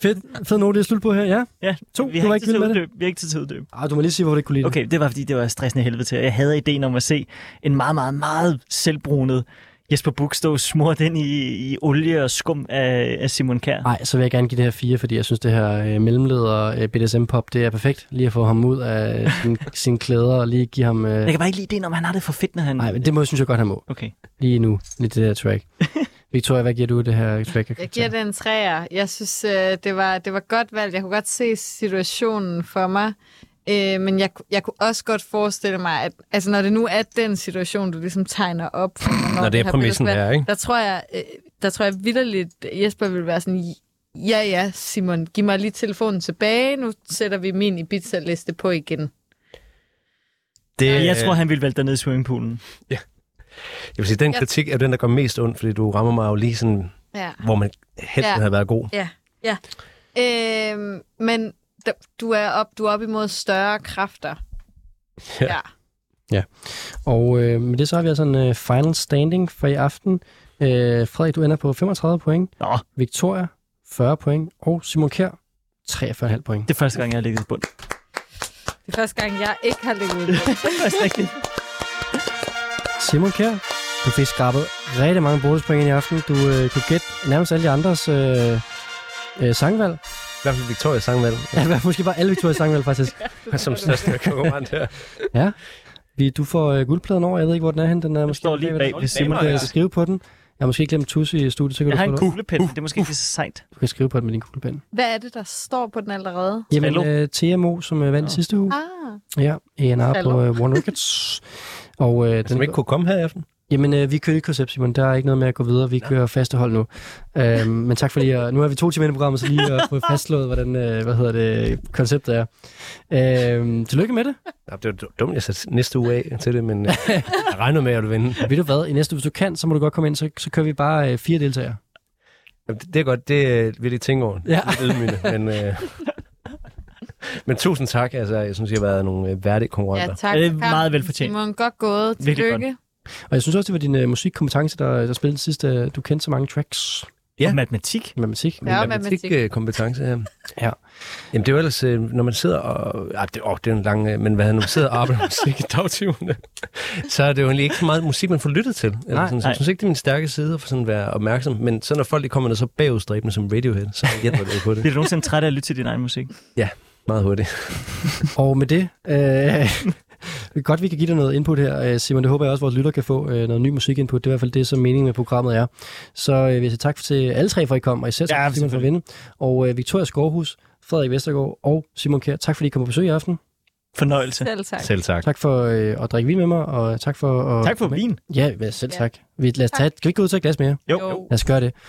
Speaker 2: Fed, fed note, det er slut på her, ja.
Speaker 3: Ja,
Speaker 2: To.
Speaker 3: Vi
Speaker 2: Du var
Speaker 3: har ikke
Speaker 2: ikke
Speaker 3: tid til
Speaker 2: vild
Speaker 3: at
Speaker 2: med det?
Speaker 3: uddøbe. Vi har ikke tid til at uddøbe.
Speaker 2: Ah, du må lige sige, hvor det kunne lide
Speaker 3: Okay, det var fordi, det var stressende helvede til. og Jeg havde ideen om at se en meget, meget, meget selvbrunet Jesper Buchstov smurt ind i, i olie og skum af, af Simon Kær.
Speaker 2: Nej, så vil jeg gerne give det her fire, fordi jeg synes, det her øh, mellemleder øh, BDSM-pop, det er perfekt. Lige at få ham ud af sin, <laughs> sine klæder og lige give ham... Øh...
Speaker 3: Jeg kan bare ikke lide det, når han har det for fedt, når han...
Speaker 2: Nej, men det må, synes jeg godt, han må.
Speaker 3: Mm. Okay.
Speaker 2: Lige nu, lige det der
Speaker 3: <laughs>
Speaker 2: track. Victoria, hvad giver du det her track?
Speaker 5: Jeg giver det en træer. Jeg synes, øh, det var, det var godt valgt. Jeg kunne godt se situationen for mig. Øh, men jeg, jeg kunne også godt forestille mig, at altså, når det nu er den situation, du ligesom tegner op. For, hvornår
Speaker 4: Når det er
Speaker 5: her
Speaker 4: præmissen,
Speaker 5: billede skal
Speaker 4: det
Speaker 5: være,
Speaker 4: er, ikke?
Speaker 5: Der tror jeg, øh, der tror jeg vidderligt, Jesper ville være sådan, ja ja Simon, giv mig lige telefonen tilbage, nu sætter vi min Ibiza-liste på igen.
Speaker 4: Det,
Speaker 3: Jeg tror, han ville vælte dig ned i swimmingpoolen.
Speaker 4: Øh, jeg vil sige, den
Speaker 5: Jeg-
Speaker 4: kritik er den, der går mest ondt, fordi du rammer mig jo lige sådan,
Speaker 5: Ja.
Speaker 4: hvor man helst
Speaker 5: Ja.
Speaker 4: ja. havde været god.
Speaker 5: Ja, ja. Øhm, men d- du er, op, du er op imod større kræfter. Ja. ja.
Speaker 2: Og øh, med det så har vi altså en øh, final standing for i aften. Øh, Frederik, du ender på 35 point.
Speaker 3: Nå.
Speaker 2: Victoria, 40 point. Og Simon Kjær, 43,5 point.
Speaker 3: Det er første gang, jeg har ligget i bund.
Speaker 5: Det er første gang, jeg ikke har ligget ud.
Speaker 3: <laughs> Det er faktisk rigtigt.
Speaker 2: Simon Kjær, du fik skrabet rigtig mange bonuspoint ind i aften. Du øh, kunne gætte nærmest alle de andres øh, øh, sangvalg.
Speaker 4: I hvert fald Victoria Sangvald,
Speaker 2: Ja, måske bare alle Victorias sangvalg, faktisk.
Speaker 4: som største konkurrent her.
Speaker 2: Vi, du får øh, guldpladen over. Jeg ved ikke, hvor den er henne. Den er
Speaker 3: Jeg
Speaker 2: måske
Speaker 3: står lige bag ved Simon.
Speaker 2: Simon, du kan skrive på den. Jeg har måske glemt tusse i studiet, så kan
Speaker 3: Jeg
Speaker 2: du,
Speaker 3: har
Speaker 2: få
Speaker 3: en
Speaker 2: det.
Speaker 3: kuglepen. Det er måske ikke så sejt.
Speaker 2: du kan skrive på den med din kuglepen.
Speaker 5: Hvad er det, der står på den allerede?
Speaker 2: Jamen,
Speaker 3: Hallo.
Speaker 2: øh, TMO, som øh, vandt
Speaker 3: Nå.
Speaker 2: sidste uge.
Speaker 5: Ah,
Speaker 2: Ja, A&R på
Speaker 5: Hallo.
Speaker 2: øh,
Speaker 3: <laughs>
Speaker 2: One Rockets. Og øh,
Speaker 4: Altså, Som
Speaker 2: den,
Speaker 4: ikke kunne komme her i aften.
Speaker 2: jamen, øh, vi kører ikke koncept, Simon. Der er ikke noget med at gå videre. Vi kører faste hold nu.
Speaker 4: <laughs>
Speaker 2: Øhm, men tak for lige at, Nu er vi to timer inde i programmet, så lige at få fastslået, hvordan øh, hvad hedder det, konceptet er. Øhm, tillykke med det.
Speaker 4: Ja, det var dumt, jeg satte næste uge af til det, men øh, jeg regner med, at du vinder.
Speaker 2: Ved du hvad? I næste, hvis du kan, så må du godt komme ind, så, så kører vi bare øh, fire deltagere.
Speaker 4: Jamen, det, det er godt, det øh, vil jeg tænke over.
Speaker 2: Ja.
Speaker 4: Lidt ydmygende, men,
Speaker 3: <laughs>
Speaker 4: øh, men tusind tak, altså, jeg synes, jeg har været nogle øh, værdige konkurrenter.
Speaker 5: ja, tak.
Speaker 3: Ja, det er
Speaker 5: for kampen,
Speaker 3: meget velfortjent.
Speaker 5: Simon, godt gået.
Speaker 3: Virkelig
Speaker 5: Tillykke.
Speaker 3: godt.
Speaker 2: Og jeg synes også, det var din øh, musikkompetence, der, der spillede sidst. Øh, du kendte så mange tracks
Speaker 4: Ja. øh,
Speaker 3: Og matematik.
Speaker 2: i matematik.
Speaker 5: Ja, og matematik.
Speaker 4: matematikkompetence her.
Speaker 2: Ja.
Speaker 4: Jamen, det er jo ellers, øh, når man sidder og... Ah, det, åh, det er en lang... øh, Men hvad hedder det, når man sidder og arbejder med musik i dagtimerne, så er det jo egentlig ikke så meget musik, man får lyttet til. Eller
Speaker 2: Nej,
Speaker 4: sådan, så
Speaker 3: nej.
Speaker 4: jeg synes ikke, det er min stærke side at for sådan at være opmærksom. Men så når folk de kommer der så bagudstræbende som Radiohead, så hjælper det jo på det
Speaker 3: Bliver du nogensinde træt af at lytte til din egen musik?
Speaker 4: meget hurtigt.
Speaker 2: <laughs> Og med det, øh, godt vi kan give dig noget input her, øh, Simon. Det håber jeg også, at vores lytter kan få øh, noget ny musikinput. Det er i hvert fald det, som meningen med programmet er. Så øh, vil jeg sige tak til alle tre, for at I kom, og især tak
Speaker 3: Ja,
Speaker 2: ja, Simon for at vinde. Og øh, Victoria Skovhus, Frederik Vestergaard og Simon Kjær, tak fordi I kom på besøg i aften.
Speaker 3: Fornøjelse.
Speaker 5: Selv tak.
Speaker 4: Selv tak.
Speaker 2: Tak for øh, at drikke vin med mig, og tak for... At,
Speaker 3: Tak for vin.
Speaker 2: Ja, ja, selv
Speaker 5: Ja.
Speaker 2: tak. Vi, lad os
Speaker 5: Tak.
Speaker 2: tage, et- kan vi ikke gå ud og tage et glas mere?
Speaker 3: Jo.
Speaker 5: Jo.
Speaker 2: Lad os gøre det.